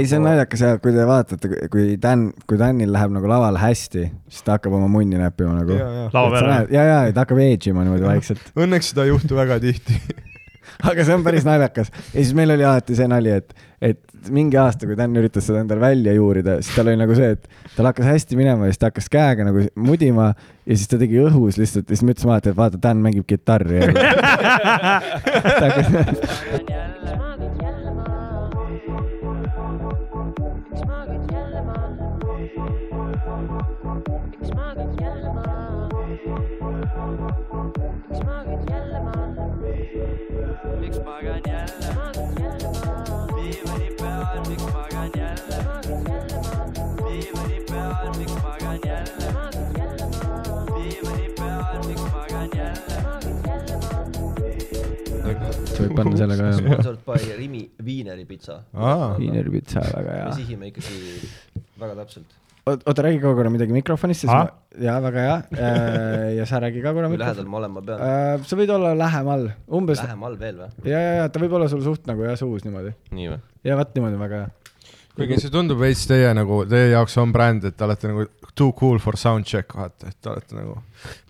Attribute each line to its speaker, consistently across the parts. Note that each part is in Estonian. Speaker 1: ei , see on naljakas ja kui te vaatate , kui Dan , kui Danil läheb nagu laval hästi , siis ta hakkab oma munni näppima nagu .
Speaker 2: ja ,
Speaker 1: ja ,
Speaker 2: ja .
Speaker 3: laua peale .
Speaker 1: ja , ja ta hakkab edge ima niimoodi vaikselt .
Speaker 2: Õnneks seda ei juhtu väga tihti .
Speaker 1: aga see on päris naljakas . ja siis meil oli alati see nali , et , et mingi aasta , kui Dan üritas seda endale välja juurida , siis tal oli nagu see , et tal hakkas hästi minema ja siis ta hakkas käega nagu mudima ja siis ta tegi õhus lihtsalt ja siis me ütlesime alati , et vaata , Dan mängib kitarri . võib panna selle ka jah .
Speaker 4: Sponsored by Rimi viineripitsa .
Speaker 2: aa ,
Speaker 4: Uhuh.
Speaker 1: viinerpitsa , väga
Speaker 4: me
Speaker 1: hea .
Speaker 4: sihime ikkagi väga täpselt .
Speaker 1: oota , räägi ka korra midagi mikrofonist , siis
Speaker 3: Ah?
Speaker 1: ma , jaa , väga hea . ja sa räägi ka korra
Speaker 4: kui lähedal
Speaker 1: mikrofonist .
Speaker 4: ma olen , ma pean .
Speaker 1: sa võid olla lähemal , umbes , ja ,
Speaker 4: lähemal veel või ?
Speaker 1: ja , ja ta võib olla sul suht nagu jah , suus niimoodi .
Speaker 4: nii või ?
Speaker 1: ja vot niimoodi on väga hea .
Speaker 2: kuigi see tundub veits teie nagu , teie jaoks on bränd , et te olete nagu too cool for soundcheck , vaata , et te olete nagu ,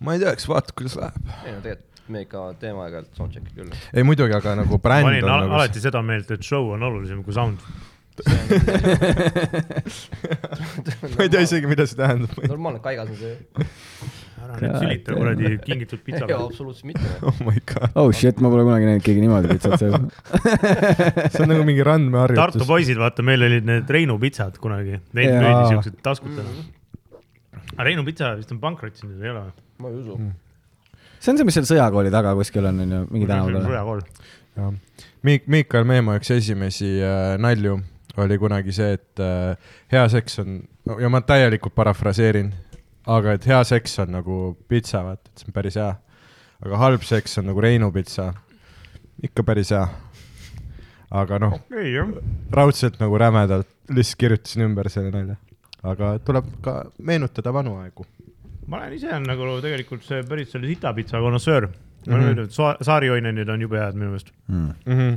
Speaker 2: ma ei tea , eks vaata , kuidas läheb .
Speaker 4: ei no tegelikult me ikka teeme aeg-ajalt soundcheck'i küll .
Speaker 2: ei muidugi , aga nagu
Speaker 3: ma
Speaker 2: bränd
Speaker 3: olin
Speaker 2: on
Speaker 3: al
Speaker 2: nagu
Speaker 3: alati seda meelt , et show on olulisem kui sound .
Speaker 2: see , ma ei tea isegi , mida see tähendab .
Speaker 4: normaalne kaigas on see .
Speaker 3: ära nüüd sülita kuradi kingitud pitsa
Speaker 4: ei ,
Speaker 3: pealt .
Speaker 4: absoluutselt mitte .
Speaker 2: oh my god ,
Speaker 1: oh shit , ma pole kunagi näinud keegi niimoodi pitsat sööb .
Speaker 2: see on nagu mingi
Speaker 3: Tartu
Speaker 2: randmeharjutus .
Speaker 3: poisid , vaata , meil olid need Reinu pitsad kunagi , neid
Speaker 1: Jaa.
Speaker 3: müüdi siuksed taskutena . aga Reinu pitsa vist on pankrotis nüüd , ei ole või ?
Speaker 4: ma ei usu .
Speaker 1: Äh, see on see , mis seal sõjakooli taga kuskil on , onju , mingi tänav peal .
Speaker 3: sõjakool .
Speaker 2: Miik- , Miikal Meemaa üks esimesi äh, nalju oli kunagi see , et äh, hea seks on , ja ma täielikult parafraseerin , aga et hea seks on nagu pitsa , vaata , et see on päris hea . aga halb seks on nagu Reinu pitsa , ikka päris hea . aga noh ,
Speaker 3: ei jah .
Speaker 2: raudselt nagu rämedalt lihtsalt kirjutasin ümber selle nalja . aga tuleb ka meenutada vanu aegu .
Speaker 3: ma olen ise on nagu tegelikult see päris selle sitapitsa konnoissöör .
Speaker 1: Mhm.
Speaker 3: ma olen öelnud , et saarioinenid on jube head minu meelest .
Speaker 1: Hmm.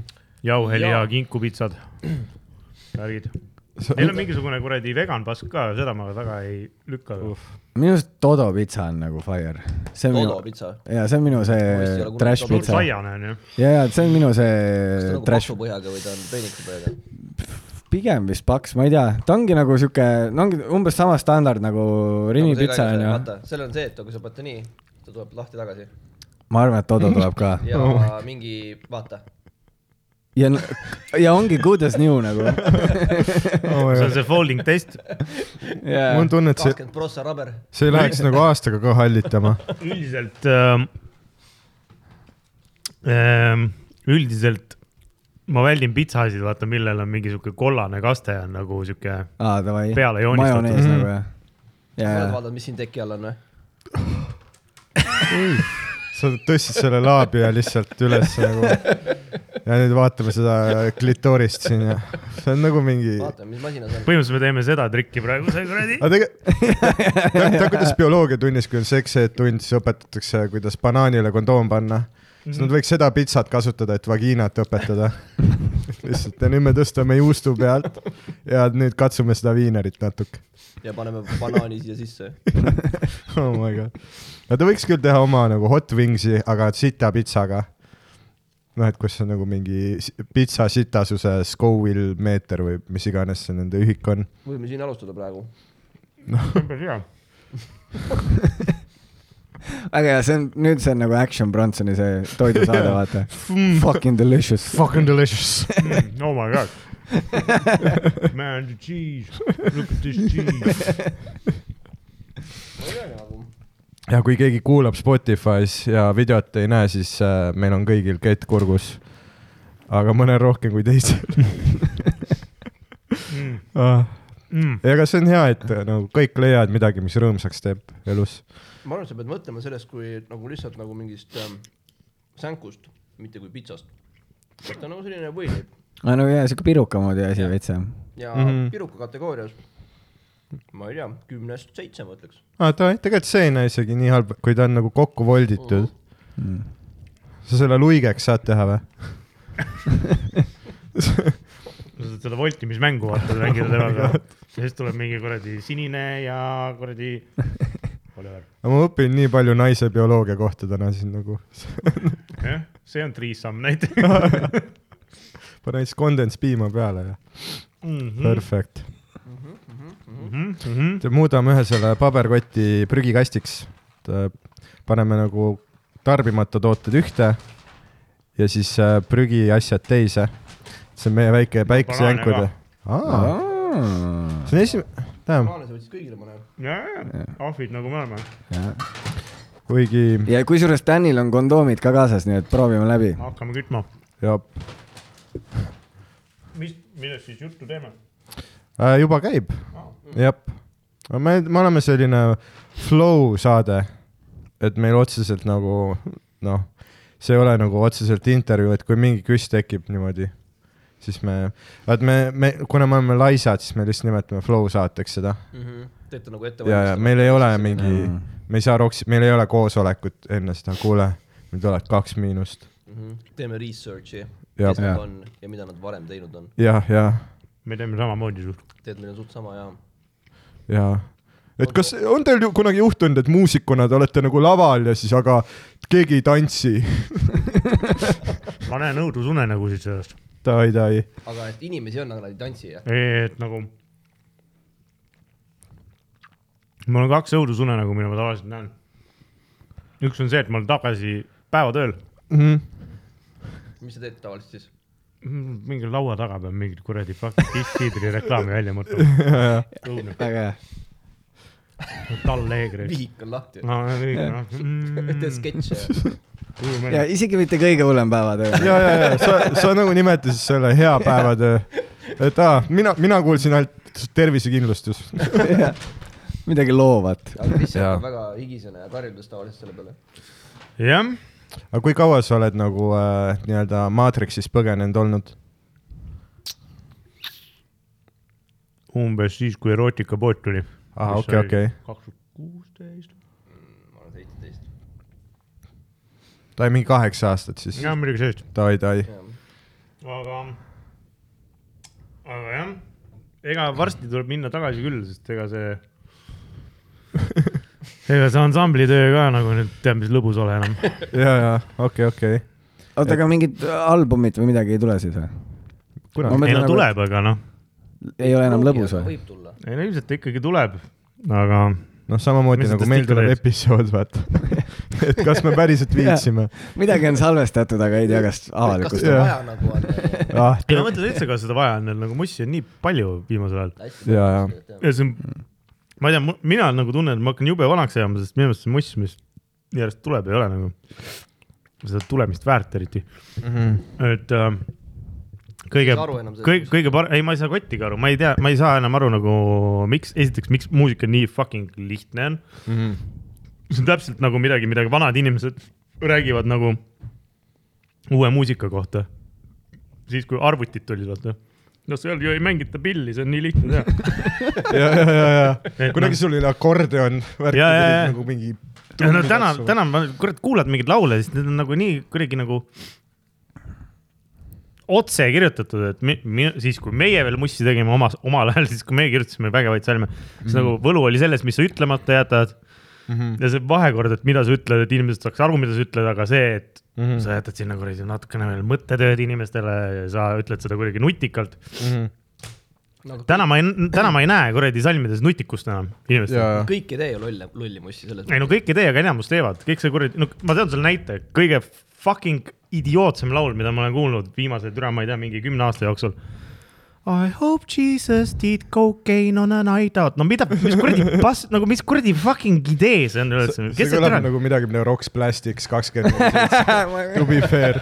Speaker 3: jauheli ja
Speaker 4: Jaa.
Speaker 3: kinkupitsad , värgid . Neil on mingisugune kuradi vegan pask ka , seda ma väga ei lükka .
Speaker 1: minu arust Dodo pitsa on nagu fire . see on
Speaker 4: Dodo
Speaker 1: minu ,
Speaker 4: pitsa .
Speaker 1: ja see on minu
Speaker 4: Ma vist ei
Speaker 1: see
Speaker 4: ole kunagi
Speaker 1: trash
Speaker 3: suht
Speaker 1: pitsa .
Speaker 3: saiane on ju .
Speaker 1: ja , ja see on minu
Speaker 4: kas ta
Speaker 1: see
Speaker 4: on nagu
Speaker 1: trash ,
Speaker 4: maksupõhjaga või ta on peenikupõhjaga ?
Speaker 1: pigem vist paks , ma ei tea , ta ongi nagu sihuke , no ongi umbes sama standard nagu Rimi pitsa onju .
Speaker 4: vaata , sellel on see , et kui sa paned ta nii , ta tuleb lahti tagasi
Speaker 1: ma arvan , et Dodo tuleb ka
Speaker 4: ja
Speaker 2: Oh.
Speaker 4: mingi , vaata .
Speaker 1: ja , ja ongi good as new nagu .
Speaker 3: see on see folding test .
Speaker 2: Oh mul on tunne , et see ,
Speaker 4: kakskümmend prossa rubber .
Speaker 2: see läheks nagu aastaga ka hallitama .
Speaker 3: üldiselt ähm, , ähm, üldiselt ma väldin pitsasid , vaata , millel on mingi sihuke kollane kaste on nagu sihuke ,
Speaker 1: aa , davai .
Speaker 3: Peale joonistatud.
Speaker 1: majonees nagu jah . ja ,
Speaker 4: oled
Speaker 1: ja ,
Speaker 4: vaadanud , mis siin teki all on või ?
Speaker 2: sa tõstsid selle laabi ja lihtsalt üles nagu . ja nüüd vaatame seda klitorist siin ja see on nagu mingi ,
Speaker 4: vaata , mis masinas on .
Speaker 3: põhimõtteliselt me teeme seda trikki praegu , see kuradi .
Speaker 2: aga tegelikult , tead kuidas bioloogiatunnis , kui on seksi-tund , siis õpetatakse , kuidas banaanile kondoom panna . siis nad võiks seda pitsat kasutada , et vagiinat õpetada . lihtsalt ja nüüd me tõstame juustu pealt ja nüüd katsume seda viinerit natuke .
Speaker 4: ja paneme banaani siia sisse .
Speaker 2: oh my god . no ta võiks küll teha oma nagu hot wings'i , aga sita pitsaga . noh , et kus on nagu mingi si- pitsa sitasuse Scoville meeter või mis iganes see nende ühik on .
Speaker 4: võime siin alustada praegu .
Speaker 1: aga ja see on , nüüd see on nagu Action Bronsoni see toidusaade , vaata . Fucking delicious .
Speaker 2: Fucking delicious .
Speaker 3: oh my god Man the cheese , look at this cheese .
Speaker 4: nagu-
Speaker 2: ja kui keegi kuulab Spotify's ja videot ei näe , siis äh, meil on kõigil kett kurgus . aga mõnel rohkem kui teisel
Speaker 3: Mm.
Speaker 2: ah. .
Speaker 3: Mm.
Speaker 2: ega see on hea , et äh, nagu kõik leiavad midagi , mis rõõmsaks teeb elus .
Speaker 4: ma arvan , et sa pead mõtlema sellest kui nagu lihtsalt nagu mingist ähm, sänkust , mitte kui pitsast . ta on nagu selline võileib
Speaker 1: aa , no nagu, jaa , sihuke piruka moodi asi veits jah .
Speaker 4: ja mm
Speaker 2: Mhm.
Speaker 4: -hmm. piruka kategoorias , ma ei tea , kümnest seitse ma ütleks .
Speaker 2: aa , davai , tegelikult see ei näe isegi nii halb , kui ta on nagu kokku volditud . sa selle luigeks saad teha või ?
Speaker 3: sa saad lihtsalt seda voltimismängu vaata , mängida temaga . ja siis tuleb mingi kuradi sinine ja kuradi Oliver .
Speaker 2: aga ma õpin nii palju naise bioloogia kohta täna siis nagu .
Speaker 3: jah , see on triisamm näiteks .
Speaker 2: pane siis kondens piima peale ja
Speaker 3: Mhm. Mm.
Speaker 2: perfect . muudame ühe selle paberkoti prügikastiks . paneme nagu tarbimata tooted ühte ja siis äh, prügiasjad teise . see on meie väike päikesejänkude . see on esimene , tähendab ,
Speaker 4: plaane sa võtsid kõigile , ma näen .
Speaker 3: jajah , ahvid nagu me oleme ,
Speaker 2: kuigi
Speaker 1: ja kusjuures Danil on kondoomid ka kaasas , nii et proovime läbi .
Speaker 3: hakkame kütma .
Speaker 2: ja,
Speaker 3: mis , millest siis juttu teeme ?
Speaker 2: äh, juba käib , jah . me , me oleme selline flow saade , et meil otseselt nagu noh , see ei ole nagu otseselt intervjuu , et kui mingi küs tekib niimoodi , siis me , vaat me , me , kuna me oleme laisad , siis me lihtsalt nimetame flow saateks seda
Speaker 4: teete nagu
Speaker 2: ja , ja
Speaker 4: ettevalmistust .
Speaker 2: meil ei ole mingi , me ei saa roksi , meil ei ole koosolekut enne seda , kuule , nüüd tuleb kaks miinust
Speaker 4: Mhm. teeme research'i ,
Speaker 2: Jah.
Speaker 4: kes nad
Speaker 1: Jah.
Speaker 4: on ja mida nad varem teinud on .
Speaker 2: ja , ja ,
Speaker 3: me teeme samamoodi suht- .
Speaker 4: tead , meil on suht sama ja .
Speaker 2: ja et kas on teil ju kunagi juhtunud , et muusikuna te olete nagu laval ja siis , aga keegi ei tantsi
Speaker 3: ma näen õudusunenägusid sellest ,
Speaker 2: tai , tai .
Speaker 4: aga et inimesi on , aga nad ei tantsi jah .
Speaker 3: et nagu . mul on kaks õudusunenägu , mida ma tavaliselt näen . üks on see , et ma olen tagasi päevatööl ,
Speaker 4: mis sa teed tavaliselt siis ?
Speaker 3: mingi laua taga peab mingit kuradi fucking tiitri reklaami välja mõtlema . õudne ,
Speaker 1: väga hea .
Speaker 3: tall eegris .
Speaker 4: vihik on lahti .
Speaker 3: no , nii , noh . Mm.
Speaker 4: teed sketše ja .
Speaker 1: ja isegi mitte kõige hullem päevatöö .
Speaker 2: ja , ja , ja sa , sa nagu nimetasid selle hea päevatöö , et aa , mina , mina kuulsin ainult tervisekindlustus .
Speaker 1: midagi loovat .
Speaker 4: aga Kristjan
Speaker 2: Jaa.
Speaker 4: on väga higisena ja karjudes tavaliselt selle peale .
Speaker 3: jah ,
Speaker 2: aga kui kaua sa oled nagu äh, nii-öelda maatriksis põgenenud olnud ?
Speaker 3: umbes siis , kui erootikapood tuli .
Speaker 2: aa , okei , okei .
Speaker 3: kaks tuhat kuusteist .
Speaker 4: ma olen seitseteist .
Speaker 2: ta oli mingi kaheksa aastat siis .
Speaker 3: jah , muidugi sellist ,
Speaker 2: tai , tai .
Speaker 3: aga , aga jah , ega varsti tuleb minna tagasi küll , sest ega see , ega see ansambli töö ka nagu nüüd teab , mis lõbus ole enam .
Speaker 2: ja , ja okei , okei .
Speaker 1: oota , aga mingit albumit või midagi ei tule siis või ?
Speaker 2: kunagi
Speaker 1: Ma
Speaker 3: ei no
Speaker 1: nagu-
Speaker 3: tuleb , aga noh ,
Speaker 1: ei ole enam lõbus või ?
Speaker 4: võib tulla .
Speaker 3: ei no ilmselt ta ikkagi tuleb , aga
Speaker 2: noh , samamoodi
Speaker 3: Mis
Speaker 2: nagu
Speaker 3: nendest
Speaker 2: meil
Speaker 3: ikka
Speaker 2: tuleb
Speaker 3: teed?
Speaker 2: episood , vaata . et kas me päriselt viitsime .
Speaker 1: midagi on salvestatud , aga ei tea , kas
Speaker 4: kas
Speaker 1: avalikust
Speaker 4: seda
Speaker 2: Jaa. .
Speaker 4: vaja nagu on ?
Speaker 2: ah ,
Speaker 3: ei ma mõtlen üldse , kas seda vaja on , nagu mussi on nii palju viimasel ajal
Speaker 2: Jaa, jaa.
Speaker 3: ja see on ,
Speaker 4: Mm.
Speaker 3: ma ei tea , mina nagu tunnen , et ma hakkan jube vanaks jääma , sest minu meelest see muss , mis järjest tuleb , ei ole nagu seda tulemist väärt eriti
Speaker 2: Mhm.
Speaker 3: et äh, kõige
Speaker 4: Ei saa aru enam , sellest
Speaker 3: kõige , kõige parem , ei , ma ei saa kottigi aru , ma ei tea , ma ei saa enam aru nagu miks , esiteks , miks muusika nii fucking lihtne on . see on täpselt nagu midagi , midagi vanad inimesed räägivad nagu uue muusika kohta . siis , kui arvutid tulid , vaata . no seal ju ei mängita pilli , see on nii lihtne teha .
Speaker 2: ja , ja , ja , ja
Speaker 3: Et
Speaker 2: kunagi
Speaker 3: noh-
Speaker 2: sul oli akordeon , värk
Speaker 3: Jaa, jaa, jaa.
Speaker 2: nagu mingi .
Speaker 3: ja no täna , täna ma kurat kuulad mingeid laule , siis need on nagu nii kuidagi nagu otse kirjutatud , et mi, mi, siis kui meie veel mussi tegime oma , omal ajal , siis kui meie kirjutasime vägevaid salme , siis mm -hmm. nagu võlu oli selles , mis sa ütlemata jätad mm . -hmm. ja see vahekord , et mida sa ütled , et inimesed saaks aru , mida sa ütled , aga see , et mm -hmm. sa jätad sinna kuradi natukene veel mõttetööd inimestele , sa ütled seda kuidagi nutikalt .
Speaker 2: Mhm.
Speaker 4: Nagu
Speaker 3: täna ma ei , täna ma ei näe kuradi salmides nutikust enam inimestel
Speaker 2: ja , ja ,
Speaker 4: kõik ei tee ju lolle , lolli mussi selles
Speaker 3: ei no kõik ei tee , aga enamus teevad , kõik see kuradi , no ma tean selle näite , kõige fucking idiootsem laul , mida ma olen kuulnud viimase türa , ma ei tea , mingi kümne aasta jooksul . I hope Jesus did cocaine on a night out , no mida , mis kuradi pass , nagu mis kuradi fucking idee see on üleüldse ,
Speaker 2: see
Speaker 3: kes see
Speaker 2: kõlab
Speaker 3: türa ,
Speaker 2: nagu midagi , mida Rocks Plastics kakskümmend , to be fair .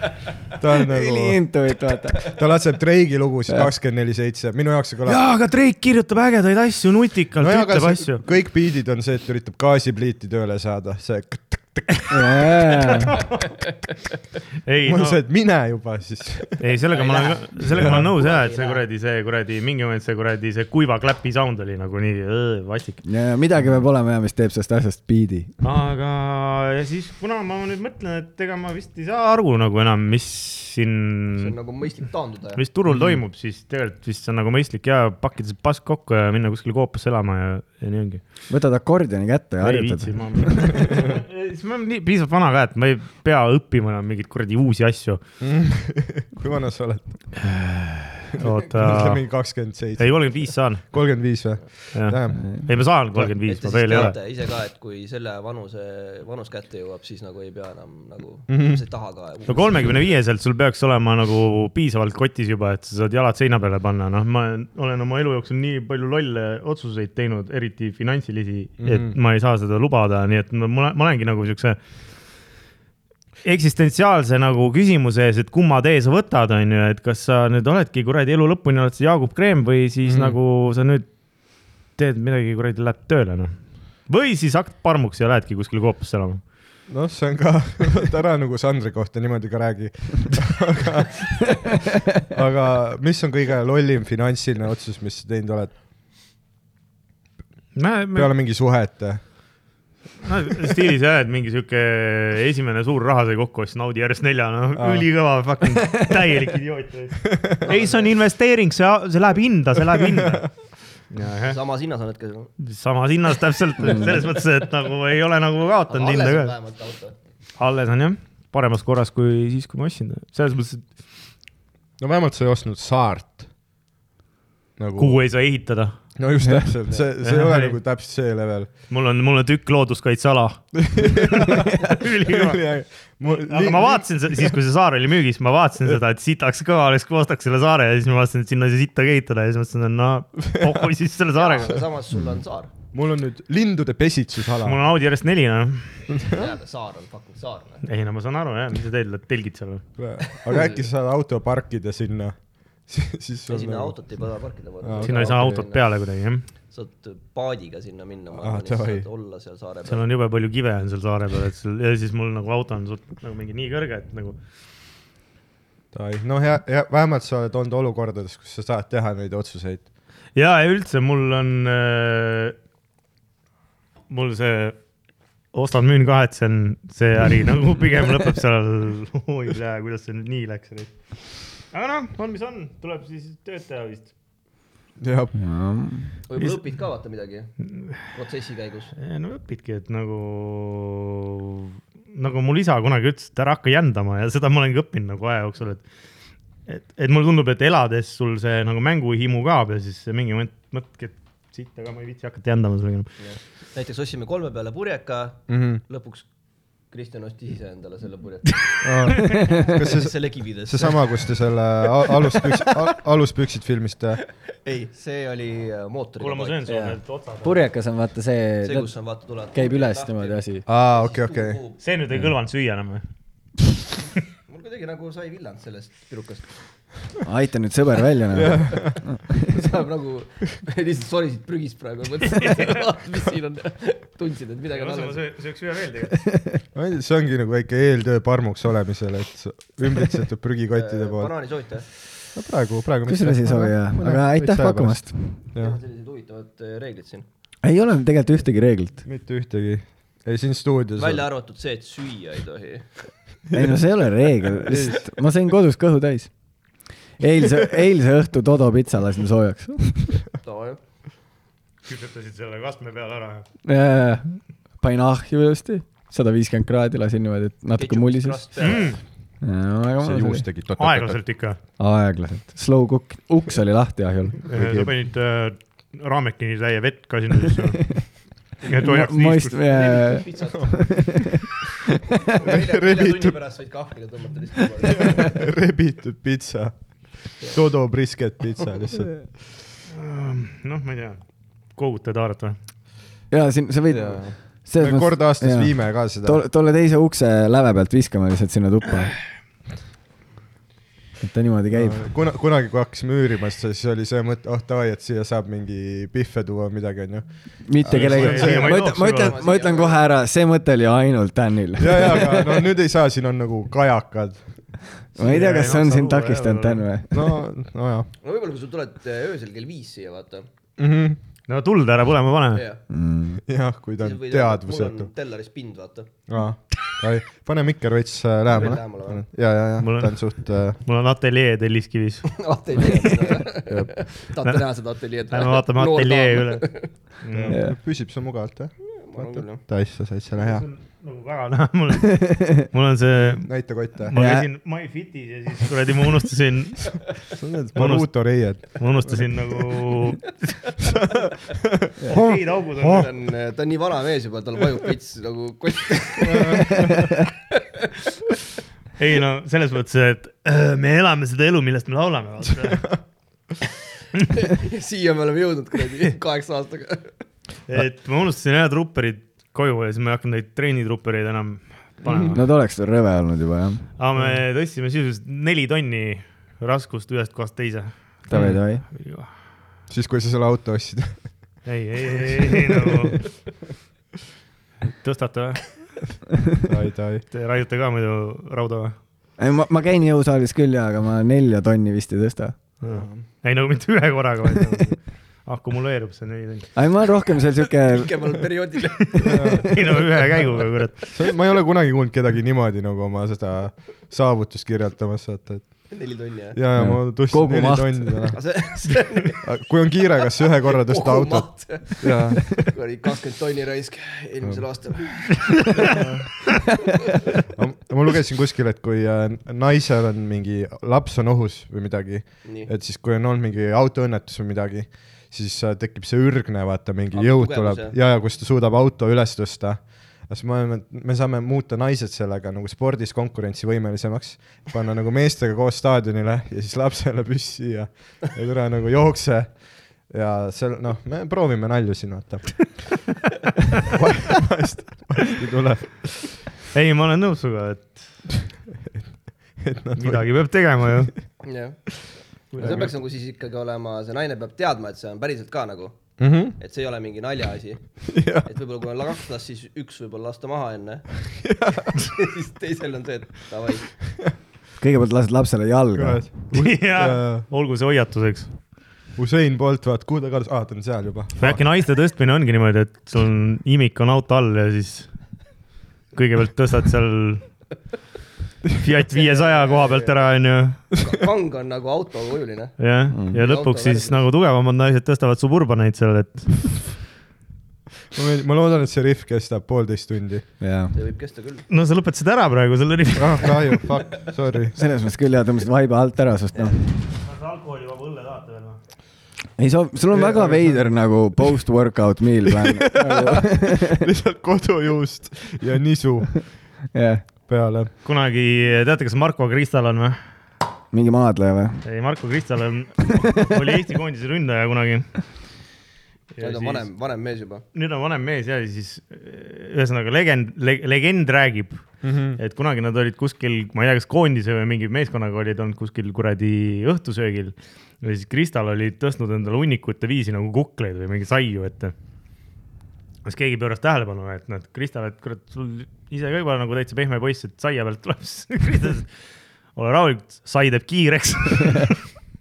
Speaker 2: ta on
Speaker 1: üli
Speaker 2: nagu ,
Speaker 1: intuit , vaata .
Speaker 2: ta laseb Drake'i lugusid kakskümmend neli seitse , minu jaoks see kõlab .
Speaker 3: jaa , aga Drake kirjutab ägedaid asju nutikalt ,
Speaker 2: nojah ,
Speaker 3: ütleb
Speaker 2: aga see-
Speaker 3: asju .
Speaker 2: kõik biidid on see , et ta üritab gaasipliiti tööle saada , see .
Speaker 3: ei ,
Speaker 2: mul
Speaker 3: no
Speaker 2: on see , et mine juba siis .
Speaker 3: ei , sellega ma olen , sellega ma olen nõus jah , et see kuradi , see kuradi , mingi moment see kuradi , see kuiva kläpi sound oli nagu nii öö, vastik .
Speaker 1: ja midagi peab olema ja mis teeb sellest asjast biidi .
Speaker 3: aga ja siis , kuna ma nüüd mõtlen , et ega ma vist ei saa aru nagu enam , mis
Speaker 4: see
Speaker 3: siin
Speaker 4: on , nagu Mhm. mõistlik taanduda ja
Speaker 3: Mm. mis turul toimub , siis tegelikult vist on nagu mõistlik ja pakkida see pask kokku ja minna kuskile koopasse elama ja , ja nii ongi .
Speaker 1: võtad akordioni kätte ja
Speaker 3: ei viitsi ,
Speaker 1: harjutad .
Speaker 3: ma , siis ma olen nii piisavalt vana ka , et ma ei pea õppima enam mingeid kuradi uusi asju . Mhm.
Speaker 2: kui vana sa oled ?
Speaker 3: oota ,
Speaker 2: ütle mingi kakskümmend seitse ,
Speaker 3: ei kolmkümmend viis saan ,
Speaker 2: kolmkümmend viis või ?
Speaker 3: jah . ei , ma saan kolmkümmend viis ,
Speaker 4: et
Speaker 3: ma
Speaker 4: te
Speaker 3: veel ei
Speaker 4: siis teate
Speaker 3: ole .
Speaker 4: ise ka , et kui selle vanuse , vanus kätte jõuab , siis nagu ei pea enam nagu mm , -hmm. sa ei taha ka .
Speaker 3: Mhm. no kolmekümne viieselt sul peaks olema nagu piisavalt kotis juba , et sa saad jalad seina peale panna , noh , ma olen oma elu jooksul nii palju lolle otsuseid teinud , eriti finantsilisi mm , -hmm. et ma ei saa seda lubada , nii et ma, ma ma olengi nagu siukse eksistentsiaalse nagu küsimuse ees , et kumma tee sa võtad , on ju , et kas sa nüüd oledki kuradi elu lõpuni oled sa Jaagup Kreem või siis mm -hmm. nagu sa nüüd teed midagi kuradi , lähed tööle noh . või siis hakkad parmuks ja lähedki kuskile koopasse elama .
Speaker 2: noh , see on ka , ära nagu Sandri kohta niimoodi ka räägi . aga , aga mis on kõige lollim finantsiline otsus , mis sa teinud oled ? peale mingi suhete .
Speaker 3: no stiilis jah , et mingi sihuke esimene suur raha sai kokku , siis naudi järjest nelja , no
Speaker 2: Aa.
Speaker 3: ülikõva fucking täielik idioot . ei , see on investeering , see , see läheb hinda , see läheb hinda .
Speaker 4: samas hinnas on hetkel .
Speaker 3: samas hinnas täpselt , selles mõttes , et nagu ei ole nagu kaotanud hinda ka .
Speaker 4: vähemalt auto .
Speaker 3: alles on jah , paremas korras kui siis , kui ma ostsin . selles mõttes , et
Speaker 2: no vähemalt sa ei ostnud saart . nagu ,
Speaker 3: kuhu ei saa ehitada .
Speaker 2: no just täpselt , see , see ei
Speaker 3: Jah,
Speaker 2: ole
Speaker 3: ei.
Speaker 2: nagu täpselt see level .
Speaker 3: mul on , mul on tükk looduskaitseala . ülikõva aga ma vaatasin se- siis , kui see saar oli müügis , ma vaatasin seda , et sitaks kõva oleks , kui ostaks selle saare ja siis ma vaatasin , et sinna ei saa sitta kehitada ja siis mõtlesin , et no kokku siis selle saarega .
Speaker 4: samas sul on saar ,
Speaker 2: mul on nüüd lindude pesitsusala
Speaker 3: mul on Audi järjest neli , noh .
Speaker 4: tead , saar on fucking saar . noh.
Speaker 3: ei no ma saan aru jah , mis sa teed , telgid seal või ?
Speaker 2: aga äkki sa saad auto parkida sinna ? siis sul
Speaker 4: sinna
Speaker 2: nagu-
Speaker 4: autot ei pea parkida .
Speaker 2: Aga
Speaker 3: sinna ei saa autot . peale kuidagi jah ,
Speaker 4: saad paadiga sinna minna , ma
Speaker 2: Ah,
Speaker 4: arvan , siis
Speaker 2: davai.
Speaker 4: saad olla seal saare
Speaker 3: seal
Speaker 4: peal .
Speaker 3: on jube palju kive on seal saare peal , et seal ja siis mul nagu auto on suht nagu mingi nii kõrge , et nagu
Speaker 2: Tai- no hea , hea , vähemalt sa oled olnud olukordades , kus sa saad teha neid otsuseid .
Speaker 3: ja , ja üldse mul on äh, , mul see ostan-müün kahetsen , see äri nagu pigem lõpeb seal , oi jää , kuidas see nüüd nii läks . aga noh , on mis on , tuleb siis tööd teha vist .
Speaker 2: jah ,
Speaker 4: võib-olla õpid ka vaata midagi protsessi käigus .
Speaker 3: no õpidki , et nagu , nagu mul isa kunagi ütles , et ära hakka jändama ja seda ma olengi õppinud nagu aja jooksul , et et , et mulle tundub , et elades sul see nagu mänguhimu kaob ja siis mingi moment mõtledki , et siit , aga ma ei viitsi hakata jändama sellega enam .
Speaker 4: näiteks ostsime kolme peale purjeka mm ,
Speaker 2: Mhm.
Speaker 4: -hmm. lõpuks Kristjan ostis ise endale selle purjeka ,
Speaker 2: kas see ,
Speaker 4: selle kividest .
Speaker 2: seesama , kus te selle a- aluspüks- , aluspüksid filmisite ?
Speaker 4: ei , see oli äh, mootoriga .
Speaker 3: kuule , ma söön sulle
Speaker 1: Jaa.
Speaker 3: need otsad .
Speaker 1: purjekas on vaata
Speaker 4: see ,
Speaker 1: see
Speaker 4: kus , on vaata tuleb .
Speaker 1: käib üles niimoodi . asi .
Speaker 2: aa , okei , okei .
Speaker 3: see nüüd ei kõlvanud süüa enam või ?
Speaker 4: mul kuidagi nagu sai villand sellest pirukast .
Speaker 1: aita nüüd sõber välja nagu .
Speaker 4: saab nagu , lihtsalt sorisid prügis praegu , mõtlesin , mis siin on . tundsin , et midagi on alles .
Speaker 3: sööks ühe veel tegelikult .
Speaker 2: see ongi nagu väike eeltöö parmuks olemisele , et sa- ümbritsetud
Speaker 4: Äh,
Speaker 2: prügikottide poolt .
Speaker 4: banaani soovite ?
Speaker 2: no praegu , praegu .
Speaker 1: kusjuures ei sobi jah , aga aitäh pakkumast ..
Speaker 4: meil on sellised huvitavad eh, reeglid siin .
Speaker 1: ei ole tegelikult ühtegi reeglit .
Speaker 2: mitte ühtegi . ei , siin stuudios .
Speaker 4: välja arvatud see , et süüa ei tohi .
Speaker 1: ei no see ei ole reegel , lihtsalt ma sain kodus kõhu täis . eilse , eilse õhtu Todo pitsa lasin soojaks .
Speaker 3: küpsetasid selle kastme peal ära .
Speaker 1: panin ahju ilusti , sada viiskümmend kraadi lasin niimoodi , et natuke mullises .
Speaker 3: Mm.
Speaker 2: see juust tegi .
Speaker 3: aeglaselt ikka .
Speaker 1: aeglaselt , slow cook , uks oli lahti ahjul .
Speaker 3: sa panid äh, raamekini täie vett ka sinna sisse või ? et hoiaks niiskust .
Speaker 4: pitsat . nelja tunni
Speaker 2: Rebitud.
Speaker 4: pärast võid kahvliga tõmmata lihtsalt .
Speaker 2: rebitud pitsa . Todo brisket pitsa lihtsalt .
Speaker 3: noh , ma ei tea , koogutad haarat või ?
Speaker 1: ja siin sa võid .
Speaker 2: me kord aastas . viime ka seda .
Speaker 1: tolle teise ukse läve pealt viskame lihtsalt sinna tuppa . et ta niimoodi käib .
Speaker 2: Äh, kuna , kunagi , kui hakkasime üürima , siis oli see mõte , oh davai , et siia saab mingi pihve tuua või midagi , onju .
Speaker 1: mitte
Speaker 2: Aga
Speaker 1: kellegi ,
Speaker 2: see-
Speaker 1: ma ütlen , ma ütlen , ma ütlen kohe ära , see mõte oli ainult Tänil .
Speaker 2: ja , ja , aga no nüüd ei saa , siin on nagu kajakad .
Speaker 1: ma ei tea , kas see on sind takistanud , Tän või ?
Speaker 2: no , nojah
Speaker 4: no võib-olla , kui sa tuled eh, öösel kell viis siia , vaata .
Speaker 2: mm -hmm. .
Speaker 3: no tuld ära põlema pane .
Speaker 4: jah .
Speaker 1: Mm.
Speaker 2: jah , kui ta on teadvusetu .
Speaker 4: tellaris pind , vaata .
Speaker 2: pane mikker veits äh,
Speaker 4: Lähemale,
Speaker 2: lähemale
Speaker 4: või? .
Speaker 2: ja , ja , ja
Speaker 3: Mul on-
Speaker 2: ta on suht äh, ,
Speaker 3: mul on ateljee Telliskivis .
Speaker 5: ateljeed , tahate näha seda ateljeed ?
Speaker 3: Lähme vaatame ateljee . üle . Mm.
Speaker 2: püsib see mugavalt , jah ?
Speaker 4: ma arvan küll , jah .
Speaker 2: täitsa , täitsa hea .
Speaker 3: nagu väga näha , mul , mul on see ,
Speaker 2: näita kotte .
Speaker 3: ma
Speaker 1: Jaa.
Speaker 3: käisin MyFitis ja siis kuradi ma unustasin ,
Speaker 2: see on need Boruto reied .
Speaker 3: ma unustasin nagu riidaugud on
Speaker 4: ta on , ta on nii vana mees juba , tal vajub veits nagu kott .
Speaker 3: ei no selles mõttes , et öö, me elame seda elu , millest me laulame , vaata .
Speaker 4: siia me oleme jõudnud kuradi kaheksa aastaga .
Speaker 3: et ma unustasin jah trupperid koju ja siis ma ei hakanud neid treenitruppereid enam panema .
Speaker 1: Nad oleks veel rõve olnud juba jah .
Speaker 3: aga me tõstsime sisuliselt neli tonni raskust ühest kohast teise .
Speaker 1: Davai , davai .
Speaker 2: siis , kui sa selle auto ostsid .
Speaker 3: ei , ei , ei , ei nagu tõstate või ?
Speaker 2: ai , ai .
Speaker 3: Te raiute ka muidu rauda või ?
Speaker 1: ei , ma , ma käin jõusaalis küll jaa , aga ma nelja tonni vist ei tõsta .
Speaker 3: ei nagu mitte ühe korraga , vaid nagu akumuleerub see neli tonni .
Speaker 1: ei , ma olen rohkem seal siuke ,
Speaker 4: pikemal perioodil .
Speaker 3: ei no ühe käiguga kurat .
Speaker 2: ma ei ole kunagi kuulnud kedagi niimoodi nagu oma seda saavutust kirjeldamas , vaata , et
Speaker 4: neli tonni , jah ?
Speaker 2: ja , ja ma tõstsin
Speaker 1: Kogu
Speaker 2: neli
Speaker 1: maht.
Speaker 2: tonni täna .
Speaker 4: aga see , see on
Speaker 2: kui on kiire , kas ühe korra
Speaker 4: Oh,
Speaker 2: tõsta autot ?
Speaker 4: kogumaht . kuradi kakskümmend tonni raisk eelmisel aastal .
Speaker 2: ma lugesin kuskil , et kui äh, naisel on mingi laps on ohus või midagi ,
Speaker 4: nii .
Speaker 2: et siis , kui on olnud mingi autoõnnetus või midagi , siis äh, tekib see ürgne , vaata , mingi jõud
Speaker 4: tugev
Speaker 2: tuleb
Speaker 4: see.
Speaker 2: ja , ja kus ta suudab auto üles tõsta . siis me oleme , me saame muuta naised sellega nagu spordis konkurentsivõimelisemaks , panna nagu meestega koos staadionile ja siis lapsele püssi ja , ja tule nagu jookse . ja seal , noh , me proovime nalju siin , vaata . vahest , vahest ei tule ,
Speaker 3: ei , ma olen nõus sinuga , et
Speaker 2: et nad midagi .
Speaker 3: midagi peab tegema ju .
Speaker 4: jah . see peaks nagu siis ikkagi olema , see naine peab teadma , et see on päriselt ka nagu ,
Speaker 2: Mm -hmm.
Speaker 4: et see ei ole mingi naljaasi .
Speaker 2: Jah.
Speaker 4: et võib-olla kui on kaks last , siis üks võib-olla lasta maha enne . siis teisel on see , et davai .
Speaker 1: kõigepealt lased lapsele jalga .
Speaker 3: jah , olgu see hoiatuseks .
Speaker 2: Usain Bolt , vaat kuhu ta kadus , aa ta on seal juba .
Speaker 3: või äkki naiste tõstmine ongi niimoodi , et sul on imik on auto all ja siis kõigepealt tõstad seal Fiat viiesaja koha pealt ära , onju .
Speaker 4: kang on nagu autokujuline .
Speaker 3: jah ,
Speaker 4: Mm.
Speaker 3: ja lõpuks siis nagu tugevamad naised tõstavad Suburbanaid seal , et
Speaker 2: ma veel- ma loodan , et see rihv kestab poolteist tundi .
Speaker 1: jaa .
Speaker 4: see võib kesta küll .
Speaker 3: no sa lõpetasid ära praegu , sul oli .
Speaker 2: ah kahju , fuck , sorry .
Speaker 1: selles mõttes küll jaa , tõmbasid vaiba alt ära , sest noh ,
Speaker 3: alkoholivaba õlle tahate veel või ?
Speaker 1: ei sa , sul on väga veider nagu post-workout meal plan .
Speaker 2: lihtsalt kodujuust ja nisu
Speaker 1: jah ,
Speaker 2: peale .
Speaker 3: kunagi , teate , kes Marko Kristal on või ?
Speaker 1: mingi maadleja või ?
Speaker 3: ei , Marko Kristal on , oli Eesti koondise ründaja kunagi .
Speaker 4: nüüd on vanem , vanem mees juba .
Speaker 3: nüüd on vanem mees ja siis eh, ühesõnaga legend le, , legend räägib mm , -hmm. et kunagi nad olid kuskil , ma ei tea , kas koondise või mingi meeskonnaga olid olnud kuskil kuradi õhtusöögil . ja siis Kristal oli tõstnud endale hunnikute viisi nagu kukleid või mingi saiu ette . kas keegi pööras tähelepanu , et noh , et Kristal , et kurat , sul ise ka juba nagu täitsa pehme poiss , et saia pealt tuleb , siis Kristal ütles , ole rahulik , sai teeb kiireks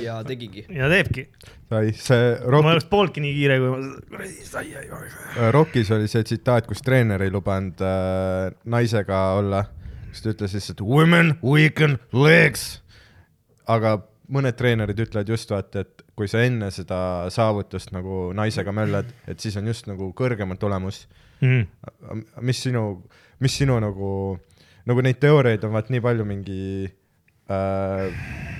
Speaker 4: ja tegigi .
Speaker 3: ja teebki .
Speaker 2: sai , see
Speaker 3: ma ei
Speaker 2: Rock ,
Speaker 3: oleks pooltki nii kiire , kui ma , kuradi saia ei oleks .
Speaker 2: Rockis oli see tsitaat , kus treener ei lubanud äh, naisega olla , siis ta ütles lihtsalt women weaken legs . aga mõned treenerid ütlevad just vaata , et kui sa enne seda saavutust nagu naisega möllad , et siis on just nagu kõrgem tulemus
Speaker 3: Mm.
Speaker 2: A- mis sinu , mis sinu nagu , nagu neid teooriaid on vaat nii palju mingi äh, ,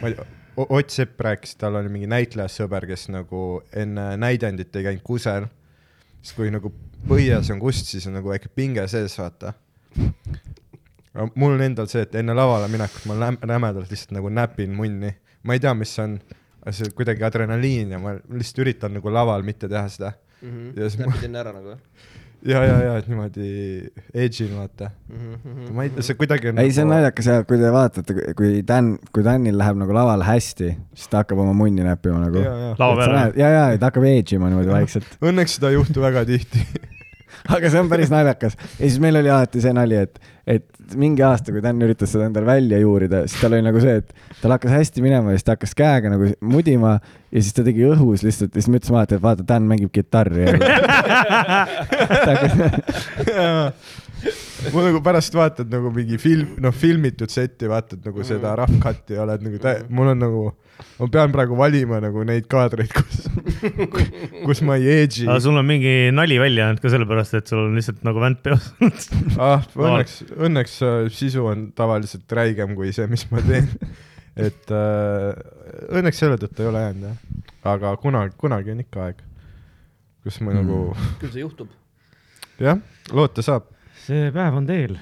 Speaker 2: ma ei tea , Ott Sepp rääkis , tal oli mingi näitlejasõber , kes nagu enne näidendit ei käinud kusel , siis kui nagu põies on kust , siis on nagu väike pinge sees , vaata . mul on endal see , et enne lavale minekut ma läm- rämedalt lihtsalt nagu näpin munni , ma ei tea , mis see on , see on kuidagi adrenaliin ja ma lihtsalt üritan nagu laval mitte teha seda
Speaker 4: Mm
Speaker 2: Ja siis
Speaker 4: -hmm.
Speaker 2: ma-
Speaker 4: näpid enne ära nagu .
Speaker 2: ja , ja , ja , et niimoodi edge'il vaata .
Speaker 4: Mhm,
Speaker 2: ma ei tea , see kuidagi on . nagu-
Speaker 1: ei , see on . naljakas ja kui te vaatate , kui Dan , kui Danil läheb nagu laval hästi , siis ta hakkab oma munni näppima nagu .
Speaker 2: Ja, ja.
Speaker 3: Laua peale.
Speaker 1: ja , ja , ta hakkab edge ima niimoodi vaikselt .
Speaker 2: õnneks seda ei juhtu väga tihti .
Speaker 1: aga see on päris naljakas . ja siis meil oli alati see nali , et , et mingi aasta , kui Dan üritas seda endale välja juurida , siis tal oli nagu see , et tal hakkas hästi minema ja siis ta hakkas käega nagu mudima ja siis ta tegi õhus lihtsalt ja siis ma ütlesin alati , et vaata , Dan mängib kitarri .
Speaker 2: mul nagu pärast vaatad nagu mingi film , noh , filmitud setti , vaatad nagu seda rough cut'i ja oled nagu tä- , mul on nagu , ma pean praegu valima nagu neid kaadreid , kus , kus ma ei edge'i .
Speaker 3: aga sul on mingi nali välja jäänud ka sellepärast , et sul on lihtsalt nagu vänt peos .
Speaker 2: ah , õnneks , õnneks äh, sisu on tavaliselt räigem kui see , mis ma teen . et äh, õnneks selle tõttu ei ole jäänud jah , aga kunagi , kunagi on ikka aeg , kus ma mm. nagu
Speaker 4: küll see juhtub
Speaker 2: jah , loota saab ,
Speaker 3: see päev on teel ,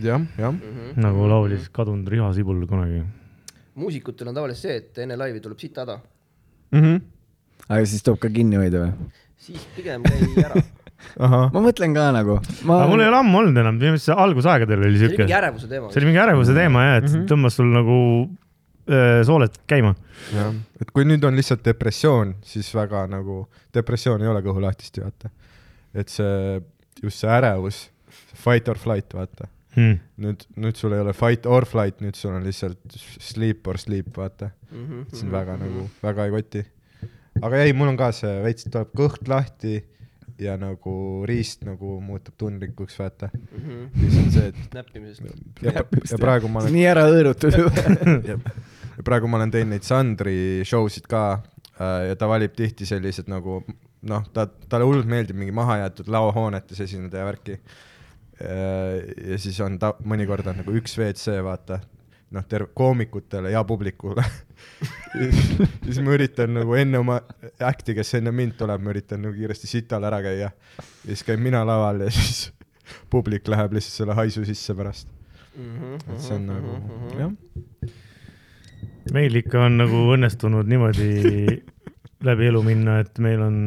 Speaker 2: jah , jah .
Speaker 4: mm . -hmm.
Speaker 3: nagu laulis kadunud Riho Sibul kunagi .
Speaker 4: muusikutel on tavaliselt see , et enne laivi tuleb siit häda ,
Speaker 1: aga siis tuleb ka kinni hoida või ?
Speaker 4: siis pigem käi ära .
Speaker 2: ahah ,
Speaker 1: ma mõtlen ka nagu .
Speaker 3: aga mul ei ole ammu olnud enam , minu meelest see algusaegadel oli
Speaker 4: see oli
Speaker 3: siuke ,
Speaker 4: mingi
Speaker 3: see
Speaker 4: ärevuse teema .
Speaker 3: oli mingi ärevuse teema jah , et tõmbas sul nagu äh, sooled käima .
Speaker 2: jah , et kui nüüd on lihtsalt depressioon , siis väga nagu , depressioon ei ole kõhulahtist ju vaata . et see , just see ärevus , fight or flight , vaata . nüüd , nüüd sul ei ole fight or flight , nüüd sul on lihtsalt sleep or sleep , vaata
Speaker 4: mm .
Speaker 1: Mhm,
Speaker 2: et siin väga nagu , väga ei koti . aga ei , mul on ka see veits tuleb kõht lahti ja nagu riist nagu muutub tundlikuks , vaata .
Speaker 4: -hmm.
Speaker 2: siis on see , et
Speaker 3: Mhm.
Speaker 4: näppimisest . Mhm,
Speaker 2: ja, ja praegu ma olen ,
Speaker 1: nii ära hõõrutud ju .
Speaker 2: ja praegu ma olen teinud neid Sandri show sid ka äh, ja ta valib tihti sellised nagu noh , ta , talle hullult meeldib mingi mahajäetud laohoonetes esineda ja värki . Äh, ja siis on ta , mõnikord on nagu üks WC , vaata noh , terve koomikutele ja publikule . siis ma üritan nagu enne oma äkti , kes enne mind tuleb , ma üritan nagu kiiresti sital ära käia . ja siis käin mina laval ja siis publik läheb lihtsalt selle haisu sisse pärast .
Speaker 4: mhm,
Speaker 2: et see on nagu
Speaker 1: Mhm,
Speaker 2: jah ,
Speaker 3: meil ikka on nagu õnnestunud niimoodi läbi elu minna , et meil on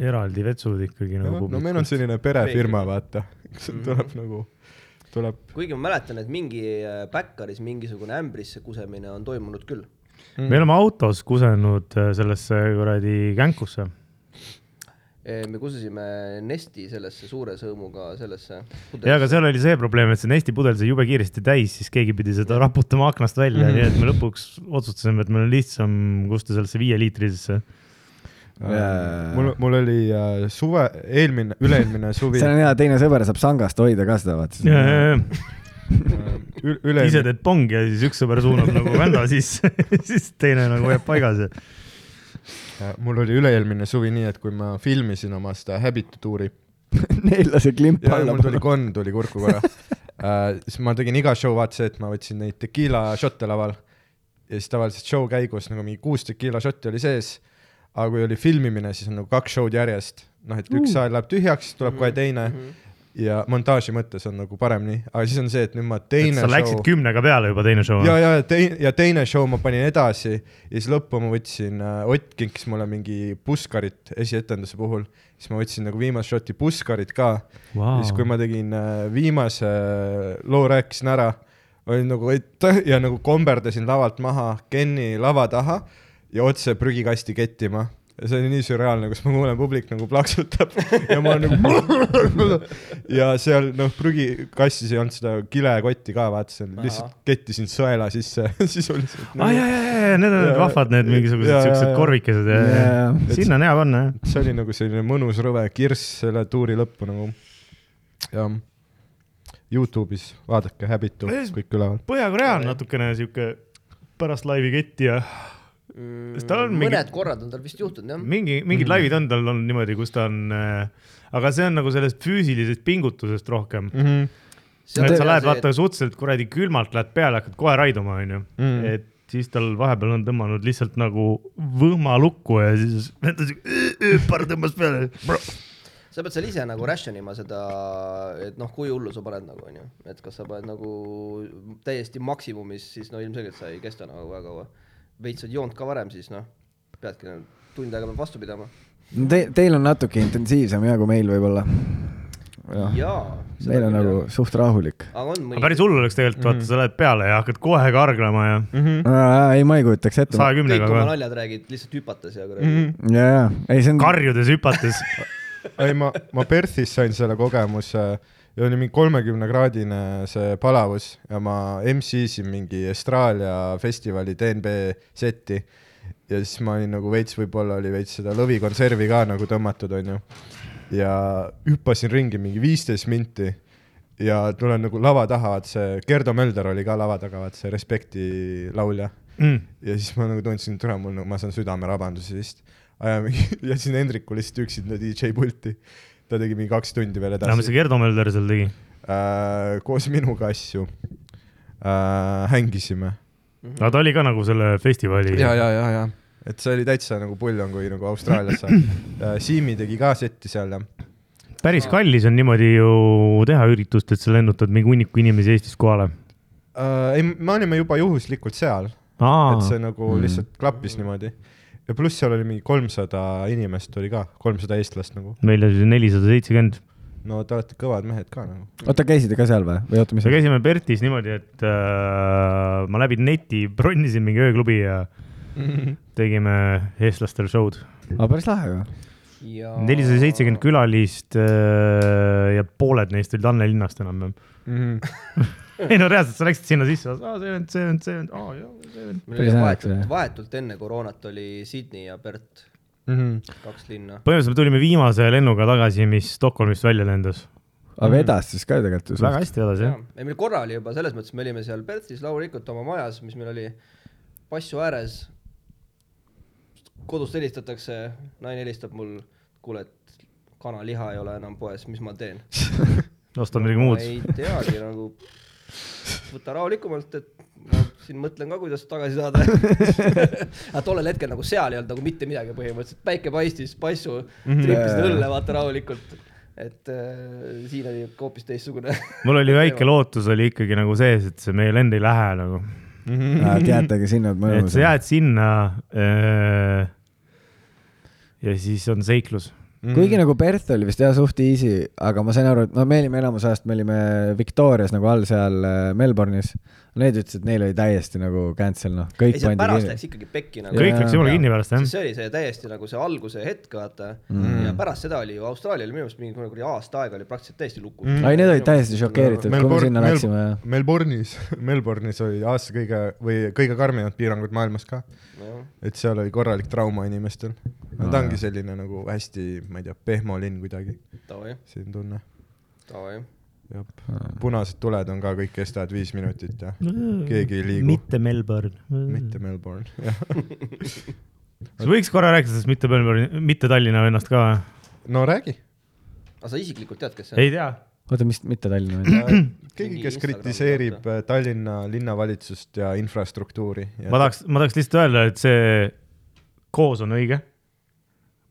Speaker 3: eraldi vetsud ikkagi nagu .
Speaker 2: no meil on selline perefirma , vaata , see
Speaker 1: Mhm.
Speaker 2: tuleb nagu , tuleb
Speaker 4: kuigi ma mäletan , et mingi äh, päkkaris mingisugune ämbrisse kusemine on toimunud küll .
Speaker 2: Mm.
Speaker 3: me oleme autos kusenud äh, sellesse kuradi känkusse .
Speaker 4: me kususime Nesti sellesse suure sõõmuga sellesse .
Speaker 3: ja , aga seal oli see probleem , et see Nesti pudel sai jube kiiresti täis , siis keegi pidi seda raputama aknast välja mm , -hmm. nii et me lõpuks otsustasime , et meil on lihtsam kustuda sellesse viieliitrisesse .
Speaker 1: Jaa.
Speaker 2: Äh, mul , mul oli äh, suve , eelmine , üle-eelmine suvi
Speaker 1: see . on hea , teine sõber saab sangast hoida ka seda , vaata .
Speaker 3: ise
Speaker 2: äh,
Speaker 3: teed pongi ja siis üks sõber suunab nagu vända sisse , siis teine nagu jääb paigas ja .
Speaker 2: Ja mul oli üle-eelmine suvi nii , et kui ma filmisin oma seda Habit tuuri
Speaker 1: Neil lasi klimp
Speaker 2: ja
Speaker 1: alla
Speaker 2: mul tuli . konn tuli kurku korra uh, , siis ma tegin iga show vaata see , et ma võtsin neid tekiila šotte laval ja siis tavaliselt show käigus nagu mingi kuus tekiila šotti oli sees . aga kui oli filmimine , siis on nagu kaks show'd järjest , noh , et üks saal läheb tühjaks , tuleb
Speaker 3: Mm.
Speaker 2: kohe teine ja montaaži mõttes on nagu paremini , aga siis on see , et nüüd ma teine
Speaker 3: sa läksid
Speaker 2: show
Speaker 3: kümnega peale juba teine show .
Speaker 2: ja , ja teine ja teine show ma panin edasi ja siis lõppu ma võtsin äh, , Ott kinkis mulle mingi puskarit esietenduse puhul , siis ma võtsin nagu viimase shot'i puskarit ka wow. . siis kui ma tegin äh, viimase äh, loo , rääkisin ära , olin nagu et ja nagu komberdasin lavalt maha Kenny lava taha ja otse prügikasti kettima ja see oli nii sürreaalne , kus ma kuulen , publik nagu plaksutab ja ma olen nagu ja seal noh , prügikastis ei olnud seda kilekotti ka , vaatasin , lihtsalt kettisin sõela sisse sisuliselt
Speaker 3: aa ah,
Speaker 2: nagu, .
Speaker 3: ja , ja , ja , ja need on need
Speaker 2: Ja-
Speaker 3: vahvad , need
Speaker 2: ja- ja-
Speaker 3: mingisugused siuksed
Speaker 2: ja.
Speaker 3: korvikesed ja, ja, ja.
Speaker 1: Jaa.
Speaker 3: sinna on hea panna jah .
Speaker 2: see oli nagu selline mõnus rõve kirss selle tuuri lõppu nagu . jah , Youtube'is vaadake Habitu , kõik üleval .
Speaker 3: Põhja-Korea on natukene siuke pärast laivi ketti ja Kas tal on
Speaker 4: Mm, mõned
Speaker 3: mingi-
Speaker 4: mingi... korrad on tal vist juhtunud jah .
Speaker 3: mingi , mingid mm. laivid on tal olnud niimoodi , kus ta on äh, , aga see on nagu sellest füüsilisest pingutusest rohkem mm .
Speaker 2: Mhm.
Speaker 3: et sa lähed , vaata , suhteliselt kuradi külmalt lähed peale , hakkad kohe raiduma , onju .
Speaker 4: Mm.
Speaker 3: et siis tal vahepeal on tõmmanud lihtsalt nagu võhma lukku ja siis ta siuke ööpar tõmbas peale .
Speaker 4: sa pead seal ise nagu ration ima seda , et noh , kui hullu sa paned nagu onju , et kas sa paned nagu täiesti maksimumis , siis no ilmselgelt sa ei kesta nagu väga kaua . veits on joonud ka varem , siis noh , peadki nagu tund aega peab vastu pidama .
Speaker 1: Te, teil on natuke intensiivsem ja kui meil võib-olla . jah ,
Speaker 4: jaa .
Speaker 1: Ah, meil on nagu suht rahulik .
Speaker 4: aga on mõni .
Speaker 3: päris hull oleks tegelikult ,
Speaker 4: Mm.
Speaker 3: vaata , sa lähed peale ja hakkad kohe karglema ja
Speaker 1: ei , ma ei kujutaks ette .
Speaker 3: saja
Speaker 4: kõik
Speaker 3: kümnega
Speaker 4: oma
Speaker 3: kohe ,
Speaker 4: naljad räägid lihtsalt hüpates ja kuradi .
Speaker 1: ja , ja , ei see on .
Speaker 3: karjudes , hüpates .
Speaker 2: ei , ma , ma Perthis sain selle kogemuse ja oli mingi kolmekümnekraadine see palavus ja ma MC-sin mingi Austraalia festivali DNB seti ja siis ma olin nagu veits , võib-olla oli veits seda lõvikonservi ka nagu tõmmatud , onju . ja hüppasin ringi mingi viisteist minti ja tulen nagu lava taha , vaat see Gerdo Mölder oli ka lava taga , vaat see Respekti laulja ja siis ma nagu tundsin , et tule mul nagu , ma saan südamerabandusi vist . jätsin Hendriku lihtsalt üksinda DJ pulti . ta tegi mingi kaks tundi veel
Speaker 3: no mis
Speaker 2: edasi
Speaker 3: see . Gerdo Mölder seal tegi ?
Speaker 2: Äh, koos minuga asju äh, hängisime .
Speaker 4: Mhm.
Speaker 3: aga ta oli ka nagu selle festivali .
Speaker 2: ja , ja , ja , ja , et see oli täitsa nagu puljon , kui nagu Austraalias saab äh, . Siimi tegi ka setti seal ja .
Speaker 3: päris kallis on niimoodi ju teha üritust , et sa lennutad mingi hunniku inimesi Eestis kohale .
Speaker 2: Äh, ei , me olime juba juhuslikult seal , et see nagu
Speaker 1: Mm.
Speaker 2: lihtsalt klappis niimoodi . ja pluss seal oli mingi kolmsada inimest oli ka , kolmsada eestlast nagu .
Speaker 3: meil oli nelisada seitsekümmend .
Speaker 2: no te olete kõvad mehed ka nagu .
Speaker 1: oota , käisite ka seal või , või oota , mis
Speaker 3: me ? käisime Pertis niimoodi , et äh, ma läbi neti bronnisin mingi ööklubi ja tegime eestlastel show'd .
Speaker 1: aga päris lahe ju .
Speaker 3: nelisada seitsekümmend . külalist äh, ja pooled neist olid Anne linnast enam-vähem .
Speaker 2: Mm -hmm.
Speaker 3: ei no reaalselt , sa läksid sinna sisse , see vend , see vend , see vend , aa jaa , see vend .
Speaker 4: meil
Speaker 1: Päris
Speaker 4: oli
Speaker 1: naljakas,
Speaker 4: vahetult ,
Speaker 1: jah.
Speaker 4: vahetult enne koroonat oli Sydney ja Perth ,
Speaker 2: Mm -hmm.
Speaker 1: Mhm.
Speaker 4: kaks linna .
Speaker 3: põhimõtteliselt me tulime viimase lennuga tagasi , mis Stockholmist välja lendas .
Speaker 1: aga vedas siis ka tegelikult ju
Speaker 3: Mhm. väga
Speaker 1: suht .
Speaker 3: hästi vedas jah .
Speaker 4: ei , meil korra oli juba selles mõttes , me olime seal Perthis loomulikult oma majas , mis meil oli passu ääres . kodust helistatakse , naine helistab mul , kuule , et kanaliha ei ole enam poes , mis ma teen ?
Speaker 3: ostame midagi muud .
Speaker 4: ei teagi nagu , võta rahulikumalt , et ma siin mõtlen ka , kuidas tagasi saada . aga tollel hetkel nagu seal ei olnud nagu mitte midagi põhimõtteliselt , päike paistis , paisu ,
Speaker 3: Mhm.
Speaker 4: triipisid õlle , vaata rahulikult . et äh, siin oli hoopis teistsugune .
Speaker 3: mul oli väike lootus oli ikkagi nagu sees , et see meie lend ei lähe nagu .
Speaker 1: teategi sinna , et
Speaker 3: et
Speaker 1: mõnus
Speaker 3: sa . jääd sinna äh, . ja siis on seiklus .
Speaker 1: kuigi
Speaker 3: Mhm.
Speaker 1: nagu Perth oli vist jah suht easy , aga ma sain aru , et no me olime enamus ajast , me olime Victorias nagu all seal äh, Melbourne'is . Need ütlesid , et neil oli täiesti nagu cancel noh , kõik
Speaker 4: ei , see
Speaker 1: pandi
Speaker 4: pärast
Speaker 1: kinni .
Speaker 4: läks ikkagi pekki nagu .
Speaker 3: kõik läks jumala kinni pärast jah .
Speaker 4: see oli see täiesti nagu see alguse hetk , vaata mm. . ja pärast seda oli ju Austraalia oli minu meelest mingi kuradi aasta aega oli praktiliselt täiesti lukus
Speaker 2: Mm.
Speaker 4: mm. .
Speaker 1: ai , need olid täiesti šokeeritud , kui me
Speaker 2: Melbourne-
Speaker 1: sinna
Speaker 2: Mel-
Speaker 1: läksime .
Speaker 2: Melbourne'is , Melbourne'is oli aasta kõige või kõige karmimad piirangud maailmas ka , et seal oli korralik trauma inimestel no, . ta ongi selline nagu hästi , ma ei tea , pehmo linn kuidagi ,
Speaker 4: Davai ,
Speaker 2: selline tunne .
Speaker 4: davai .
Speaker 2: punased tuled on ka kõik kestavad viis minutit ja keegi ei liigu .
Speaker 3: mitte Melbourne .
Speaker 2: mitte Melbourne , jah .
Speaker 3: kas võiks korra rääkida sellest mitte Melbourne'i , mitte Tallinna vennast ka või ?
Speaker 2: no räägi .
Speaker 4: aga sa isiklikult tead , kes see on ?
Speaker 3: ei tea .
Speaker 1: oota , mis , mitte Tallinna või ?
Speaker 2: keegi ,
Speaker 4: Mingi
Speaker 2: kes
Speaker 4: Instagrami
Speaker 2: kritiseerib äh, Tallinna linnavalitsust ja infrastruktuuri .
Speaker 3: ma tahaks , ma tahaks lihtsalt öelda , et see koos on õige .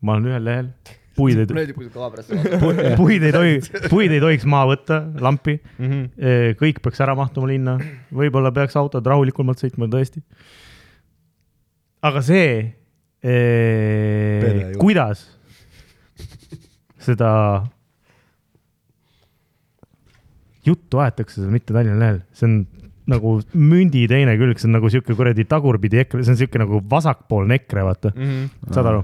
Speaker 3: ma olen ühel lehel , puid ei
Speaker 4: mul , oli kui kaabrasse vaadata .
Speaker 3: pu- puid ei tohi , puid ei tohiks maha võtta , lampi .
Speaker 2: Mhm,
Speaker 3: Äh, kõik peaks ära mahtuma linna , võib-olla peaks autod rahulikumalt sõitma tõesti . aga see
Speaker 2: Pere
Speaker 3: eh,
Speaker 2: ju. ,
Speaker 3: kuidas seda juttu aetakse seal mitte Tallinna lehel , see on nagu mündi teine külg , see on nagu sihuke kuradi tagurpidi EKRE , see on sihuke nagu vasakpoolne EKRE , vaata mm. ,
Speaker 2: mhm.
Speaker 3: saad aru ?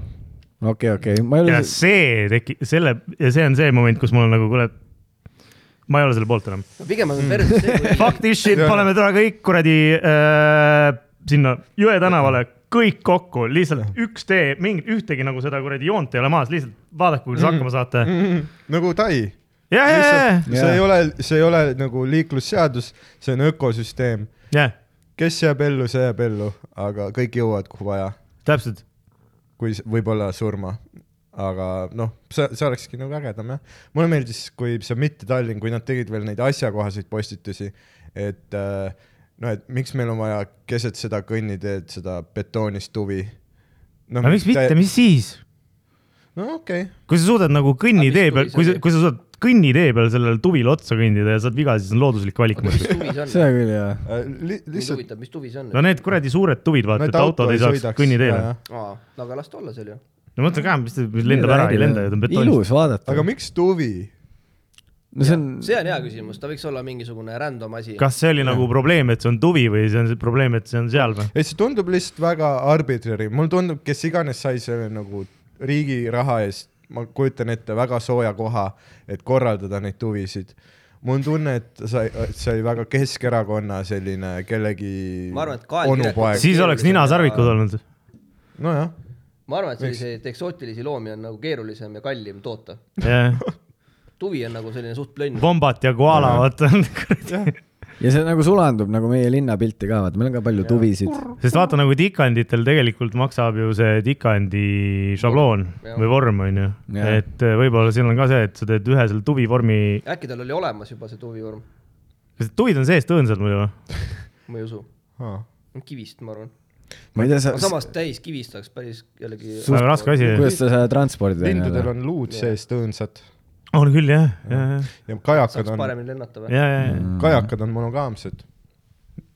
Speaker 1: okei , okei , ma ei
Speaker 3: ja
Speaker 1: ole ,
Speaker 3: see teki- , selle ja see on see moment , kus mul on nagu kuule , ma ei ole selle poolt enam .
Speaker 4: pigem on perses see , kui
Speaker 3: Fuck this shit , paneme täna kõik kuradi äh, sinna Jõe tänavale , kõik kokku , lihtsalt üks tee , mingit ühtegi nagu seda kuradi joont ei ole maas , lihtsalt vaadake , kuidas hakkama saate .
Speaker 2: nagu Tai
Speaker 3: ja , ja ,
Speaker 2: lihtsalt ,
Speaker 1: Jaa.
Speaker 2: see ei ole , see ei ole nagu liiklusseadus , see on ökosüsteem .
Speaker 3: ja , ja
Speaker 2: kes jääb ellu , see jääb ellu , aga kõik jõuavad , kuhu vaja ,
Speaker 3: täpselt ,
Speaker 2: kui s- võib-olla surma . aga noh , see , see olekski nagu ägedam jah . mulle meeldis , kui see Mitte Tallinn , kui nad tegid veel neid asjakohaseid postitusi , et äh, noh , et miks meil on vaja keset seda kõnniteed seda betoonist tuvi . no
Speaker 3: aga miks mitte ,? mis siis ,
Speaker 2: no okei okay. ,
Speaker 3: kui sa suudad nagu kõnnitee
Speaker 4: Aga mis
Speaker 3: peal ,
Speaker 4: tuvi
Speaker 3: kui sa
Speaker 4: see oli? ,
Speaker 3: kui sa suudad kõnnitee peal sellele tuvile otsa kõndida ja saad viga , siis on looduslik valik
Speaker 4: mis
Speaker 3: muidugi .
Speaker 4: tuvi see on ?
Speaker 1: seda küll jah .
Speaker 2: äh, li,
Speaker 4: mind
Speaker 2: lihtsalt .
Speaker 4: huvitab , mis tuvi see on
Speaker 3: no ? need kuradi suured tuvid , vaata , et autod ei saaks kõnniteele .
Speaker 4: aa , no aga las ta olla seal ju .
Speaker 3: no ma mõtlen ka , mis ta mis lendab ära , ei lenda ju , ta on betoonis .
Speaker 1: ilus vaadata
Speaker 2: aga . miks tuvi ?
Speaker 1: no see on ,
Speaker 4: see on hea küsimus , ta võiks olla mingisugune random asi .
Speaker 3: kas see oli nagu probleem , et see on tuvi või see on see probleem , et see on seal või ?
Speaker 2: ei , see tundub lihtsalt väga arbitrary , mulle tundub , kes iganes sai selle nagu riigi raha eest , ma kujutan ette , väga sooja koha , et korraldada neid tuvisid . mul on tunne , et ta sai , sai väga Keskerakonna selline kellegi
Speaker 4: Ma arvan, et kael-
Speaker 2: onupoeg
Speaker 4: Si-
Speaker 2: si .
Speaker 3: siis oleks ninasarvikud olnud .
Speaker 2: nojah ,
Speaker 4: ma arvan , et
Speaker 2: Miks?
Speaker 4: selliseid eksootilisi loomi on nagu keerulisem ja kallim toota . tuvi on nagu selline suht plönn .
Speaker 3: Vombat ja koala , vaata .
Speaker 1: ja see nagu sulandub nagu meie linnapilti ka , vaata , meil on ka palju tuvisid .
Speaker 3: sest vaata nagu tikanditel tegelikult maksab ju see tikandi šabloon
Speaker 4: Jah.
Speaker 3: või vorm onju ,
Speaker 1: Jah.
Speaker 3: et eh, võib-olla siin on ka see , et sa teed ühe selle tuvi vormi ,
Speaker 4: äkki tal oli olemas juba see tuvivorm ,
Speaker 3: kas tuvid on seest õõnsad muidu või ?
Speaker 4: ma ei usu ,
Speaker 2: ah.
Speaker 4: kivist , ma arvan .
Speaker 1: ma ei tea , sa ,
Speaker 4: samas täis kivist oleks päris jällegi .
Speaker 3: väga raske asi .
Speaker 1: kuidas sa seda transpordid ?
Speaker 2: lindudel on luud sees tõõnsad
Speaker 3: on küll jah , ja , ja ,
Speaker 2: ja kajakad
Speaker 4: saaks
Speaker 2: on ,
Speaker 4: paremini lennata või ?
Speaker 3: ja , ja ,
Speaker 2: kajakad on monogaamsed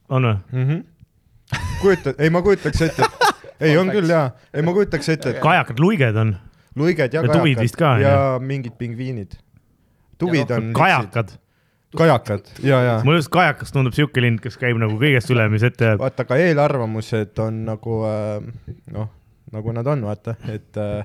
Speaker 3: on või ?
Speaker 2: mm -hmm. . kujutad , ei ma kujutaks ette , ei on küll jaa , ei ma kujutaks ette , et
Speaker 3: kajakad , luiged on ,
Speaker 2: luiged ja,
Speaker 3: Ja tuvid vist ka, noh,
Speaker 2: kajakad ja mingid pingviinid . tuvid on .
Speaker 3: kajakad .
Speaker 2: kajakad ja , ja
Speaker 3: mulle just kajakas tundub siuke lind , kes käib nagu kõigest üle , mis ette jääb .
Speaker 2: vaata , aga eelarvamused on nagu äh, noh , nagu nad on , vaata , et äh,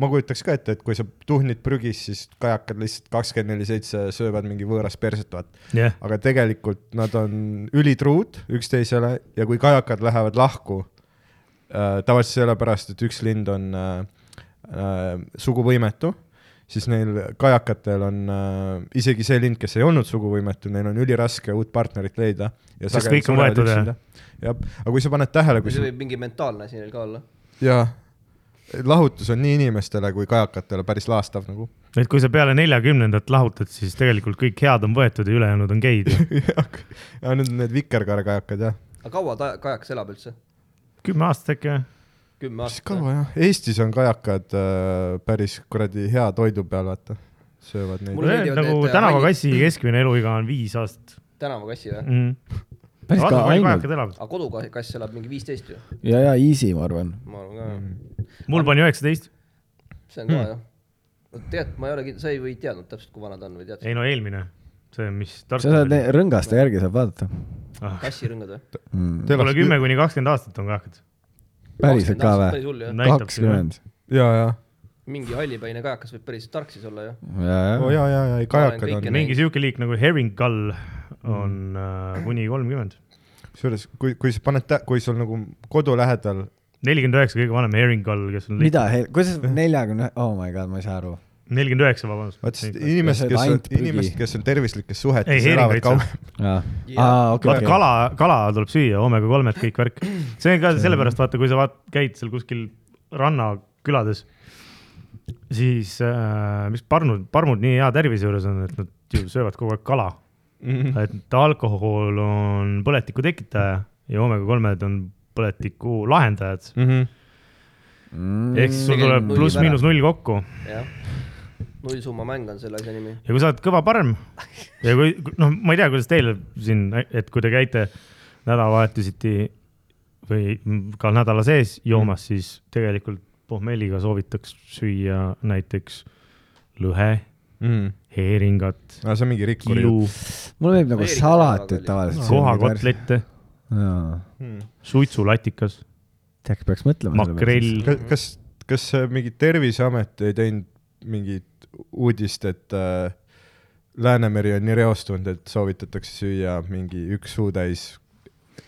Speaker 2: ma kujutaks ka ette , et kui sa tuhnid prügis , siis kajakad lihtsalt kakskümmend neli seitse söövad mingi võõras perset , vaata .
Speaker 3: jah ,
Speaker 2: aga tegelikult nad on ülitruud üksteisele ja kui kajakad lähevad lahku äh, , tavaliselt sellepärast , et üks lind on äh, äh, suguvõimetu , siis neil kajakatel on äh, isegi see lind , kes ei olnud suguvõimetu , neil on üliraske uut partnerit leida .
Speaker 3: Sest kõik on võetud, jah?
Speaker 2: jah , aga kui sa paned tähele , kui
Speaker 4: see
Speaker 2: sa
Speaker 4: võib mingi mentaalne asi neil ka olla .
Speaker 2: ja lahutus on nii inimestele kui kajakatele päris laastav nagu .
Speaker 3: et kui sa peale neljakümnendat lahutad , siis tegelikult kõik head on võetud ja ülejäänud on geid .
Speaker 2: ja nüüd on need vikerkaarekajakad jah .
Speaker 4: aga kaua ta kajakas elab üldse ?
Speaker 3: kümme aastat äkki või ?
Speaker 4: kümme
Speaker 2: siis
Speaker 4: aastat .
Speaker 2: kaua jah , Eestis on kajakad äh, päris kuradi hea toidu peal , vaata , söövad neid
Speaker 4: Mul- Mulle meeldivad
Speaker 3: nagu
Speaker 4: need äh, mm.
Speaker 3: tänavakassi keskmine eluiga on viis aastat
Speaker 4: tänavakassi või ?
Speaker 3: mm. .
Speaker 1: päris
Speaker 3: vaata
Speaker 1: ka
Speaker 3: palju
Speaker 1: ainult
Speaker 3: kajakad elavad ,
Speaker 4: aga kodukass elab mingi viisteist ju ,
Speaker 1: ja , ja easy , ma arvan .
Speaker 4: ma arvan ka mm. .
Speaker 3: mul pani üheksateist ,
Speaker 4: see on ka jah . no tegelikult ma ei ole kindel , sa ei või teadnud täpselt , kui vana ta on või tead ?
Speaker 3: ei no eelmine , see , mis
Speaker 1: sa saad ne-
Speaker 3: Tartus .
Speaker 1: rõngaste järgi saab vaadata
Speaker 4: kassirõngad või ?
Speaker 1: mm. .
Speaker 3: mulle kümme . kuni kakskümmend aastat on kajakad .
Speaker 1: päriselt ka või
Speaker 4: päris ? hull jah .
Speaker 3: Näitab
Speaker 1: kakskümmend .
Speaker 2: ja , ja ,
Speaker 4: mingi hallipäine kajakas võib päris tark siis olla ju .
Speaker 1: ja ,
Speaker 2: oo
Speaker 1: ja .
Speaker 2: ja , ja , ja kajakad
Speaker 4: kõike
Speaker 2: on ,
Speaker 3: mingi siuke liik nagu herring gull
Speaker 1: Mm.
Speaker 3: on äh, kuni kolmkümmend ,
Speaker 2: kusjuures kui , kui sa paned , kui sul nagu kodu lähedal ,
Speaker 3: nelikümmend üheksa kõige vanem herring gull , kes on .
Speaker 1: mida , kuidas neljakümne , oh my god , ma ei saa aru .
Speaker 3: nelikümmend üheksa , vabandust .
Speaker 2: vaat siis inimesed ,
Speaker 1: sööd
Speaker 2: kes on
Speaker 1: ainult , prügi.
Speaker 2: inimesed , kes on tervislikes
Speaker 3: Ei,
Speaker 2: suhetes , elavad
Speaker 3: heeringaid sööd.
Speaker 2: kauem .
Speaker 1: aa ,
Speaker 4: Jaa.
Speaker 1: okei ,
Speaker 3: vaata
Speaker 1: okei .
Speaker 3: kala , kala tuleb süüa , hommega kolmed , kõik värk . see on ka sellepärast , vaata , kui sa vaat- , käid seal kuskil rannakülades , siis äh, mis parnud , parmud nii hea tervise juures on , et nad ju söövad kogu aeg kala .
Speaker 2: Mhm.
Speaker 3: et alkohol on põletiku tekitaja ja hommega kolmed on põletiku lahendajad .
Speaker 2: Mhm.
Speaker 1: Mm.
Speaker 3: ehk siis sul
Speaker 4: Tegelikult
Speaker 3: tuleb
Speaker 4: null
Speaker 3: pluss-miinus null kokku
Speaker 4: jah . nullsumma mäng on selle asja nimi .
Speaker 3: ja kui sa oled kõva parm ja kui , noh , ma ei tea , kuidas teil siin , et kui te käite nädalavahetusiti või ka nädala sees
Speaker 1: Mm.
Speaker 3: joomas , siis tegelikult pohmelliga soovitaks süüa näiteks lõhe , heeringat ,
Speaker 2: aa , Mhm. see on mingi rikkuri
Speaker 3: kilu ,
Speaker 1: mulle meeldib nagu
Speaker 4: Ameerikas
Speaker 1: salatit
Speaker 4: väga
Speaker 1: tavaliselt .
Speaker 3: kohakotlette ,
Speaker 1: jaa ,
Speaker 2: jutt . Mhm.
Speaker 3: suitsulatikas ,
Speaker 1: tead , peaks mõtlema .
Speaker 3: makrell .
Speaker 2: kas ,
Speaker 4: Mhm.
Speaker 2: kas , kas see mingi Terviseamet ei teinud mingit uudist , et äh, Läänemeri on nii reostunud , et soovitatakse süüa mingi üks suutäis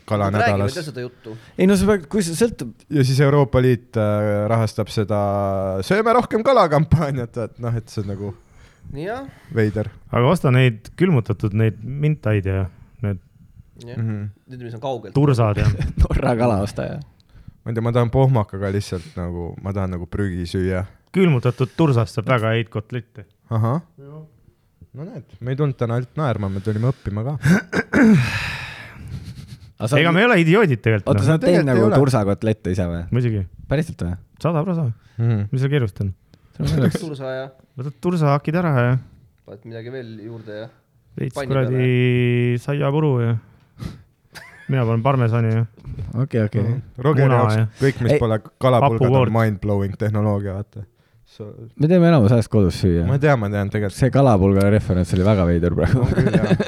Speaker 2: kala
Speaker 4: räägime
Speaker 2: nädalas
Speaker 4: üldse seda juttu .
Speaker 1: ei no sa pead , kui see sõltub ,
Speaker 2: ja siis Euroopa Liit äh, rahastab seda sööme rohkem kala kampaaniat , et noh , et see on nagu
Speaker 4: nii jah ,
Speaker 2: veider
Speaker 3: aga osta neid külmutatud , neid mintaid ja need
Speaker 4: jah
Speaker 2: mm . .
Speaker 3: Mhm.
Speaker 2: -hmm.
Speaker 4: nüüd , mis on kaugel .
Speaker 3: tursad ja
Speaker 1: Norra kalaostaja .
Speaker 2: ma ei tea , ma tahan pohmakaga lihtsalt nagu , ma tahan nagu prügi süüa .
Speaker 3: külmutatud tursast saab väga häid kotlette .
Speaker 2: ahah . no näed , me ei tulnud täna ainult naerma , me tulime õppima ka .
Speaker 3: ega me ei ole idioodid
Speaker 1: oota , sa
Speaker 3: tegelikult ,
Speaker 1: oled teinud
Speaker 2: tegelikult ei
Speaker 1: nagu
Speaker 2: ole.
Speaker 1: tursakotlette ise või ?
Speaker 3: muidugi ,
Speaker 1: päriselt või ?
Speaker 3: sada prosa ,
Speaker 2: Mhm.
Speaker 3: mis seal keerust on ?
Speaker 4: tursa ja
Speaker 3: võtad tursahakid ära ja
Speaker 4: paned midagi veel juurde ja .
Speaker 3: Mhm. veits
Speaker 4: Panni
Speaker 3: kuradi saiapuru ja mina panen parmesani ja
Speaker 1: okei , okei .
Speaker 2: Rogeri
Speaker 3: Muna,
Speaker 2: jaoks
Speaker 3: jah.
Speaker 2: kõik , mis
Speaker 1: Ei,
Speaker 2: pole kalapulgad ,
Speaker 3: papukoort.
Speaker 2: on mind-blowing tehnoloogia , vaata .
Speaker 1: me teeme enamus ajast kodus
Speaker 2: ma
Speaker 1: süüa .
Speaker 2: tean , ma tean tegelikult .
Speaker 1: see kalapulgale referents oli väga veider praegu .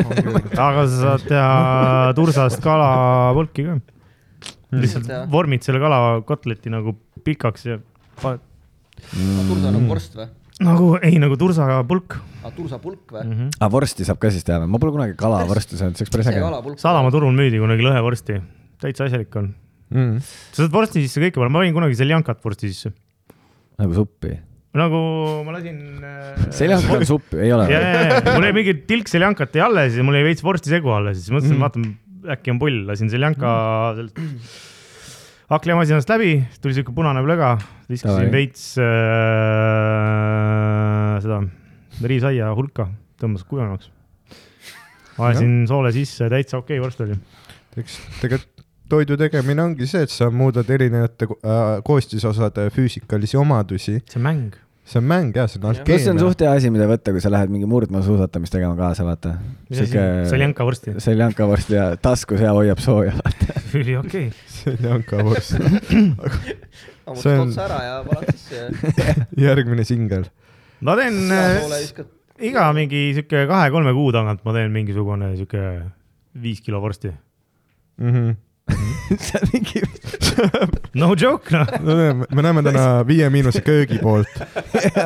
Speaker 3: aga sa saad teha tursast kalapulki ka .
Speaker 4: Mm.
Speaker 3: lihtsalt
Speaker 4: Jah.
Speaker 3: vormid selle kalakotleti nagu pikaks ja paned
Speaker 4: Ah,
Speaker 5: tursa
Speaker 3: Mhm.
Speaker 5: nagu vorst või ?
Speaker 3: nagu , ei nagu tursapulk
Speaker 4: Ah,
Speaker 5: aa , tursapulk või ?
Speaker 3: mm -hmm. .
Speaker 1: aga vorsti saab ka siis teha või ? ma pole kunagi kalavorsti söönud , see oleks päris
Speaker 5: see
Speaker 1: äge .
Speaker 5: kalapulk .
Speaker 3: sadamaturul müüdi kunagi lõhevorsti , täitsa asjalik on .
Speaker 1: Mm.
Speaker 2: Mm.
Speaker 3: sa saad vorsti sisse kõike panna , ma panin kunagi seljankat vorsti sisse .
Speaker 1: nagu suppi .
Speaker 3: nagu ma lasin äh... .
Speaker 1: seljas on suppi , ei ole
Speaker 3: ja ,
Speaker 1: või ?
Speaker 3: ja , ja mul jäi mingi tilk seljankat jäi alles ja mul jäi veits vorsti segu alles , siis mõtlesin mm. , vaatan äkki on pull , lasin seljanka sealt hakklimasinast läbi , tuli siuke punane plöga , viskasin
Speaker 1: Davai.
Speaker 3: veits äh, seda riisaia hulka , tõmbas kuivemaks . ajasin soole sisse , täitsa okei vorst oli .
Speaker 2: eks tegelikult toidu tegemine ongi see , et sa muudad erinevate ko- äh, koostisosade füüsikalisi omadusi .
Speaker 3: see on mäng .
Speaker 2: see on mäng jah , see on
Speaker 1: pluss see on
Speaker 2: alkeemia .
Speaker 1: suht hea asi , mida võtta , kui sa lähed mingi murdmaasuusatamist tegema kaasa , vaata .
Speaker 3: mis asi , seljanka vorsti ,
Speaker 1: seljanka vorsti ja taskus ja hoiab sooja .
Speaker 3: üli okei okay. .
Speaker 2: see on ka vorst . see
Speaker 4: ammutad
Speaker 2: on-
Speaker 4: Ah, otsa ära ja paned sisse ja
Speaker 2: järgmine singel .
Speaker 3: ma teen
Speaker 4: poole
Speaker 3: äh,
Speaker 4: viskad .
Speaker 3: iga mingi siuke kahe-kolme kuu tagant ma teen mingisugune siuke viis kilo vorsti .
Speaker 2: Mhm.
Speaker 1: see on mingi ,
Speaker 3: no joke noh .
Speaker 2: me näeme täna Viie Miinuse köögi poolt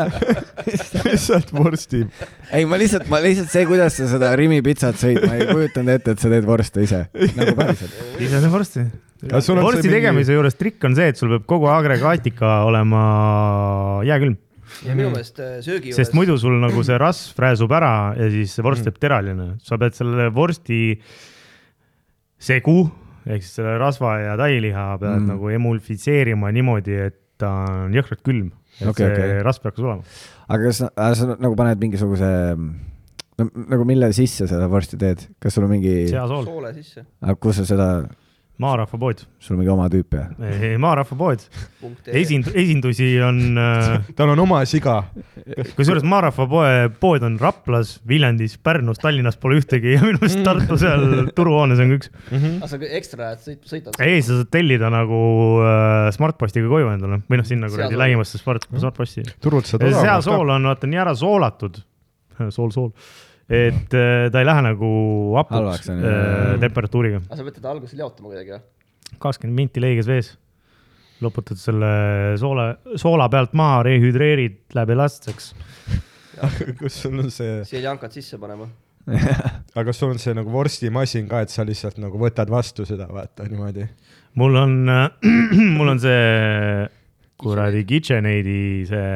Speaker 2: lihtsalt vorsti .
Speaker 1: ei , ma lihtsalt , ma lihtsalt see , kuidas sa seda Rimi pitsat sõid , ma ei kujutanud ette , et sa teed vorste ise . nagu päriselt .
Speaker 3: ise teen vorsti .
Speaker 2: Aga sul on see
Speaker 3: vorsti mingi...
Speaker 2: mingi-
Speaker 3: tegemise juures trikk on see , et sul peab kogu agregaatika olema jääkülm ,
Speaker 4: ja minu meelest äh, söögi
Speaker 3: Mhm. sest muidu sul nagu see rasv rääsub ära ja siis see vorst jääb teraline . sa pead selle vorsti segu ehk siis selle rasva ja tailiha pead mm. nagu emulfitseerima niimoodi , et ta on jõhkralt külm . et
Speaker 1: Okei,
Speaker 3: okay, see
Speaker 1: okei.
Speaker 3: okay. rasv peaks olema .
Speaker 1: aga kas sa- aga sa nagu paned mingisuguse , nagu mille sisse sa seda vorsti teed , kas sul on mingi ,
Speaker 3: seasool ,
Speaker 4: soole sisse ,
Speaker 1: kus sa seda ,
Speaker 3: maarahva pood ,
Speaker 1: sul on mingi oma tüüp ja ?
Speaker 3: maarahva pood ,
Speaker 4: punkt E. ee .
Speaker 3: esind- , esindusi on äh,
Speaker 2: tal on oma siga .
Speaker 3: kusjuures Maarahva poe , pood on Raplas , Viljandis , Pärnus , Tallinnas pole ühtegi ja minu
Speaker 1: Mm.
Speaker 3: meelest Tartu seal turuhoones on ka üks .
Speaker 1: Mhm.
Speaker 4: aga Ah, sa ekstra ajad , sõit , sõidad .
Speaker 3: ei , sa saad tellida nagu äh, Smartpostiga koju endale või noh , sinna kuradi
Speaker 4: Seasool.
Speaker 3: lähimasse Smart ,
Speaker 1: Mm.
Speaker 3: Smartposti .
Speaker 2: turult saad
Speaker 3: seasool on vaata nii ära soolatud , sool , sool , et äh, ta ei lähe nagu hapuks
Speaker 1: Halvaks on,
Speaker 3: äh,
Speaker 1: jah.
Speaker 3: temperatuuriga .
Speaker 4: aga Ah, sa pead teda alguses jaotama kuidagi või ?
Speaker 3: kakskümmend minti leiges vees , loputad selle soola , soola pealt maha , rehüdreerid läbi lastseks .
Speaker 2: aga kus sul on see ,
Speaker 4: siia jankad sisse panema .
Speaker 2: aga kas sul on see nagu vorstimasin ka , et sa lihtsalt nagu võtad vastu seda , vaata niimoodi .
Speaker 3: mul on , mul on see kuradi KitchenAidi see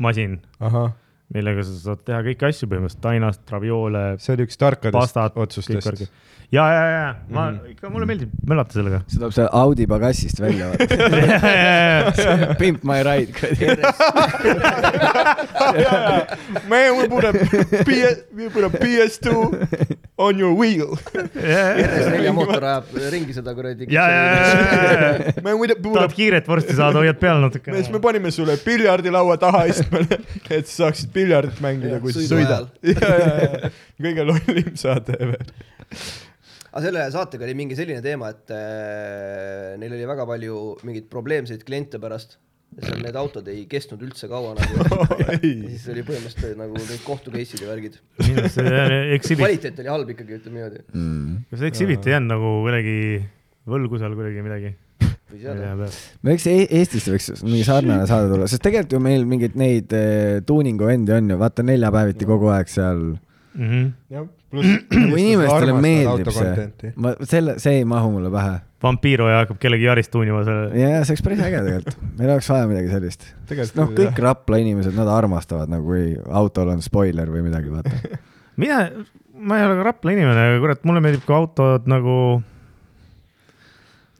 Speaker 3: masin ,
Speaker 2: ahah ,
Speaker 3: millega sa saad teha kõiki asju põhimõtteliselt , tainast , ravioole ,
Speaker 2: see oli üks tarkadest
Speaker 3: pastat ,
Speaker 2: otsustest . Mhm.
Speaker 3: ja , ja , ja ma mm. ikka , mulle meeldib möllata sellega .
Speaker 1: see tuleb seal Audi pagassist välja , vaata . Pimp my ride , kuradi .
Speaker 2: Man , we put a PS , we put a PS2 on your wheel .
Speaker 4: RS4 mootor ajab ringi seda kuradi .
Speaker 3: ja , ja , ja , ja ,
Speaker 2: Man , we put
Speaker 3: tahad kiiret vorsti saada , hoiad peal natuke .
Speaker 2: mees , me panime sulle piljardilaua taha istmele , et sa saaksid piljardit mängida , kui sa
Speaker 4: Sõidu
Speaker 2: sõidad . ja , ja , ja kõige lollim saade veel .
Speaker 4: aga selle saatega oli mingi selline teema , et äh, neil oli väga palju mingeid probleemseid kliente pärast . seal need autod ei kestnud üldse kaua nagu . ja
Speaker 2: ei ,
Speaker 4: siis oli põhimõtteliselt nagu kõik kohtu case'id ja värgid .
Speaker 3: Exhibit ,
Speaker 4: kvaliteet oli halb ikkagi , ütleme niimoodi .
Speaker 1: Mm.
Speaker 3: kas Exhibit ei jäänud nagu kuidagi võlgu seal kuidagi midagi ?
Speaker 4: võis jääda .
Speaker 1: no eks E- Eestisse võiks mingi sarnane saade tulla , sest tegelikult ju meil mingeid neid eh, tuuningu vendi on ju , vaata neljapäeviti kogu aeg seal .
Speaker 3: Mhm.
Speaker 2: jah , pluss .
Speaker 1: nagu inimestele meeldib see . ma selle , see ei mahu mulle pähe .
Speaker 3: Vampiro ja hakkab kellegi jarist tuunima selle .
Speaker 1: ja , ja see oleks päris äge tegelikult , meil oleks vaja midagi sellist .
Speaker 2: Tegelikult
Speaker 1: noh ,
Speaker 2: küll, jah.
Speaker 1: kõik Rapla inimesed , nad armastavad nagu , kui autol on spoiler või midagi , vaata .
Speaker 3: mina , ma ei ole ka Rapla inimene , aga kurat , mulle meeldib , kui autod nagu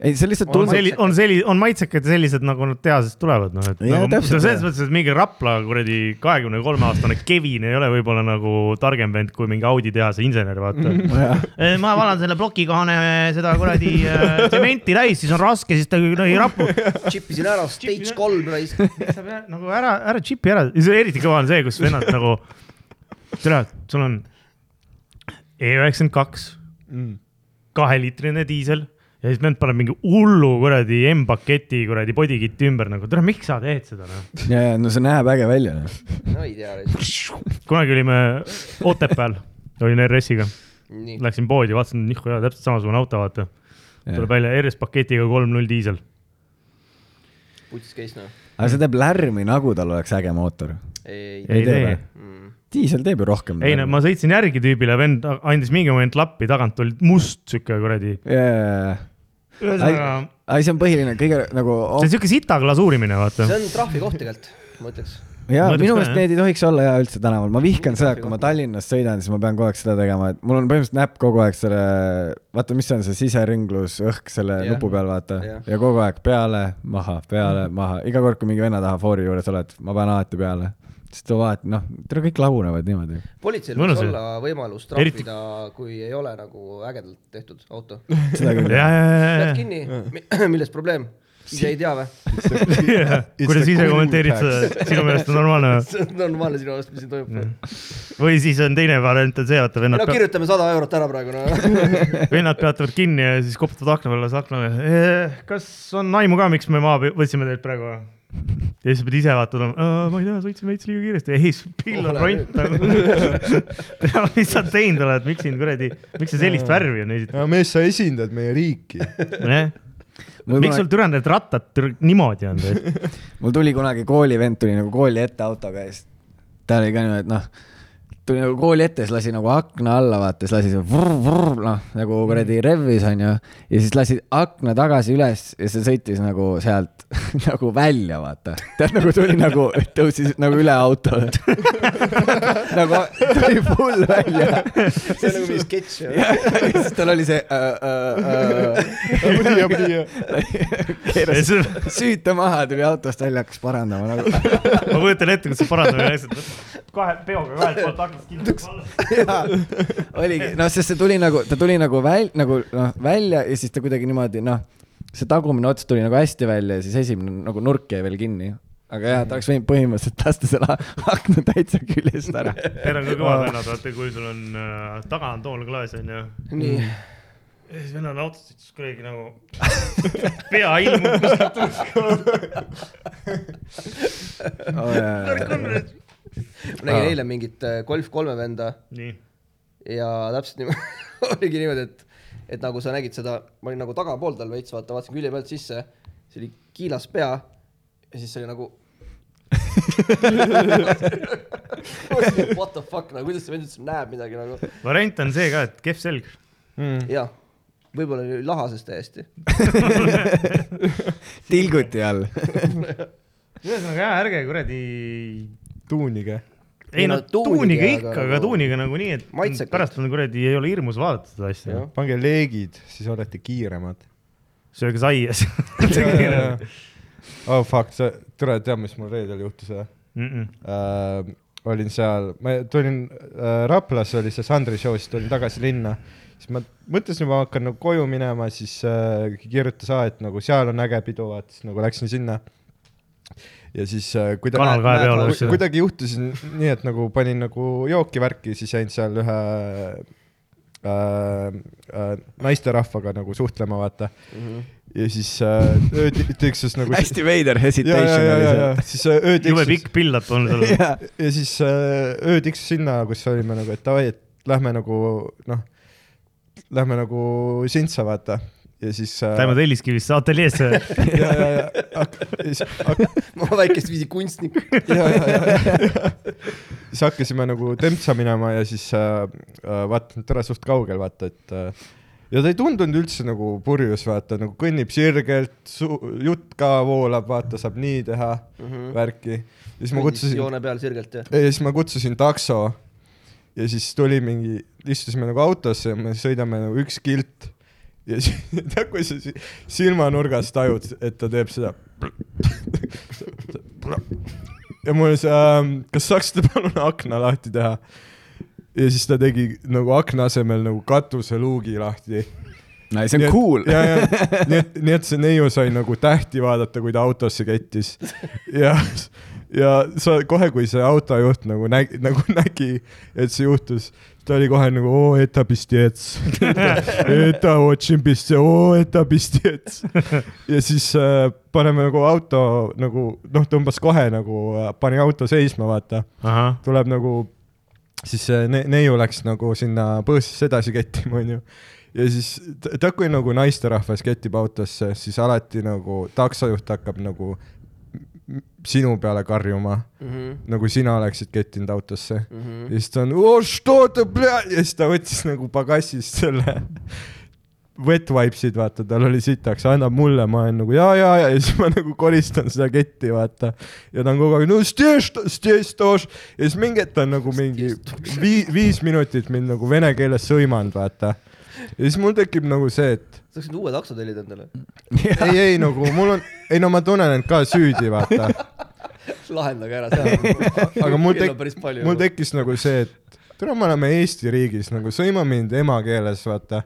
Speaker 1: ei , see lihtsalt
Speaker 3: on
Speaker 1: tundub ,
Speaker 3: selli- , on selli- , on maitsekad ja sellised , nagu nad tehasest tulevad , noh , et
Speaker 1: Jaa,
Speaker 3: nagu,
Speaker 1: täpselt,
Speaker 3: selles
Speaker 1: jaa.
Speaker 3: mõttes , et mingi Rapla kuradi kahekümne kolme aastane Kevin ei ole võib-olla nagu targem vend kui mingi Audi tehase insener ,
Speaker 1: Mm,
Speaker 3: vaata . Äh, ma valan selle plokikohane seda kuradi äh, tsementi täis , siis on raske , siis ta kuradi rapu ,
Speaker 4: Chippisin ära stage
Speaker 3: Chippisin-
Speaker 4: kolm raisk .
Speaker 3: saab jah, nagu ära , ära džipi ära , eriti kõva on see , kus vennad nagu , tere , sul on E E92
Speaker 2: Mm.
Speaker 3: kaheliitrine diisel ja siis vend paneb mingi hullu kuradi M-paketi kuradi bodykit'i ümber nagu , tere , miks sa teed seda noh ?
Speaker 1: ja , ja no see näeb äge välja . noh.
Speaker 4: no ei tea ,
Speaker 3: kunagi olime Otepääl , olin RS-iga ,
Speaker 4: nii .
Speaker 3: läksin poodi , vaatasin , nihku jaa , täpselt samasugune auto , vaata . tuleb välja RS paketiga kolm null diisel .
Speaker 4: putsis case noh .
Speaker 1: aga see teeb lärmi , nagu tal oleks äge mootor .
Speaker 4: ei,
Speaker 3: ei
Speaker 4: Mm.
Speaker 1: tee
Speaker 3: tee
Speaker 1: või? diisel teeb ju rohkem .
Speaker 3: ei no ma sõitsin järgi tüübile , vend andis mingi moment lappi , tagant oli must sihuke kuradi .
Speaker 1: jajah ,
Speaker 3: ühesõnaga ,
Speaker 1: ei see on põhiline , kõige nagu
Speaker 3: see on sihuke sita glasuurimine , vaata
Speaker 4: see . on trahvikoht tegelikult , ma ütleks .
Speaker 1: ja
Speaker 3: Ma ütleks
Speaker 1: minu
Speaker 3: ka,
Speaker 1: meelest
Speaker 3: jah.
Speaker 1: need ei tohiks olla ja üldse tänaval , ma vihkan seda , kui ma Tallinnas sõidan , siis ma pean kogu aeg seda tegema , et mul on põhimõtteliselt näpp kogu aeg selle , vaata , mis see on see siserõnglus , õhk selle
Speaker 4: Jah.
Speaker 1: yeah. nupu peal , vaata
Speaker 4: Jah.
Speaker 1: yeah. ja kogu aeg peale , maha , peale , maha , iga kord , kui mingi venna taha foori juures oled , ma panen alati peale , sest ta vaatab , noh , tere , kõik lagunevad niimoodi .
Speaker 4: politseil
Speaker 3: Mõnus
Speaker 4: võiks
Speaker 3: ju.
Speaker 4: olla võimalus
Speaker 3: Eriti-
Speaker 4: trahvida , kui ei ole nagu ägedalt tehtud auto .
Speaker 1: seda küll ,
Speaker 3: ja , ja ,
Speaker 4: jääd
Speaker 3: ja ,
Speaker 4: kinni , milles probleem ? ise ei tea või ?
Speaker 3: ja , kuidas ise kommenteerid seda , sinu meelest on normaalne või ?
Speaker 4: see on normaalne sinu arust , mis siin toimub .
Speaker 3: või siis on teine variant on see , vaata vennad
Speaker 4: no , kirjutame sada eurot ära praegu no. .
Speaker 3: vennad peatavad kinni ja siis koputavad akna peale , siis akna peal , kas on aimu ka , miks me maha pe- võtsime teilt praegu või ? ja siis sa pead ise vaatama , ma ei tea , sõitsime veits liiga kiiresti , ei , pill on
Speaker 4: Ole
Speaker 3: ront nagu . tea , mis sa teinud oled , miks siin kuradi , miks sa sellist värvi on esitanud ?
Speaker 2: mees , sa esindad meie riiki .
Speaker 3: miks sul türa need rattad tür- niimoodi on või ?
Speaker 1: mul tuli kunagi koolivend tuli nagu kooli ette autoga ja siis ta oli ka niimoodi , et noh , tuli nagu kooli ette , siis lasi nagu akna alla vaata , siis lasi see vurr-vurr , noh nagu kuradi
Speaker 4: Mm.
Speaker 1: revvis onju . ja siis lasi akna tagasi üles ja see sõitis nagu sealt nagu välja vaata . tead nagu tuli nagu , tõusis nagu üle auto . nagu tuli full välja .
Speaker 4: see on nagu mingi sketš .
Speaker 1: ja siis tal oli see äh, äh, äh, . keeras süüta maha , tuli autost välja , hakkas parandama nagu
Speaker 3: ma kujutan ette , kuidas sa parandad asjad , kahe peoga kahelt poolt aknast kinni panna .
Speaker 1: jaa , oligi , noh , sest see tuli nagu , ta tuli nagu väl- , nagu noh , välja ja siis ta kuidagi niimoodi noh , see tagumine ots tuli nagu hästi välja ja siis esimene nagu nurk jäi veel kinni . aga jaa , ta oleks võinud põhimõtteliselt lasta selle a- akna täitsa küljest ära .
Speaker 3: Need on ka kõvad vennad , vaata kui sul on äh, taga on toolklaas onju .
Speaker 4: nii ,
Speaker 3: ja siis vennal on autos , siis kuidagi nagu pea ilmub kuskilt
Speaker 4: ma nägin eile mingit äh, Golf kolme venda
Speaker 3: nii .
Speaker 4: ja täpselt niimoodi oligi niimoodi , et , et nagu sa nägid seda , ma olin nagu tagapool tal veits , vaata , vaatasin külje pealt sisse , see oli kiilas pea ja siis see oli nagu . What the fuck , nagu kuidas see vend üldse näeb midagi nagu ,
Speaker 3: variant on see ka , et kehv selg .
Speaker 2: Mm.
Speaker 4: jah , võib-olla oli lahases täiesti .
Speaker 1: tilguti all .
Speaker 3: ühesõnaga jaa , ärge kuradi .
Speaker 2: tuunige .
Speaker 3: ei no tuunige ikka , aga
Speaker 4: nagu-
Speaker 3: tuunige nagunii , et
Speaker 4: Maitsekalt.
Speaker 3: pärast on kuradi , ei ole hirmus vaadata seda asja
Speaker 4: Jah. .
Speaker 2: pange leegid , siis olete kiiremad .
Speaker 3: sööge saia siis .
Speaker 2: oh fuck , sa , tule tea , mis mul reedel juhtus või ? äh, olin seal , ma tulin äh, Raplasse oli see Sandri show , siis tulin tagasi linna , siis ma mõtlesin , ma hakkan nagu koju minema , siis äh, kirjutas A , et nagu seal on äge pidu , vaata , siis nagu läksin sinna . ja siis äh, kuida-
Speaker 3: Kanal kahe peal oleks see.
Speaker 2: kuidagi juhtus nii , et nagu panin nagu jooki värki , siis jäin seal ühe äh, äh, naisterahvaga nagu suhtlema , vaata mm . -hmm. ja siis äh, öö- tiksus nagu .
Speaker 1: hästi veider
Speaker 2: ja , ja ,
Speaker 1: hesitation
Speaker 2: ja ,
Speaker 1: oli
Speaker 2: ja , ja
Speaker 1: see .
Speaker 2: siis äh, öö
Speaker 3: jube
Speaker 2: tiksus
Speaker 3: pikk pillap on sul .
Speaker 2: ja siis äh, öö tiksus sinna , kus olime nagu , et davai , et lähme nagu noh , lähme nagu Sintsa vaata ja siis äh, .
Speaker 3: Taimo Telliskivist ateljeesse .
Speaker 2: ja , ja , ja , ja siis hak-
Speaker 4: ma väikest viisi kunstnik .
Speaker 2: ja , ja , ja , ja siis hakkasime nagu Tempsa minema ja siis äh, äh, vaatasin , et ära suht kaugel vaata , et äh, ja ta ei tundunud üldse nagu purjus , vaata nagu kõnnib sirgelt , jutt ka voolab , vaata saab nii teha mm -hmm. värki ja siis ma kutsusin
Speaker 4: joone peal sirgelt ja .
Speaker 2: ja siis ma kutsusin takso ja siis tuli mingi , istusime nagu autosse ja me sõidame nagu üks kilt ja siis tead , kui sa si- silmanurgas tajud , et ta teeb seda . ja mul oli see ähm, , kas saaksite palun akna lahti teha ? ja siis ta tegi nagu akna asemel nagu katuseluugi lahti .
Speaker 1: no see on cool .
Speaker 2: ja , ja , nii et , nii et see neiu sai nagu tähti vaadata , kui ta autosse kettis ja , ja sa kohe , kui see autojuht nagu nägi , nagu nägi , et see juhtus , ta oli kohe nagu oo , eta pistets . Eta otsin piste , oo , eta pistets . ja siis äh, paneme nagu auto nagu noh , tõmbas kohe nagu , pani auto seisma , vaata .
Speaker 3: ahah ,
Speaker 2: tuleb nagu , siis see ne- neiu läks nagu sinna põõsasse edasi kettima , onju . ja siis ta- ta , kui nagu naisterahvas kettib autosse , siis alati nagu taksojuht hakkab nagu m- sinu peale karjuma , nagu sina oleksid kettinud autosse . ja siis ta on , ja siis ta võttis nagu pagassist selle wet wipes'id , vaata , tal oli sitaks , annab mulle , ma olen nagu ja , ja , ja ja siis ma nagu koristan seda ketti , vaata . ja ta on kogu aeg , no stiež , stiež , tož . ja siis mingi hetk ta on nagu mingi viis , viis minutit mind nagu vene keeles sõimanud , vaata . ja siis mul tekib nagu see , et
Speaker 4: saaksid uue takso tellida endale .
Speaker 2: ei , ei nagu mul on , ei no ma tunnen end ka süüdi , vaata .
Speaker 5: lahendage ära see .
Speaker 2: aga mul
Speaker 4: Kell on
Speaker 2: tek-
Speaker 4: päris palju ,
Speaker 2: mul tekkis nagu see , et tule , me oleme Eesti riigis nagu sõima mind emakeeles , vaata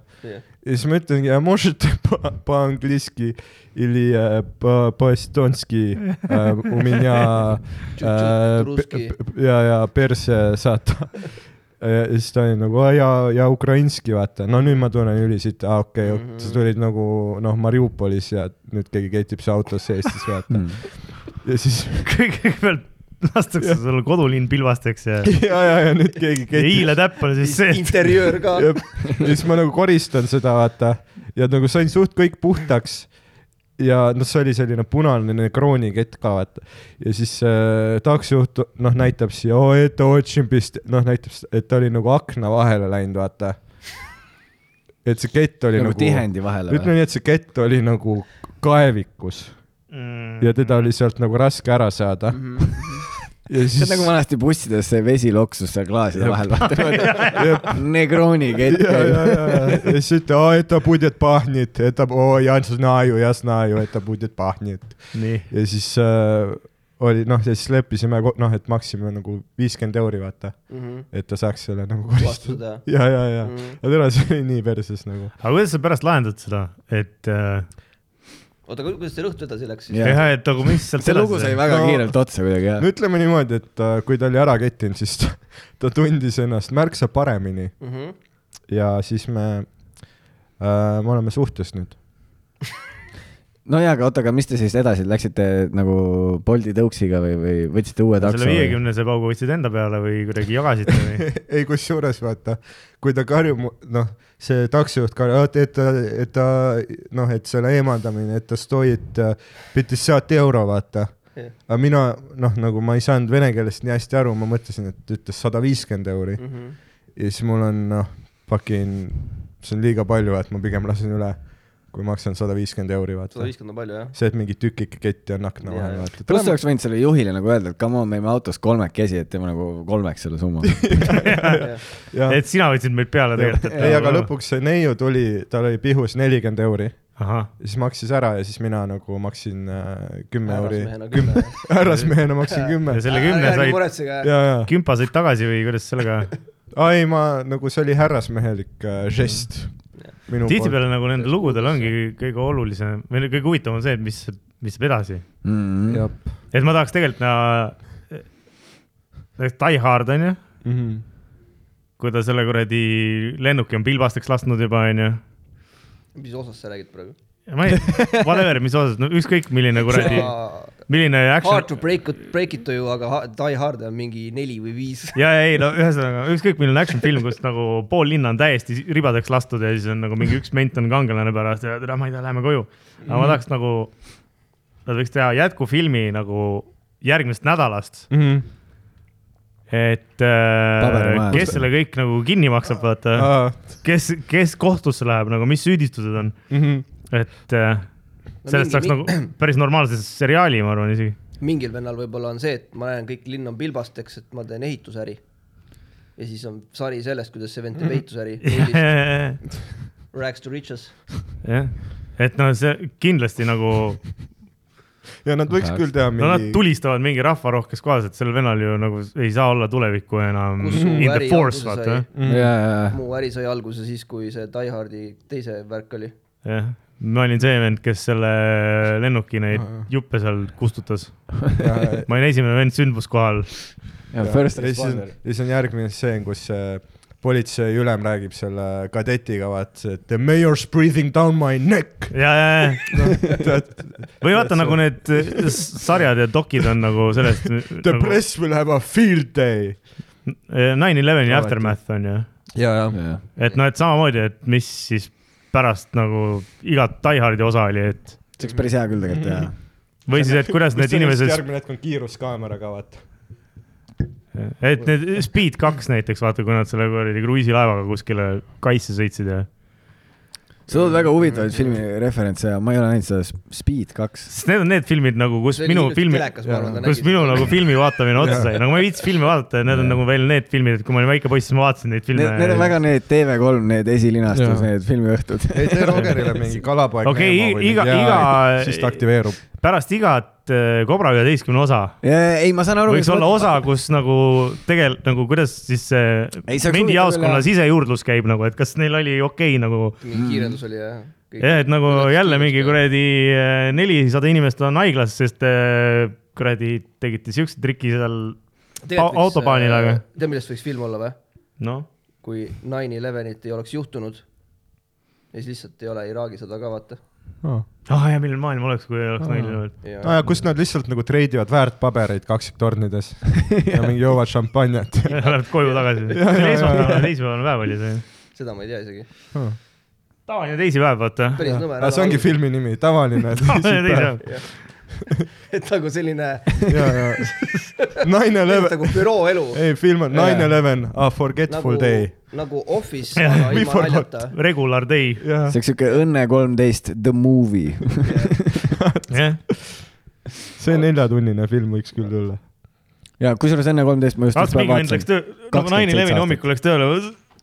Speaker 2: И смотрите, а можете по- по-английски или э, по- по-эстонски? Э, У меня э,
Speaker 4: Чуть-чуть
Speaker 2: пе- пе- я я Персия сата . ja siis ta oli nagu "Aa, ja , ja ukrainski vaata , no nüüd ma tunnen üli siit , aa okei okay, ,
Speaker 4: Mhm.
Speaker 2: sa tulid nagu noh , Mariupolis ja nüüd keegi ketib su autosse Eestis vaata .
Speaker 1: Hmm.
Speaker 2: ja siis
Speaker 3: kõigepealt lastakse sulle kodulinn pilvasteks ja
Speaker 2: ja , ja , ja nüüd keegi
Speaker 3: ja
Speaker 2: ketib
Speaker 3: hiile täpp on siis see , et
Speaker 4: interjöör ka .
Speaker 2: ja ja siis ma nagu koristan seda , vaata , ja nagu sain suht kõik puhtaks . ja noh , see oli selline punane kroonikett ka , vaata . ja siis äh, taksojuht , noh , näitab siia , oo , et otsin pist- , noh , näitab , et ta oli nagu akna vahele läinud , vaata . et see kett oli
Speaker 1: nagu
Speaker 2: nagu,
Speaker 1: tihendi vahele
Speaker 2: ütleme
Speaker 1: või ?
Speaker 2: nii , et see kett oli nagu kaevikus
Speaker 3: Mm.
Speaker 2: ja
Speaker 1: Mhm.
Speaker 2: teda oli sealt nagu raske ära saada . ja
Speaker 1: see on
Speaker 2: siis
Speaker 1: nagu vanasti bussides see vesi loksus seal klaaside vahel , vaata . Negroni kett
Speaker 2: Ja, ja, ja, ja. И все, «А, это будет пахнет, это, о, я знаю, я знаю, это будет пахнет.
Speaker 3: nii .
Speaker 2: ja siis äh, oli noh , ja siis leppisime , noh , et maksime nagu viiskümmend euri , vaata ,
Speaker 4: Mhm.
Speaker 2: et ta saaks selle nagu koristada .
Speaker 4: puhastada .
Speaker 2: ja , ja , ja ,
Speaker 4: Mhm.
Speaker 2: aga täna see oli nii perses nagu .
Speaker 3: aga kuidas sa pärast lahendad seda , et äh,
Speaker 4: oota , kuidas see lõht edasi läks siis ?
Speaker 1: Jah.
Speaker 3: jah , et nagu mis sealt
Speaker 1: see lugu sai väga
Speaker 2: No-
Speaker 1: kiirelt otsa kuidagi jah
Speaker 2: no . ütleme niimoodi , et äh, kui ta oli ära kettinud , siis ta, ta tundis ennast märksa paremini
Speaker 4: Mhm.
Speaker 2: ja siis me äh, , me oleme suhtes nüüd .
Speaker 1: no jaa , aga oota , aga mis te siis edasi läksite nagu Bolti tõuksiga või , või võtsite uue takso
Speaker 3: selle
Speaker 1: või ?
Speaker 3: viiekümnese paugu võtsid enda peale või kuidagi jagasite või ?
Speaker 2: ei , kusjuures vaata , kui ta karjub , noh , see taksojuht karjub , et ta , et ta noh , et selle eemaldamine , et ta stoit petissat euro , vaata .
Speaker 4: Jah.
Speaker 2: aga mina noh , nagu ma ei saanud vene keelest nii hästi aru , ma mõtlesin , et ta ütles sada viiskümmend euri
Speaker 4: Mhm.
Speaker 2: ja siis mul on noh , fucking , see on liiga palju , et ma pigem lasen üle , kui maksan sada viiskümmend euri ,
Speaker 4: sada
Speaker 2: vaata .
Speaker 4: viiskümmend on palju jah ?
Speaker 2: see , et mingi tükike ketti on akna
Speaker 4: Jaa,
Speaker 2: vahel ,
Speaker 4: jaa.
Speaker 2: vaata .
Speaker 1: pluss oleks võinud sellele juhile nagu öelda , et come on , me oleme autos kolmekesi , et teeme nagu kolmeks selle summa .
Speaker 2: jah ,
Speaker 3: et sina võtsid meid peale tegelikult . nagu
Speaker 2: ei , aga . lõpuks see neiu tuli , tal oli pihus nelikümmend euri
Speaker 3: ahah ,
Speaker 2: Ja siis maksis ära ja siis mina nagu maksin äh, kümme euri ,
Speaker 4: Härrasmehena
Speaker 2: kümme
Speaker 4: kümme. ,
Speaker 2: härrasmehena maksin kümme
Speaker 3: ja . selle kümne
Speaker 5: ärge
Speaker 3: said ,
Speaker 5: muretsege ,
Speaker 2: ja , ja ,
Speaker 3: kümpa said tagasi või kuidas sellega ?
Speaker 2: ei ma nagu see oli härrasmehelik äh, žest minu poolt .
Speaker 3: tihtipeale nagu nendel lugudel ongi kõige olulisem või no kõige huvitavam on see , et mis , mis saab edasi .
Speaker 1: jah ,
Speaker 3: et ma tahaks tegelikult näha , Die Hard on ju ,
Speaker 2: Mhm.
Speaker 3: kui ta selle kuradi lennuki on pilbasteks lasknud juba on ju .
Speaker 4: mis osast sa räägid praegu ?
Speaker 3: ma ei , whatever , mis osas , no ükskõik milline kuradi , milline
Speaker 4: Hard to
Speaker 3: action .
Speaker 4: break it , break it to you , aga ha- Die Hard on mingi neli või viis .
Speaker 3: ja , ja ei no ühesõnaga ükskõik milline action film , kus nagu pool linna on täiesti ribadeks lastud ja siis on nagu mingi üks ment on kangelane pärast ja tere , ma ei tea , lähme koju . aga ma tahaks nagu , nad võiks teha jätkufilmi nagu järgmisest nädalast
Speaker 2: Mhm.
Speaker 3: et äh,
Speaker 1: Paberimajandus.
Speaker 3: kes selle kõik nagu kinni maksab , vaata , kes , kes kohtusse läheb nagu , mis süüdistused on ,
Speaker 2: mhm.
Speaker 3: et äh, sellest
Speaker 4: mingi-
Speaker 3: saaks nagu päris normaalse seriaali , ma arvan isegi .
Speaker 4: mingil vennal võib-olla on see , et ma näen , kõik linn on pilbasteks , et ma teen ehitusäri . ja siis on sari sellest , kuidas see vend teeb
Speaker 3: Mhm.
Speaker 4: ehitusäri .
Speaker 3: jah ,
Speaker 4: Rags to riches .
Speaker 3: et noh , see kindlasti nagu ,
Speaker 2: ja nad võiks küll teha
Speaker 3: no nad
Speaker 2: mingi ,
Speaker 3: tulistavad mingi rahvarohkes kohas , et sellel venel ju nagu ei saa olla tulevikku enam
Speaker 4: Kus suu
Speaker 3: in the
Speaker 4: äri
Speaker 3: force ,
Speaker 4: alguse
Speaker 3: vaata
Speaker 2: Mhm.
Speaker 4: sai.
Speaker 3: Äh.
Speaker 1: ja , ja ,
Speaker 4: mu äri sai alguse siis , kui see Die Hardi teise värk oli .
Speaker 3: jah , ma olin see vend , kes selle lennuki neid juppe seal kustutas . ma olin esimene vend sündmuskohal .
Speaker 1: ja first
Speaker 2: ja siis on ,
Speaker 1: responder .
Speaker 2: siis on järgmine stseen , kus see politseiülem räägib selle kadetiga , vaata , et the mayor's breathing down my neck .
Speaker 3: ja , ja , ja ,
Speaker 2: Noh.
Speaker 3: või vaata nagu need s- sarjad ja dokid on nagu sellest .
Speaker 2: The press will have a field day .
Speaker 3: Nine Eleveni
Speaker 2: Alati.
Speaker 3: aftermath on ju ,
Speaker 2: ja , ja .
Speaker 3: et noh , et samamoodi , et mis siis pärast nagu igat Die Hardi osa oli , et
Speaker 1: see oleks päris hea küll tegelikult teha .
Speaker 3: või siis , et kuidas need inimesed ,
Speaker 2: järgmine hetk on kiiruskaameraga , vaata .
Speaker 3: et need Speed kaks näiteks vaata , kui nad selle kuradi kruiisilaevaga kuskile kaisse sõitsid ja ,
Speaker 1: sa tood
Speaker 2: Mm-hmm.
Speaker 1: väga huvitavaid filmi referentse ja ma ei ole näinud seda Speed kaks .
Speaker 3: sest need on need filmid nagu , kus minu filmi ,
Speaker 4: telekas , ma arvan , ta
Speaker 3: kus minu nagu filmi vaatamine otsa sai , nagu ma ei viitsi filme vaadata ja need on
Speaker 1: Jaa.
Speaker 3: nagu veel need filmid , et kui ma olin väike poiss , siis ma vaatasin neid filme
Speaker 1: Need , need on väga . need TV3 , need esilinastus ,
Speaker 2: Jaa.
Speaker 1: need filmiõhtud .
Speaker 2: ei tee Rogerile mingi kalapoeg .
Speaker 3: Okei, i- iga- iga-
Speaker 2: siis ta aktiveerub .
Speaker 3: pärast igat äh, Cobra üheteistkümne osa
Speaker 1: ei , ma saan aru .
Speaker 3: võiks olla osa , kus nagu tegelikult nagu kuidas siis
Speaker 1: Ei, see
Speaker 3: see
Speaker 1: oleks
Speaker 3: mindijaoskonna
Speaker 1: huvitav küll,
Speaker 3: sisejuurdlus käib nagu , et kas neil oli okei okay, nagu
Speaker 4: mingi kiirendus oli ja .
Speaker 3: jah , et nagu jälle mingi . kuradi äh, nelisada inimest on haiglas , sest äh, kuradi tegite siukse triki seal , au- autobaanil, aga-
Speaker 4: äh, tead , millest võiks film olla või ?
Speaker 3: noh .
Speaker 4: kui Nine Elevenit ei oleks juhtunud ja siis lihtsalt ei ole Iraagi sõda ka vaata .
Speaker 3: ah ja milline maailm oleks , kui ei oleks nalja olnud .
Speaker 2: aa , kus nad lihtsalt nagu treidivad väärtpabereid kaksiktornides ja mingi joovad šampanjat .
Speaker 3: Lähed koju tagasi .
Speaker 2: ja, ja.
Speaker 3: esmaspäevane , teisipäevane päev oli see .
Speaker 4: seda ma ei tea isegi .
Speaker 2: Ah.
Speaker 3: tavaline teisipäev , vaata .
Speaker 4: päris nõme .
Speaker 2: see ongi . filmi nimi , tavaline .
Speaker 3: tavaline teisipäev .
Speaker 4: et nagu selline ,
Speaker 2: Nine Eleven ,
Speaker 4: nagu büroo elu .
Speaker 2: ei film on Nine Eleven , A Forgetful
Speaker 4: nagu
Speaker 2: Day .,
Speaker 4: nagu Office ,
Speaker 3: Jah,
Speaker 4: aga
Speaker 2: we
Speaker 4: ilma
Speaker 2: forgot.
Speaker 4: naljata .
Speaker 3: Regular day ,
Speaker 2: jah ,
Speaker 1: see oleks siuke Õnne kolmteist the movie .
Speaker 3: jah .
Speaker 2: see neljatunnine film võiks küll olla .
Speaker 1: ja kusjuures Õnne kolmteist ma just
Speaker 3: vaata ,
Speaker 1: ükspäev
Speaker 3: mingi vend läks
Speaker 1: vaatasin .
Speaker 3: töö , nagu
Speaker 1: kakskümmend
Speaker 3: Naini
Speaker 1: seitse
Speaker 3: Levini
Speaker 1: aastat.
Speaker 3: hommikul läks tööle .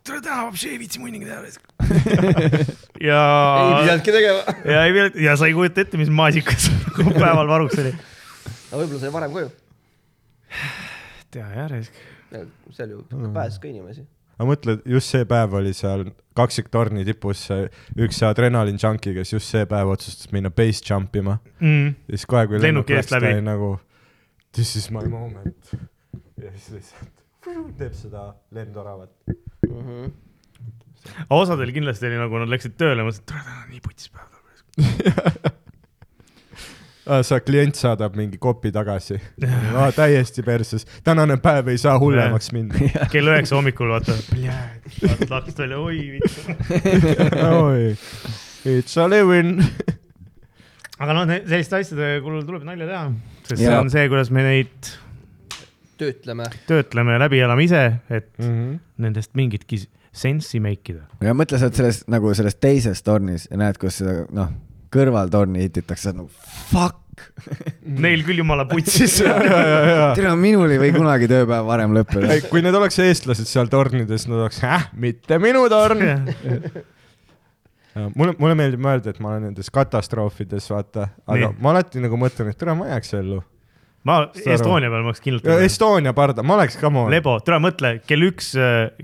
Speaker 3: tule täna , vapši ei viitsi munniga teha . ja
Speaker 4: ei , pidanudki tegema .
Speaker 3: ja ei pidanud ja sa ei kujuta ette , mis maasikas päeval varuks oli .
Speaker 4: aga võib-olla sai varem koju .
Speaker 3: tea järjest .
Speaker 4: seal ju pääses ka inimesi .
Speaker 2: aga mõtle , just see päev oli seal kaksiktorni tipus see üks see adrenaliin junkie , kes just see päev otsustas minna base jump ima .
Speaker 3: mm. .
Speaker 2: ja siis kohe , kui
Speaker 3: Lennuk
Speaker 2: lennuk
Speaker 3: eest
Speaker 2: läks , ta
Speaker 3: läbi.
Speaker 2: oli nagu this is my moment . ja siis lihtsalt teeb seda lendoravat .
Speaker 4: Mhm.
Speaker 3: osadel kindlasti oli nagu nad läksid tööle , mõtlesid , et tule täna on nii putis päev .
Speaker 2: sa , klient saadab mingi kopi tagasi . täiesti perses , tänane päev ei saa hullemaks minna .
Speaker 3: kell üheksa hommikul vaata , vaatad aknast välja , oi vittu .
Speaker 2: oi , it's a living .
Speaker 3: aga noh , selliste asjade kulul tuleb nalja teha , sest see
Speaker 1: Jaa.
Speaker 3: on see , kuidas me neid
Speaker 4: töötleme .
Speaker 3: töötleme ja läbi elame ise , et nendest mingitki sensi make ida .
Speaker 1: ja mõtle , sa oled selles nagu selles teises tornis ja näed , kus seda noh , kõrvaltorni hititakse , nagu fuck .
Speaker 3: Mm. Neil küll jumala putsis .
Speaker 1: tere , minul ei või kunagi tööpäev varem lõppeda
Speaker 2: Ah. ei ., kui need oleks eestlased seal tornides , nad oleks , häh , mitte minu torn . mulle , mulle meeldib mõelda , et ma olen nendes katastroofides , vaata , aga
Speaker 3: Nii.
Speaker 2: Nii. ma alati nagu mõtlen , et tere , ma jääks ellu .
Speaker 3: ma Estonia peal ma oleks kindlalt .
Speaker 2: Estonia parda , ma oleks , come on .
Speaker 3: Lebo , tule mõtle , kell üks ,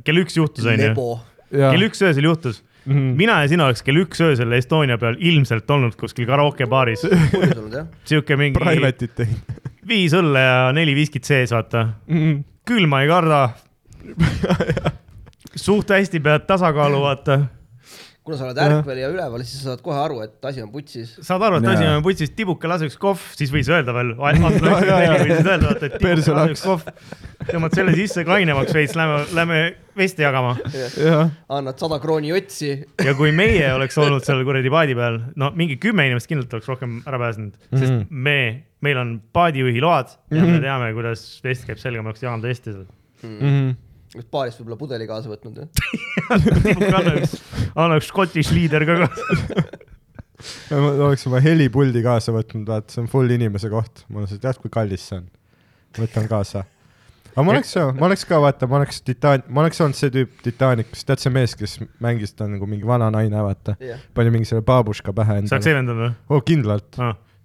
Speaker 3: kell üks juhtus onju ,
Speaker 4: lebo .
Speaker 3: kell üks öösel juhtus .
Speaker 2: Mhm.
Speaker 3: mina ja sina oleks kell üks öösel Estonia peal ilmselt olnud kuskil karaokebaaris ,
Speaker 4: puudunud jah .
Speaker 3: siuke mingi
Speaker 2: Private'it teinud .
Speaker 3: viis õlle ja neli viskit sees , vaata . Mhm. külma ei karda . suht hästi pead tasakaalu , vaata .
Speaker 4: kuna sa oled ärkvel ja üleval , siis sa saad kohe aru , et asi on putsis .
Speaker 3: saad aru , et asi
Speaker 1: Jaa.
Speaker 3: on putsis , tibuke lase üks kohv , siis võis öelda veel . võis öelda , vaata , et tibuke
Speaker 2: Perse
Speaker 3: lase
Speaker 2: laks.
Speaker 3: üks kohv . tõmbad selle sisse kainemaks veits , lähme , lähme veste jagama
Speaker 2: jah ,
Speaker 4: annad sada krooni otsi .
Speaker 3: ja kui meie oleks olnud seal kuradi paadi peal , no mingi kümme inimest kindlalt oleks rohkem ära pääsenud , sest mm
Speaker 2: Mhm.
Speaker 3: -hmm. me , meil on paadijuhi load ja mm -hmm. me teame , kuidas vest käib selga , me oleks jaganud vesti seal . Mhm.
Speaker 4: paarist võib-olla pudeli kaasa võtnud jah .
Speaker 3: annaks , annaks Scottish Leader ka kaasa .
Speaker 2: ma oleks oma helipuldi kaasa võtnud , vaata , see on full inimese koht , ma lihtsalt tead , kui kallis see on . võtan kaasa . aga ma oleks , ma oleks ka , vaata , ma oleks Titan- , ma oleks olnud see tüüp Titanicus , tead see mees , kes mängis , ta on nagu mingi vana naine , vaata .
Speaker 4: jah ,
Speaker 2: pani mingi selle baabuška pähe
Speaker 3: sa oleks
Speaker 2: endale .
Speaker 3: see vend olnud või ? Ah.
Speaker 2: oo , kindlalt .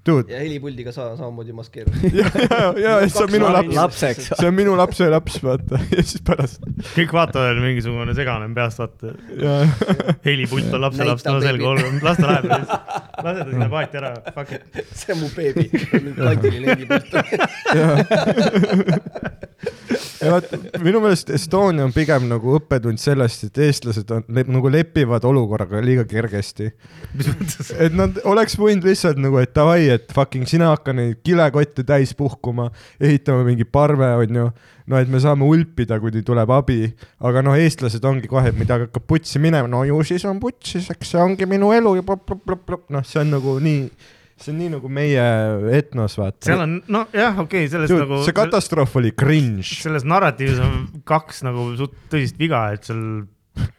Speaker 2: dude ,
Speaker 4: ja helipuldiga sa samamoodi maskeerud .
Speaker 2: ja , ja , ja siis see on minu laps ,
Speaker 1: lapseks .
Speaker 2: see on minu lapselaps , vaata , ja siis pärast
Speaker 3: kõik vaatavad , mingisugune segane on peas , vaata .
Speaker 2: ja
Speaker 3: helipult on lapselaps ,
Speaker 4: Näita,
Speaker 3: no selge ,
Speaker 4: baby.
Speaker 3: olgu , las ta läheb lihtsalt . lase ta sinna paati ära , fuck it .
Speaker 4: see on mu beebi , kandiline helipult .
Speaker 2: ja vaat minu meelest Estonia on pigem nagu õppetund sellest , et eestlased on le, nagu lepivad olukorraga liiga kergesti .
Speaker 3: mis mõttes ?
Speaker 2: et nad oleks võinud lihtsalt nagu , et davai , et fucking sina hakka neid kilekotte täis puhkuma , ehitame mingi parve , onju . no et me saame ulpida , kui teil tuleb abi , aga noh , eestlased ongi kohe , et midagi hakkab putsi minema , no ju siis on putsis , eks see ongi minu elu ja plop-plop-plop-plop , noh , see on nagu nii , see on nii nagu meie etnos , vaata .
Speaker 3: seal on , nojah , okei , selles
Speaker 2: Dude,
Speaker 3: nagu .
Speaker 2: see katastroof oli cringe .
Speaker 3: selles narratiivis on kaks nagu suht tõsist viga , et seal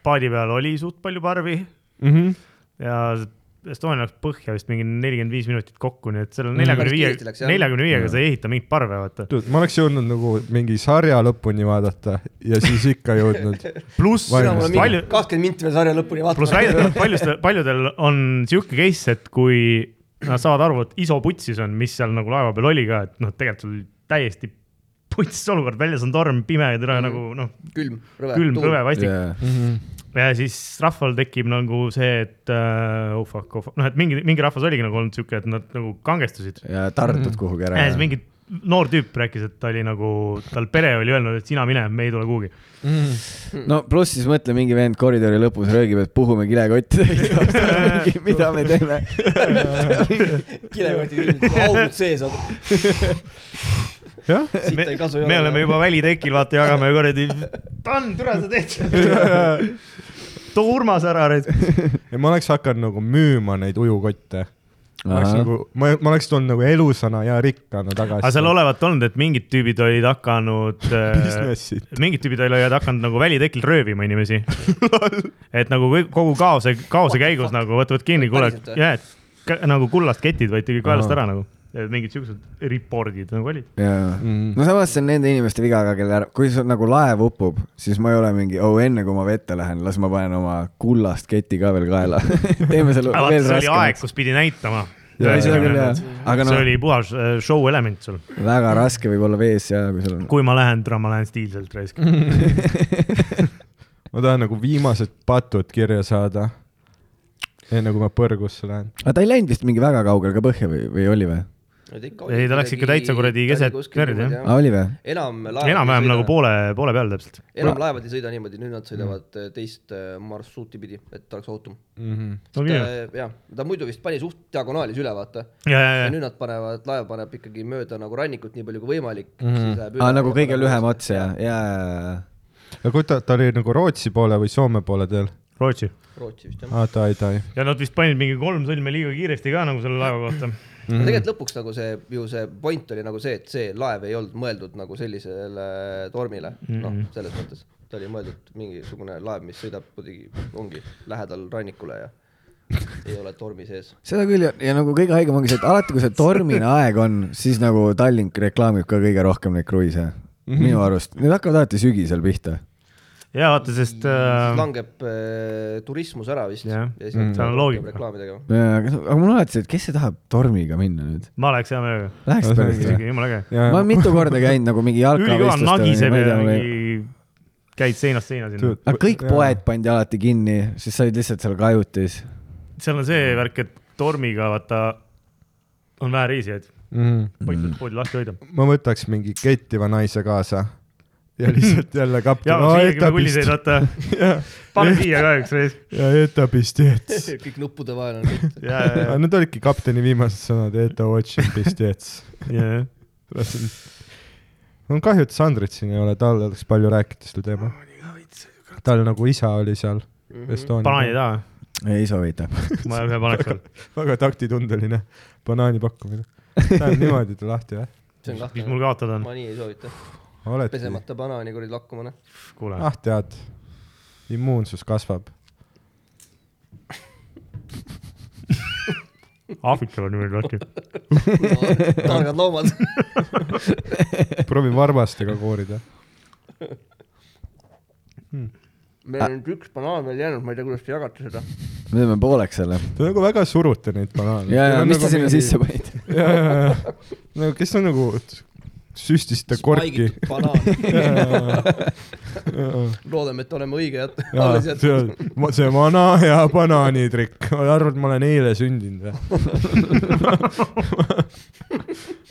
Speaker 3: paadi peal oli suht palju parvi
Speaker 2: Mm -hmm.
Speaker 3: ja Estonia läks põhja vist mingi nelikümmend viis minutit kokku , nii et selle
Speaker 2: Mm.
Speaker 3: neljakümne viie
Speaker 4: Päris kiiresti läks, , jah.
Speaker 3: neljakümne viiega sa ei ehita mingit parve , vaata .
Speaker 2: Dude, ma oleks jõudnud nagu mingi sarja lõpuni vaadata ja siis ikka jõudnud .
Speaker 3: pluss
Speaker 2: Sina mulle mingi-
Speaker 3: palju ,
Speaker 4: kakskümmend minti veel sarja lõpuni
Speaker 3: pluss
Speaker 4: vaatama .
Speaker 3: väidetavalt paljudel , paljudel on sihuke case , et kui nad saavad aru , et iso putsis on , mis seal nagu laeva peal oli ka , et noh , tegelikult oli täiesti putsis olukord , väljas on torm , pime ja türa mm. nagu noh ,
Speaker 4: külm , rõve .
Speaker 3: külm , rõve , vastik .
Speaker 1: Yeah.
Speaker 3: Mhm. ja siis rahval tekib nagu see , et uh, oh fuck , oh fuck , noh , et mingi , mingi rahvas oligi nagu olnud sihuke , et nad nagu kangestusid .
Speaker 1: ja tartud kuhugi
Speaker 3: ja
Speaker 1: ära
Speaker 3: siis . mingi noor tüüp rääkis , et ta oli nagu , tal pere oli öelnud , et sina mine , me ei tule kuhugi .
Speaker 1: no pluss siis mõtle , mingi vend koridori lõpus röögib , et puhume kilekotti täis . mida me teeme ?
Speaker 4: kilekoti külm , augud sees on ,
Speaker 2: jah ,
Speaker 4: siit ei kasu ei
Speaker 3: me oleme juba välitekil , vaata , jagame kuradi , Dan , türa , sa teed . too Urmas ära ,
Speaker 2: ja ma oleks hakanud nagu müüma neid ujukotte . ma oleks
Speaker 1: Ahah.
Speaker 2: nagu , ma , ma oleks tulnud nagu elusana ja rikkana tagasi .
Speaker 3: aga seal olevat olnud , et mingid tüübid olid hakanud äh,
Speaker 2: Businessid. ,
Speaker 3: mingid tükid olid hakanud nagu välitekil röövima inimesi . et nagu kõik- kogu kaose , kaose käigus nagu võtavad kinni , kuule
Speaker 4: Päriselt , või?
Speaker 3: jah , et kä- nagu kullast ketid võeti kaelast
Speaker 1: Ahah.
Speaker 3: ära nagu . mingid siuksed report'id nagu olid .
Speaker 1: jaa ,
Speaker 2: Mhm.
Speaker 1: no samas see on nende inimeste viga ka , kelle ära , kui sul nagu laev upub , siis ma ei ole mingi , oo , enne kui ma vette lähen , las ma panen oma kullast keti ka veel kaela . teeme selle
Speaker 3: aga vaata ,
Speaker 1: veel
Speaker 3: see oli aeg ,
Speaker 1: raskemaks .
Speaker 3: kus pidi näitama .
Speaker 1: Jaa,
Speaker 3: see
Speaker 1: seda küll, jaa. Aga noh-
Speaker 3: oli puhas äh, show element sul .
Speaker 1: väga raske võib olla vees ja kui sul on .
Speaker 3: kui ma lähen , täna ma lähen stiilselt raisk .
Speaker 2: ma tahan nagu viimased patud kirja saada . enne kui ma põrgusse lähen .
Speaker 1: aga ta ei läinud vist mingi väga kaugele ka põhja või , või oli või ?
Speaker 3: Ei, ta läks ikka täitsa kuradi keset verd, jah.
Speaker 1: aa , Ah, oli või ?
Speaker 4: enam laevad
Speaker 3: enam-vähem nagu . poole , poole peal täpselt .
Speaker 4: enam laevad ei sõida niimoodi , nüüd nad sõidavad eh, teist eh, marsruuti pidi , et oleks ohutum .
Speaker 2: Mhm.
Speaker 3: ja ,
Speaker 4: jah , ta muidu vist pani suht diagonaalis üle , vaata .
Speaker 3: ja ,
Speaker 4: ja
Speaker 3: ja ,
Speaker 4: nüüd nad panevad , laev paneb ikkagi mööda nagu rannikut nii palju kui võimalik
Speaker 3: Mhm.
Speaker 4: mm . -hmm.
Speaker 1: aa , nagu kõige lühem ots ja , ja , ja ,
Speaker 2: aga kui ta , ta oli nagu Rootsi poole või Soome poole teel ?
Speaker 3: Rootsi .
Speaker 4: Rootsi vist jah
Speaker 2: aa , Ah, ta ei , ta ei .
Speaker 3: ja nad vist panid mingi kolm sõlme liiga kiiresti ka nagu selle laeva kohta .
Speaker 4: mm .
Speaker 3: Mhm.
Speaker 4: -hmm. tegelikult lõpuks nagu see ju see point oli nagu see , et see laev ei olnud mõeldud nagu sellisele tormile mm -hmm. ,
Speaker 3: Mhm.
Speaker 4: noh , selles mõttes . ta oli mõeldud mingisugune laev , mis sõidab kuidagi , ongi lähedal rannikule ja ei ole tormi sees .
Speaker 1: ja seda küll ja, ja nagu kõige haigem ongi see , et alati , kui see tormine aeg on , siis nagu Tallink reklaamib ka kõige rohkem neid kruiise .
Speaker 3: Mhm.
Speaker 1: minu arust , need hakkavad alati sügisel pihta .
Speaker 3: ja vaata , sest
Speaker 4: siis
Speaker 3: äh,
Speaker 4: langeb äh, turismus ära vist
Speaker 3: Jah.
Speaker 4: ja siis
Speaker 3: Mm. Seal on
Speaker 4: nad peavad
Speaker 3: loogika.
Speaker 4: rohkem reklaami tegema .
Speaker 1: aga aga mul on alati see , et kes see tahab tormiga minna nüüd ?
Speaker 3: ma oleks hea meelega .
Speaker 1: Läheks
Speaker 2: No see
Speaker 1: päris
Speaker 2: ongi
Speaker 1: või ?
Speaker 3: isegi jumala äge .
Speaker 1: ma olen mitu korda käinud nagu mingi
Speaker 3: ülikõva
Speaker 1: jalgravistlustel ,
Speaker 3: nagiseb
Speaker 1: ma ei
Speaker 3: ja
Speaker 1: tea , mul ei .
Speaker 3: mingi , käid seinast seina sinna .
Speaker 1: aga kõik poed pandi alati kinni , siis said lihtsalt seal kajutis .
Speaker 3: seal on see värk , et tormiga vaata on vähe reisijaid ,
Speaker 2: mm. .
Speaker 3: võiks mm. poodi lahti hoida .
Speaker 2: ma võtaks mingi kettiva naise kaasa ja lihtsalt jälle
Speaker 3: ja
Speaker 2: kapten .
Speaker 3: viiekümne pulliseid , nagu vaata . pane siia ka üks reis .
Speaker 2: ja Etapist jets .
Speaker 4: kõik nuppude vahel on kõik .
Speaker 3: ja , ja ,
Speaker 2: Need olidki kapteni viimased sõnad , Etapist jets .
Speaker 3: ja , ja .
Speaker 2: on kahju , et Sandrit siin ei ole , tal oleks palju rääkida sel teemal . tal nagu isa oli seal
Speaker 3: Mhm. banaani ei
Speaker 2: Estonial .
Speaker 3: taha ,
Speaker 1: ei soovita .
Speaker 3: ma ühe paneks veel .
Speaker 2: väga taktitundeline banaani pakkumine . Läheb niimoodi ta lahti või ?
Speaker 4: see on
Speaker 3: mis mul
Speaker 4: kahtlane .
Speaker 3: kaotada on
Speaker 4: ma ? nii ei soovita .
Speaker 2: oled nii ?
Speaker 4: pesemata noh. banaani kuradi lakkumine .
Speaker 3: kuule ,
Speaker 2: ah tead , immuunsus kasvab .
Speaker 3: Aafrikal on niimoodi lahti .
Speaker 4: targad loomad .
Speaker 2: proovi varvastega koorida .
Speaker 4: meil on nüüd üks banaan veel jäänud , ma ei tea , kuidas te jagate seda .
Speaker 1: me teeme pooleks selle .
Speaker 3: Mm.
Speaker 2: Te nagu väga surute neid banaane .
Speaker 1: ja , ja mis te sinna sisse panite ?
Speaker 2: ja , ja , ja , no kes on nagu , süstisite korki .
Speaker 4: Spaigitud banaan ,
Speaker 2: see
Speaker 4: loodame , et oleme õige jät- , alles jätnud .
Speaker 2: on ma- see vana hea banaanitrikk , arvad , ma olen eile sündinud või ?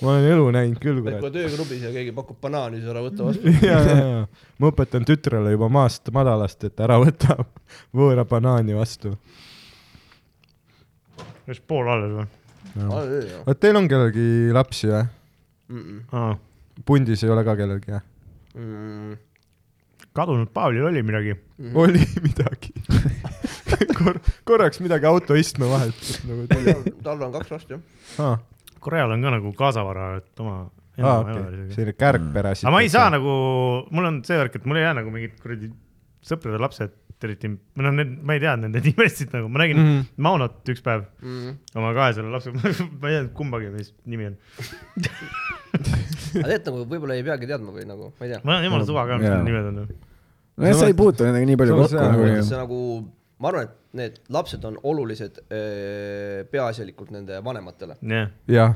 Speaker 2: ma olen elu näinud küll ,
Speaker 4: et kui
Speaker 2: kurat .
Speaker 4: töögrupis ja keegi pakub banaani , siis ära võta vastu .
Speaker 2: ja , ja , ja ma õpetan tütrele juba maast madalast , et ära võta võõra banaani vastu .
Speaker 3: kas pool alles või ?
Speaker 2: vot teil on kellelgi lapsi või ?
Speaker 4: Mm,
Speaker 2: pundis ei ole ka kellelgi jah ?
Speaker 4: mm,
Speaker 3: kadunud Paavlil oli midagi .
Speaker 2: oli midagi Kor . korraks midagi autoistme vahelt nagu tuli .
Speaker 4: tal on kaks last jah .
Speaker 2: aa ,
Speaker 3: Koreal on ka nagu kaasavara , et oma .
Speaker 2: aa , okei , selline kärgpera siis .
Speaker 3: aga ma ei saa . nagu , mul on see värk , et mul ei jää nagu mingid kuradi sõprade lapsed eriti , või noh , need , ma ei tea nende nimesid nagu , ma nägin mm
Speaker 2: Mhm.
Speaker 3: -hmm. Maunot üks päev
Speaker 4: Mm,
Speaker 3: oma kahesele lapsele , ma ei teadnud kumbagi , mis nimi on .
Speaker 4: aga tegelikult nagu võib-olla ei peagi teadma või nagu , ma ei tea .
Speaker 3: mul on jumala suva ka , mis
Speaker 1: Jaa.
Speaker 3: need nimed on . noh.
Speaker 1: nojah , sa ei puutu nendega nii palju
Speaker 2: Samas
Speaker 1: kokku nagu
Speaker 2: jaa, vaata,
Speaker 1: nii .
Speaker 4: see nagu , ma arvan , et need lapsed on olulised öö, peaasjalikult nende vanematele .
Speaker 3: jah ,
Speaker 2: jah ,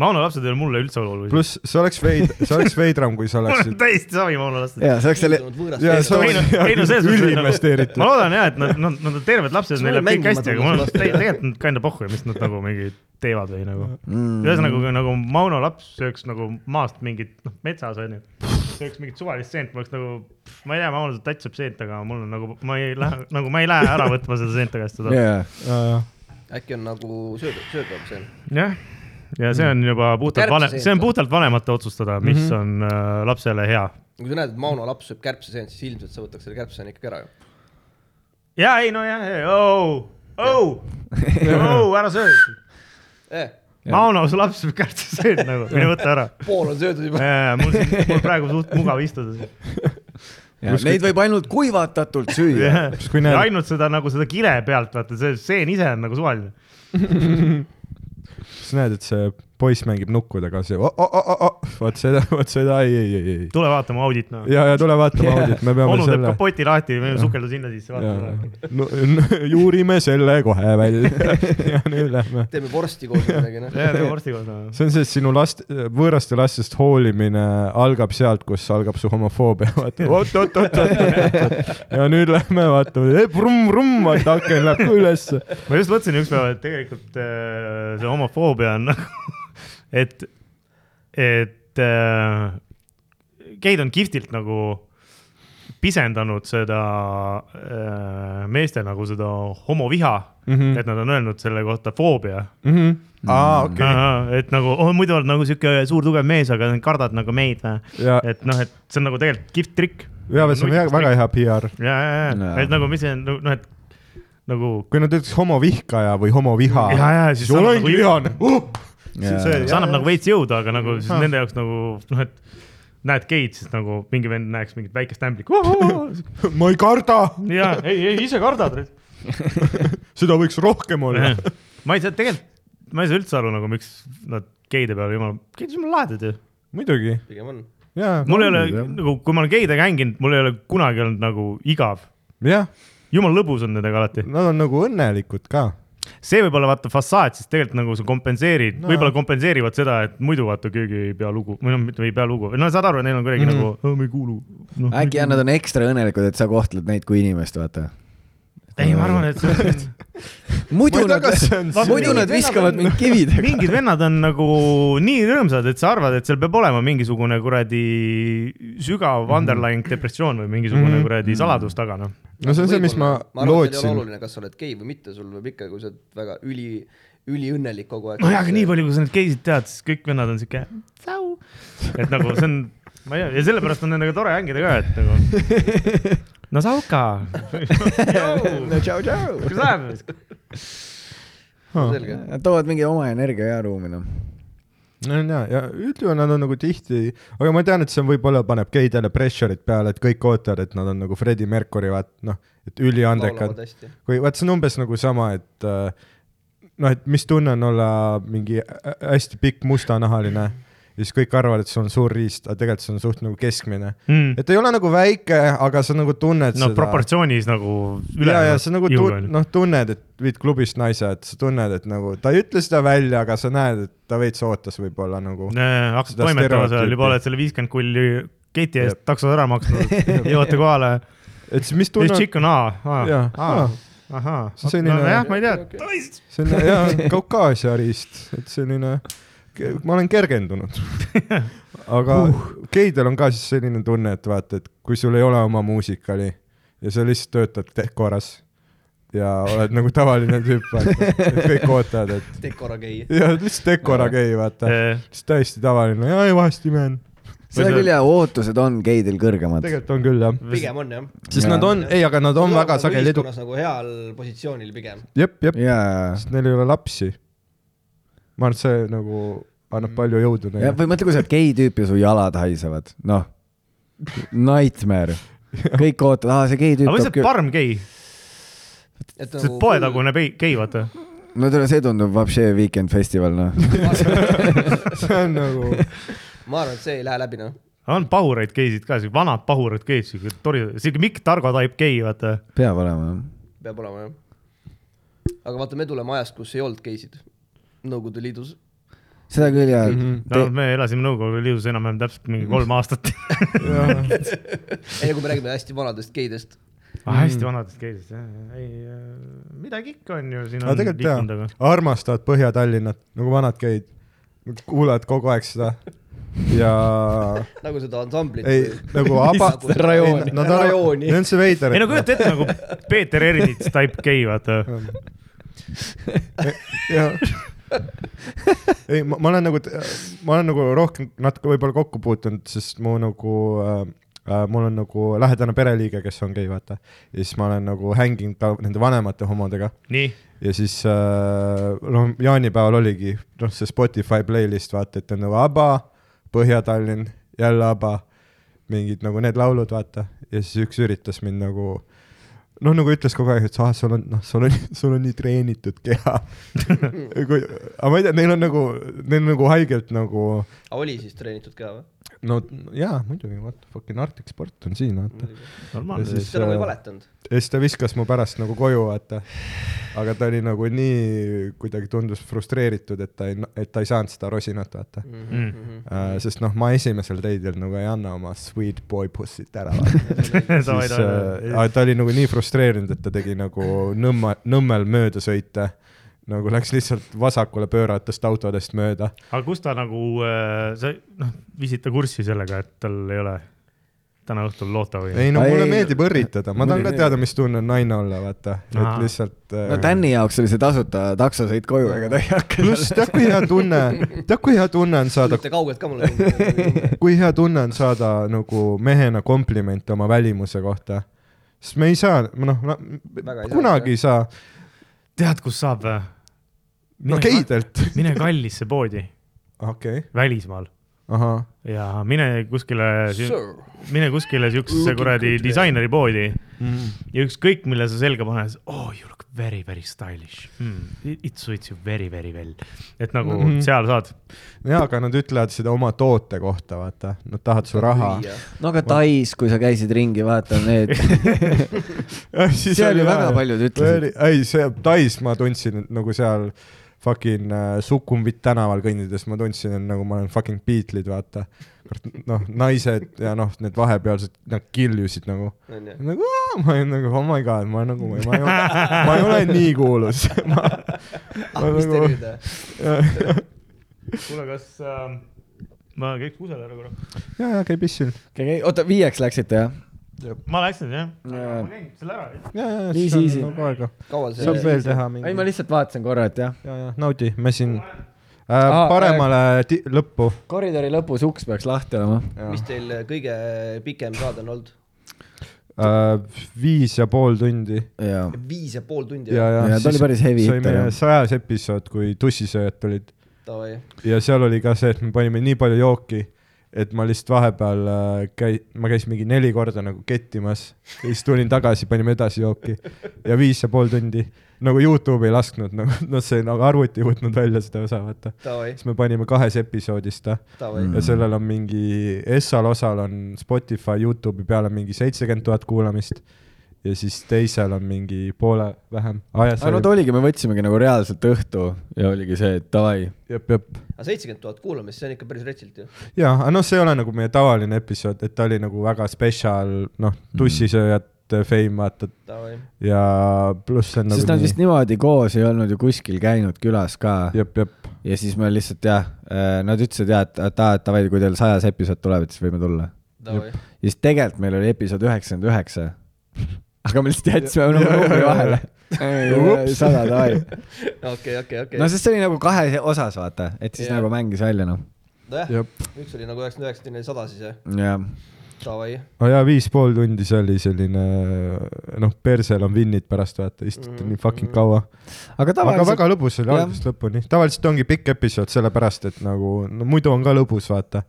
Speaker 3: Mauno lapsed ei ole mulle üldse olulised .
Speaker 2: pluss see oleks veid- , see oleks veidram , kui sa
Speaker 3: mul on
Speaker 2: oleksid .
Speaker 3: täiesti savi Mauno lastel .
Speaker 1: ja see oleks selle ,
Speaker 2: jaa ,
Speaker 4: võõrast
Speaker 2: see
Speaker 3: ei no , ei no
Speaker 2: oleks
Speaker 3: selles suhtes nagu ,
Speaker 2: üliinvesteeritud
Speaker 3: ma . loodan jah , et nad , nad , nad on terved lapsed ,
Speaker 4: See
Speaker 3: neil läheb
Speaker 4: oli
Speaker 3: kõik
Speaker 4: mängimatu
Speaker 3: hästi , aga mul on
Speaker 4: laste-
Speaker 3: te- tegelikult on kinda pohhu , mis nad nagu mingi teevad või nagu .
Speaker 1: Mm.
Speaker 3: ühesõnaga , kui nagu Mauno laps sööks nagu maast mingit , noh metsas onju , sööks mingit suvalist seent , ma oleks nagu , ma ei tea , Mauno tatsib seent , aga mul on nagu , ma ei lähe , nagu ma ei lähe ära võtma seda seente käest seda .
Speaker 1: Mm. jaa ,
Speaker 2: äh,
Speaker 4: äkki on nagu söödav , söödav see .
Speaker 3: jah , ja see on juba puhtalt
Speaker 4: Kärbse
Speaker 3: vanem ,
Speaker 4: seent
Speaker 3: see on
Speaker 4: või?
Speaker 3: puhtalt vanemate otsustada , mis on äh, lapsele hea
Speaker 4: kui sa näed , et Mauno laps sööb kärbseseent , siis ilmselt sa võtaks selle kärbseseent ikkagi ära ju .
Speaker 3: ja ei no jah , oo , oo , oo , ära söö .
Speaker 4: Eh,
Speaker 3: Mauno , su laps peab kärtsi sööma nagu , mine võta ära .
Speaker 4: pool on söödud juba .
Speaker 3: mul siin , mul praegu suht mugav istuda .
Speaker 1: neid võib ainult kuivatatult süüa .
Speaker 2: Siis kui näed-
Speaker 3: ainult seda nagu seda kile pealt , vaata see seen ise on nagu suvaline .
Speaker 2: siis näed , et see poiss mängib nukkudega , see "Oh, o-o-o-o-o , vot seda , vot seda ei , ei , ei , ei .
Speaker 3: tule vaatama audit noh .
Speaker 2: ja , ja tule vaatame audit , me peame
Speaker 3: onu teeb
Speaker 2: selle .
Speaker 3: kapoti lahti , me võime sukelda sinna sisse , vaatame .
Speaker 2: No, juurime selle kohe välja ja nüüd lähme .
Speaker 4: teeme vorsti koos midagi , noh .
Speaker 3: ja teeme vorsti koos noh .
Speaker 2: see on see , et sinu last , võõraste lastest hoolimine algab sealt , kus algab su homofoobia , vaata oot , oot , oot , oot . ja nüüd lähme vaatame , brumm-brumm , vaata aken läheb ka ülesse .
Speaker 3: ma just mõtlesin ükspäev , et tegelikult äh, see homofoobia on nagu , et , et äh, geid on kihvtilt nagu pisendanud seda äh, meeste nagu seda homoviha mm ,
Speaker 2: Mhm.
Speaker 3: -hmm. et nad on öelnud selle kohta foobia
Speaker 2: aa ,
Speaker 1: Mm.
Speaker 2: okei .
Speaker 3: okay. . et nagu oh, muidu oled nagu sihuke suur tugev mees , aga kardad nagu meid või
Speaker 2: Ja- ,
Speaker 3: et noh , et see on nagu tegelikult kihvt trikk .
Speaker 2: ja see on hea- väga hea PR .
Speaker 3: ja , ja , ja
Speaker 1: Jaa. ,
Speaker 3: et nagu mis see on , noh , et nagu
Speaker 2: kui nad ütleks homovihkaja või homoviha
Speaker 3: Ja, ja, , siis
Speaker 2: siis
Speaker 3: annab
Speaker 2: olengi
Speaker 3: nagu-
Speaker 2: vihane .
Speaker 3: see annab nagu veits jõudu , aga nagu siis
Speaker 2: Ah.
Speaker 3: nende jaoks nagu noh , et näed geid , siis nagu mingi vend näeks mingit väikest ämblikku .
Speaker 2: oh, ma ei karda ,
Speaker 3: ja ei , ei ise kardad .
Speaker 2: seda võiks rohkem olla .
Speaker 3: ma ei saa tegelikult , ma ei saa üldse aru nagu , miks nad geide peale jumala , geid on jumala lahedad ju .
Speaker 2: muidugi ,
Speaker 4: pigem on .
Speaker 2: jaa ,
Speaker 3: mul ei ole
Speaker 1: jah.
Speaker 3: nagu , kui ma olen geidega hänginud , mul ei ole kunagi olnud nagu igav .
Speaker 2: jah ,
Speaker 3: jumala lõbus on nendega alati .
Speaker 2: nad on nagu õnnelikud ka
Speaker 3: see võib olla vaata fassaad , sest tegelikult nagu sa kompenseerid no. ,
Speaker 2: No.
Speaker 3: võib-olla kompenseerivad seda , et muidu vaata keegi ei pea lugu või noh , mitte ei pea lugu , no saad aru , et neil on kuidagi mm -hmm. nagu , me ei kuulu no, .
Speaker 1: äkki nad on ekstra õnnelikud , et sa kohtled neid kui inimest , vaata .
Speaker 3: ei , ma arvan , et see on
Speaker 1: muidu
Speaker 2: Ma ei tea,
Speaker 1: nad
Speaker 2: kas see on ,
Speaker 1: muidu nad viskavad mind kividega .
Speaker 3: mingid vennad on nagu nii rõõmsad , et sa arvad , et seal peab olema mingisugune kuradi sügav underlying depressioon või mingisugune
Speaker 2: Mhm.
Speaker 3: kuradi saladus taga , noh .
Speaker 2: no see on see , mis ma
Speaker 4: ma arvan , et seal ei ole
Speaker 2: lootsin .
Speaker 4: oluline , kas sa oled gei või mitte , sul võib ikka , kui sa oled väga üli , üliõnnelik kogu aeg .
Speaker 3: nojah , aga nii . palju , kui sa neid geisid tead , siis kõik vennad on siuke tsau . et nagu see on , ma ei tea , ja sellepärast on nendega tore hängida ka , et nagu . no Sauka ,
Speaker 1: tšau-tšau .
Speaker 3: kuidas läheb ?
Speaker 4: selge .
Speaker 2: Ah,
Speaker 1: Nad toovad mingi oma energia ja ruumi , noh .
Speaker 2: no ja , ja üldjuhul nad on nagu tihti , aga ma tean , et see on võib-olla paneb geidele pressure'it peale , et kõik ootavad , et nad on nagu Freddie Mercury , vaat noh , et
Speaker 4: nagu
Speaker 2: üliandekad
Speaker 4: laulavad . hästi .
Speaker 2: kui vaat see on umbes nagu sama , et äh, noh , et mis tunne on olla mingi hä- hästi pikk äh, mustanahaline ja siis kõik arvavad , et sul on suur riist , aga tegelikult see on suht nagu keskmine
Speaker 3: Mm.
Speaker 2: et ei ole nagu väike , aga sa nagu tunned
Speaker 3: no
Speaker 2: seda .
Speaker 3: proportsioonis nagu üle .
Speaker 2: ja , ja sa nagu tun- , noh , tunned , et viid klubist naise , et sa tunned , et nagu ta ei ütle seda välja , aga sa näed , et ta veits ootas võib-olla nagu .
Speaker 3: hakkad
Speaker 2: seda
Speaker 3: toimetama seal
Speaker 2: stereotüüpi.
Speaker 3: juba , oled selle viiskümmend kulli keti eest
Speaker 2: Jep.
Speaker 3: takso ära maksnud , jõuate kohale .
Speaker 2: et siis mis
Speaker 3: This
Speaker 2: tunne ,
Speaker 3: chick on A , A
Speaker 2: Jaa. ,
Speaker 3: A , ahaa .
Speaker 2: See on selline-
Speaker 3: nojah , ma ei tea ,
Speaker 2: selline jaa , Kaukaasia riist , et selline , ma olen kergendunud . aga uh. geidel on ka siis selline tunne , et vaata , et kui sul ei ole oma muusikali ja sa lihtsalt töötad dekoras ja oled nagu tavaline tüüp , vaata , et kõik ootavad , et
Speaker 4: dekora gei .
Speaker 2: ja lihtsalt dekora gei , vaata
Speaker 3: Jaa. .
Speaker 2: lihtsalt täiesti tavaline , jaa , ei vahest imen .
Speaker 1: seda küll ja ootused on geidel kõrgemad .
Speaker 2: tegelikult on küll jah .
Speaker 4: pigem on jah .
Speaker 2: sest
Speaker 1: Jaa.
Speaker 2: nad on , ei , aga nad on väga sageli edu- .
Speaker 4: nagu heal positsioonil pigem .
Speaker 2: jep , jep ,
Speaker 1: ja ,
Speaker 2: sest neil ei ole lapsi . ma arvan , et see nagu annab palju jõudu
Speaker 1: ja
Speaker 2: neile .
Speaker 1: või mõtle , kui sa oled gei tüüp ja su jalad haisevad , noh , nightmare . kõik ootavad , aa , see gei tüüp
Speaker 3: aga või see
Speaker 1: toob
Speaker 3: on
Speaker 1: küll .
Speaker 3: parm gei ,
Speaker 4: et nagu
Speaker 3: see on poetagune pei- gei , vaata .
Speaker 1: no tule , see tundub vapše Weekend Festival , noh .
Speaker 2: see on nagu ,
Speaker 4: ma arvan , et see ei lähe läbi noh .
Speaker 3: on pahuraid geisid ka , siuke vanad pahurad geid , siuke tori , siuke Mikk Targo type gei , vaata .
Speaker 1: peab olema , jah .
Speaker 4: peab olema jah . aga vaata , me tuleme ajast , kus ei olnud geisid Nõukogude Liidus .
Speaker 1: seda küll ja
Speaker 3: no Noh, me elasime Nõukogude Liidus enam-vähem täpselt mingi kolm aastat .
Speaker 4: ei , kui me räägime hästi vanadest geidest .
Speaker 3: Ah,
Speaker 2: Mm.
Speaker 3: hästi vanadest geidist , jah , ei , midagi ikka on ju siin
Speaker 2: aga
Speaker 3: on
Speaker 2: tegelikult
Speaker 3: liikunud , aga
Speaker 2: jaa , armastavad Põhja-Tallinnat nagu vanad geid . kuulad kogu aeg seda ja
Speaker 4: nagu seda ansamblit .
Speaker 2: ei nagu aba-
Speaker 4: Mis .
Speaker 5: rajooni? Rajooni.
Speaker 2: Neil on see veider .
Speaker 3: ei no kujuta ette nagu Peeter Ernits type gei , vaata .
Speaker 2: jah . ei , ma olen nagu , ma olen nagu rohkem natuke võib-olla kokku puutunud , sest mu nagu äh, , äh, mul on nagu lähedane pereliige , kes on gei , vaata . ja siis ma olen nagu hänginud ka nende vanemate homodega
Speaker 3: nii ,
Speaker 2: ja siis äh, no jaanipäeval oligi noh , see Spotify playlist vaata , et on nagu ABBA , Põhja-Tallinn , jälle ABBA , mingid nagu need laulud vaata ja siis üks üritas mind nagu noh , nagu ütles kogu aeg , et sa- ah, sul on , noh , sul on , sul on nii treenitud keha . aga ma ei tea , neil on nagu , neil on nagu haigelt nagu
Speaker 4: oli siis treenitud ka või ?
Speaker 2: no jaa , muidugi , vaata , fucking Arctic Sport on siin , vaata .
Speaker 3: normaalne .
Speaker 2: Siis,
Speaker 4: seda ma ei
Speaker 2: äh,
Speaker 4: valetanud .
Speaker 2: ja siis ta viskas mu pärast nagu koju , vaata . aga ta oli nagu nii kuidagi tundus frustreeritud , et ta ei , et ta ei saanud seda rosinat , vaata mm .
Speaker 4: Mhm.
Speaker 2: -hmm. sest noh , ma esimesel teidel nagu ei anna oma sweet boy pussy't ära , vaata .
Speaker 3: Davai,
Speaker 2: siis ,
Speaker 3: davai.
Speaker 2: aga ta oli nagu nii frustreerinud , et ta tegi nagu Nõmme , Nõmmel möödasõite nagu läks lihtsalt vasakule pööratest autodest mööda .
Speaker 3: aga kus ta nagu , sa noh , viisid ta kurssi sellega , et tal ei ole täna õhtul loota või ?
Speaker 2: ei no
Speaker 1: Ei,
Speaker 2: mulle
Speaker 1: ei,
Speaker 2: meeldib õrritada , ma tahan ka
Speaker 1: muidugi.
Speaker 2: teada , mis tunne on naine olla , vaata .
Speaker 3: Aa.
Speaker 2: et lihtsalt . äh,
Speaker 1: no Tänni jaoks oli see tasuta taksosõit koju , ega ta ei hakka .
Speaker 2: pluss tead , kui hea tunne , tead , kui hea tunne on saada ,
Speaker 4: mitte kaugelt ka mulle ei tulnud .
Speaker 2: kui hea tunne on saada nagu mehena komplimente oma välimuse kohta . sest me ei saa , noh ,
Speaker 4: Väga ei saa,
Speaker 2: kunagi ei saa ,
Speaker 3: tead , kus saab või ?
Speaker 2: no geidelt .
Speaker 3: mine kallisse poodi
Speaker 2: okei ,
Speaker 3: välismaal
Speaker 2: ahah ,
Speaker 3: ja mine kuskile ,
Speaker 4: Sir.
Speaker 3: mine kuskile siuksesse kuradi disaineri poodi ja ükskõik , mille sa selga paned , oh you look very , very stylish mm. . It suits you very , very well . et nagu mm -hmm. seal saad .
Speaker 2: jaa , aga nad ütlevad seda oma toote kohta , vaata , nad tahavad su
Speaker 4: Ah,
Speaker 2: raha .
Speaker 1: no aga Tais , kui sa käisid ringi , vaata need Seal ju väga paljud ütlesid. .
Speaker 2: ei , see Tais ma tundsin et nagu seal fucking äh, Sukhumvit tänaval kõndides ma tundsin , et nagu ma olen fucking Beatlesid , vaata . noh , naised ja noh , need vahepealsed , nad killusid nagu .
Speaker 4: onju .
Speaker 2: nagu aa, ma olin nagu oh my god , ma nagu , ma ei ole , ma ei ole nii kuulus .
Speaker 4: ah , mis
Speaker 2: nagu-
Speaker 4: tervida .
Speaker 3: kuule , kas äh, ma käiks kusagil ära korra ?
Speaker 2: ja , ja käi pissil .
Speaker 1: oota , viieks läksite jah ?
Speaker 3: ma läksin jah .
Speaker 1: Jaa.
Speaker 3: ma käin selle ära .
Speaker 2: ja , ja , ja
Speaker 1: Easy,
Speaker 2: siis
Speaker 1: easy.
Speaker 2: on nagu aega .
Speaker 4: kaua see
Speaker 2: saab veel teha
Speaker 1: ei , ma
Speaker 2: mingi .
Speaker 1: lihtsalt vaatasin korra , et jah .
Speaker 2: ja , ja naudi , me siin äh,
Speaker 1: Aa,
Speaker 2: paremale ti- lõppu .
Speaker 1: koridori lõpus uks peaks lahti olema .
Speaker 4: mis teil kõige pikem saade on olnud ?
Speaker 2: äh, viis ja pool tundi
Speaker 1: jaa .
Speaker 4: viis ja pool tundi
Speaker 2: ja ,? ja,
Speaker 1: Ja ta oli
Speaker 2: siis
Speaker 1: päris heavy
Speaker 2: sai
Speaker 1: hitter,
Speaker 2: meie
Speaker 1: jah.
Speaker 2: sajas episood , kui tussisööjad tulid
Speaker 4: Davai .
Speaker 2: ja seal oli ka see , et me panime nii palju jooki , et ma lihtsalt vahepeal äh, käi- , ma käisin mingi neli korda nagu kettimas ja siis tulin tagasi , panime edasi jooki ja viis ja pool tundi nagu Youtube'i ei lasknud , nagu noh , see nagu arvuti ei võtnud välja seda osa , vaata .
Speaker 4: Davai.
Speaker 2: siis me panime kahes episoodis ta
Speaker 4: Davai.
Speaker 2: ja sellel on mingi , Essal osal on Spotify , Youtube'i peal on mingi seitsekümmend tuhat kuulamist ja siis teisel on mingi poole vähem .
Speaker 1: aga no ta oligi , me võtsimegi nagu reaalselt õhtu ja oligi see , et davai .
Speaker 2: jep , jep
Speaker 4: aga Ah, seitsekümmend tuhat kuulamist , see on ikka päris retsilt ju .
Speaker 2: jaa , aga noh , see ei ole nagu meie tavaline episood , et ta oli nagu väga spetsial , noh , tussisööjate fame , vaata ,
Speaker 4: Davai .
Speaker 2: ja pluss see on
Speaker 1: sest
Speaker 2: nagu
Speaker 1: nad vist niimoodi koos ei olnud ju kuskil käinud külas ka .
Speaker 2: jep , jep ,
Speaker 1: ja siis me lihtsalt jah , nad ütlesid jah , et aa , et davai , kui teil sajas episood tuleb , et siis võime tulla .
Speaker 4: Davai .
Speaker 1: ja siis tegelikult meil oli episood üheksakümmend üheksa . aga me lihtsalt jätsime oma numbri vahele . sada davai .
Speaker 4: okei , okei , okei
Speaker 1: no . sest see oli nagu kahes osas , vaata , et siis
Speaker 4: Jah.
Speaker 1: nagu mängis välja noh .
Speaker 4: nojah ,
Speaker 2: jep .
Speaker 4: üks oli nagu üheksakümmend üheksa , teine oli sada siis jah .
Speaker 1: jah ,
Speaker 4: Davai .
Speaker 2: no jaa , viis pool tundi , see oli selline , noh , persel on vinnid pärast , vaata , istuti
Speaker 4: Mhm,
Speaker 2: nii fucking kaua .
Speaker 1: aga
Speaker 2: aga
Speaker 1: Mm, tavaliselt .
Speaker 2: väga lõbus oli
Speaker 1: jah.
Speaker 2: algusest lõpuni , tavaliselt ongi pikk episood , sellepärast et nagu , no muidu on ka lõbus , vaata .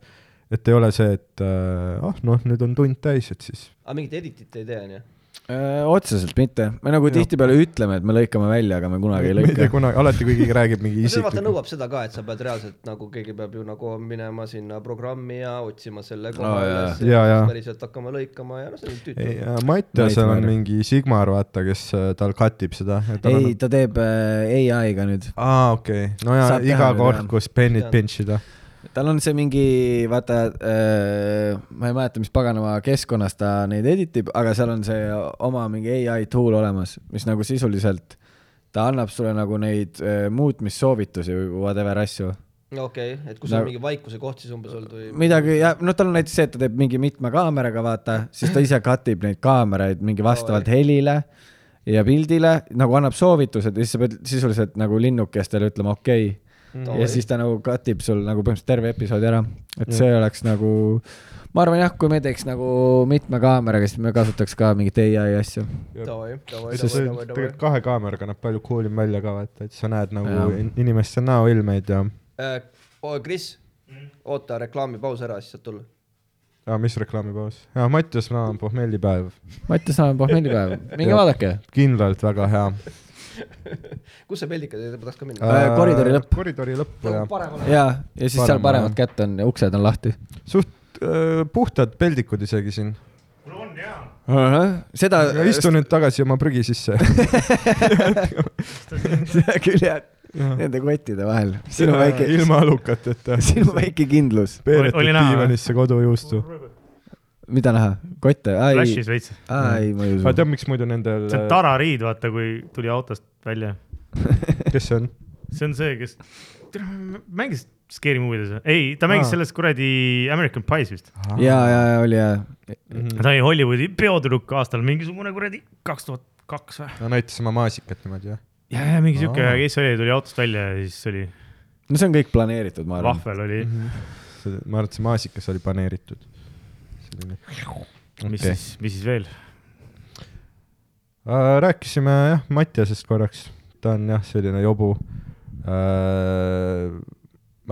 Speaker 2: et ei ole see , et äh, ah oh, noh , nüüd on tund täis , et siis
Speaker 4: aga Ah, mingit editit ei tee onju ?
Speaker 1: Öö, Äh, otseselt mitte , me nagu tihtipeale ütleme , et me lõikame välja , aga me kunagi ei
Speaker 2: mitte
Speaker 1: lõika .
Speaker 2: kunagi , alati kui keegi räägib mingi
Speaker 4: no see vaata
Speaker 2: isiklikku .
Speaker 4: nõuab seda ka , et sa pead reaalselt nagu keegi peab ju nagu minema sinna programmi ja otsima selle koha
Speaker 1: Aa, jaa.
Speaker 4: üles
Speaker 2: Jaa,
Speaker 4: ja
Speaker 2: jaa.
Speaker 4: siis päriselt hakkama lõikama ja noh , see on
Speaker 2: ei äh,
Speaker 4: tüütu .,
Speaker 2: Mattiasel on
Speaker 1: Nightmare.
Speaker 2: mingi Sigmar , vaata , kes äh, tal cut ib seda .
Speaker 1: ei , ta teeb äh, ai-ga nüüd ,
Speaker 2: aa , okei , no ja
Speaker 1: Saab teha
Speaker 2: iga
Speaker 1: nüüd,
Speaker 2: kord
Speaker 1: jah. ,
Speaker 2: kus pennid
Speaker 4: Tean.
Speaker 2: pinch ida .
Speaker 1: tal on see mingi , vaata äh, , ma ei mäleta , mis paganama keskkonnas ta neid edit ib , aga seal on see oma mingi ai tool olemas , mis nagu sisuliselt , ta annab sulle nagu neid äh, muutmissoovitusi või whatever asju
Speaker 4: okei , et kui sul
Speaker 1: No-
Speaker 4: on mingi vaikuse koht siis umbes olnud või ?
Speaker 1: midagi ja noh , tal on näiteks see , et ta teeb mingi mitme kaameraga , vaata , siis ta ise cut ib neid kaameraid mingi vastavalt helile ja pildile , nagu annab soovitused ja siis sa pead sisuliselt nagu linnukestele ütlema okei okay. . ja siis ta nagu cut ib sul nagu põhimõtteliselt terve episoodi ära , et see oleks nagu , ma arvan jah , kui me teeks nagu mitme kaameraga , siis me kasutaks ka mingit ai asju .
Speaker 4: Davai , davai ,
Speaker 2: sest
Speaker 4: davai , davai , davai
Speaker 2: tegelikult . kahe kaameraga näeb palju cool im välja ka , vaata , et sa näed nagu
Speaker 1: Jaa.
Speaker 2: in- inimeste näoilmeid ja ,
Speaker 4: Oh, Kris , oota reklaamipaus ära , siis saad tulla .
Speaker 2: ja mis reklaamipaus . ja Mattias Naa on pohmellipäev ,
Speaker 1: Mati Saam , pohmellipäev , minge
Speaker 2: Jah.
Speaker 1: vaadake .
Speaker 2: kindlalt väga hea .
Speaker 4: kus see peldik oli , ma tahaks ka
Speaker 2: Ah,
Speaker 4: minna .
Speaker 1: Äh, koridori lõpp.
Speaker 2: koridori lõpp
Speaker 4: nagu
Speaker 2: ja
Speaker 4: paremale .
Speaker 1: ja , ja siis seal
Speaker 2: Parem-
Speaker 1: paremat kätt on ja uksed on lahti .
Speaker 2: suht äh, puhtad peldikud isegi siin .
Speaker 3: mul on jaa .
Speaker 1: seda .
Speaker 2: istu nüüd tagasi oma prügi sisse .
Speaker 1: seda küll jah , nende kottide vahel . sinu väike ,
Speaker 2: ilma alukateta .
Speaker 1: sinu väike kindlus ,
Speaker 2: peeretud
Speaker 3: Oli näha, või?
Speaker 2: diivanisse kodujuustu .
Speaker 1: mida näha , kotte , ai ,
Speaker 3: Flash'is veits .
Speaker 1: ai , ma ei
Speaker 2: aga
Speaker 1: usu .
Speaker 2: tead , miks muidu nendel , äh,
Speaker 3: see on Tara Riid , vaata , kui tuli autost välja .
Speaker 2: kes see on ?
Speaker 3: see on see , kes , mängis Scary Movies või ? ei , ta mängis
Speaker 2: Aa.
Speaker 3: selles kuradi American Pies vist .
Speaker 1: ja , ja , ja oli ja ,
Speaker 3: ta oli Hollywoodi peotüdruk aastal mingisugune kuradi kaks tuhat kaks või ?
Speaker 2: ta näitas oma maasikat niimoodi jah ?
Speaker 3: ja , ja mingi siuke
Speaker 2: Aa. ,
Speaker 3: kes oli , tuli autost välja ja siis oli , Mhm.
Speaker 1: no see on kõik planeeritud , ma arvan .
Speaker 3: vahvel oli ,
Speaker 2: ma arvan , et see maasikas oli paneeritud .
Speaker 3: mis
Speaker 2: Okei.
Speaker 3: siis , mis siis veel ?
Speaker 2: Äh, rääkisime jah Mattiasest korraks , ta on jah , selline jobu .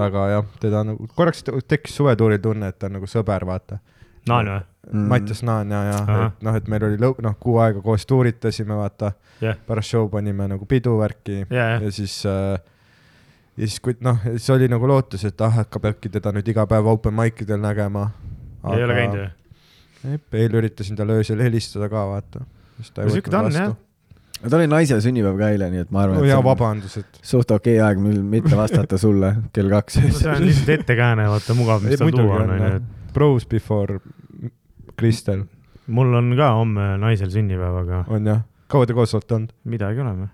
Speaker 2: väga jah , teda nagu korraks te- tekkis suvetuuril tunne , et ta on nagu sõber , vaata .
Speaker 3: Naan või ?
Speaker 1: Mm.
Speaker 2: Mattias Naan ja , ja
Speaker 3: Ahah.
Speaker 2: et noh , et meil oli lõu- , noh , kuu aega koos tuuritasime , vaata
Speaker 3: jah ,
Speaker 2: pärast show panime nagu piduvärki
Speaker 3: Jaa, jah.
Speaker 2: ja siis äh, ja siis , kui noh , siis oli nagu lootus , et ah , hakkab äkki teda nüüd iga päev open mic idel nägema .
Speaker 3: ei ole käinud või ?
Speaker 2: jah ? eile üritasin talle öösel helistada ka , vaata .
Speaker 3: No sihuke ta on, jah.
Speaker 1: tal oli naise sünnipäev ka eile , nii et ma arvan ,
Speaker 2: no
Speaker 1: et
Speaker 2: ja
Speaker 1: see on
Speaker 2: vabandused .
Speaker 1: suht okei aeg , mil mitte vastata sulle kell kaks
Speaker 3: no see on lihtsalt ettekääne , vaata mugav , mis tal tuua on , onju , et
Speaker 2: Bros before Kristel
Speaker 3: mul on ka homme naisel sünnipäev , aga
Speaker 2: on jah , kaua te koos olete olnud ?
Speaker 3: midagi oleme .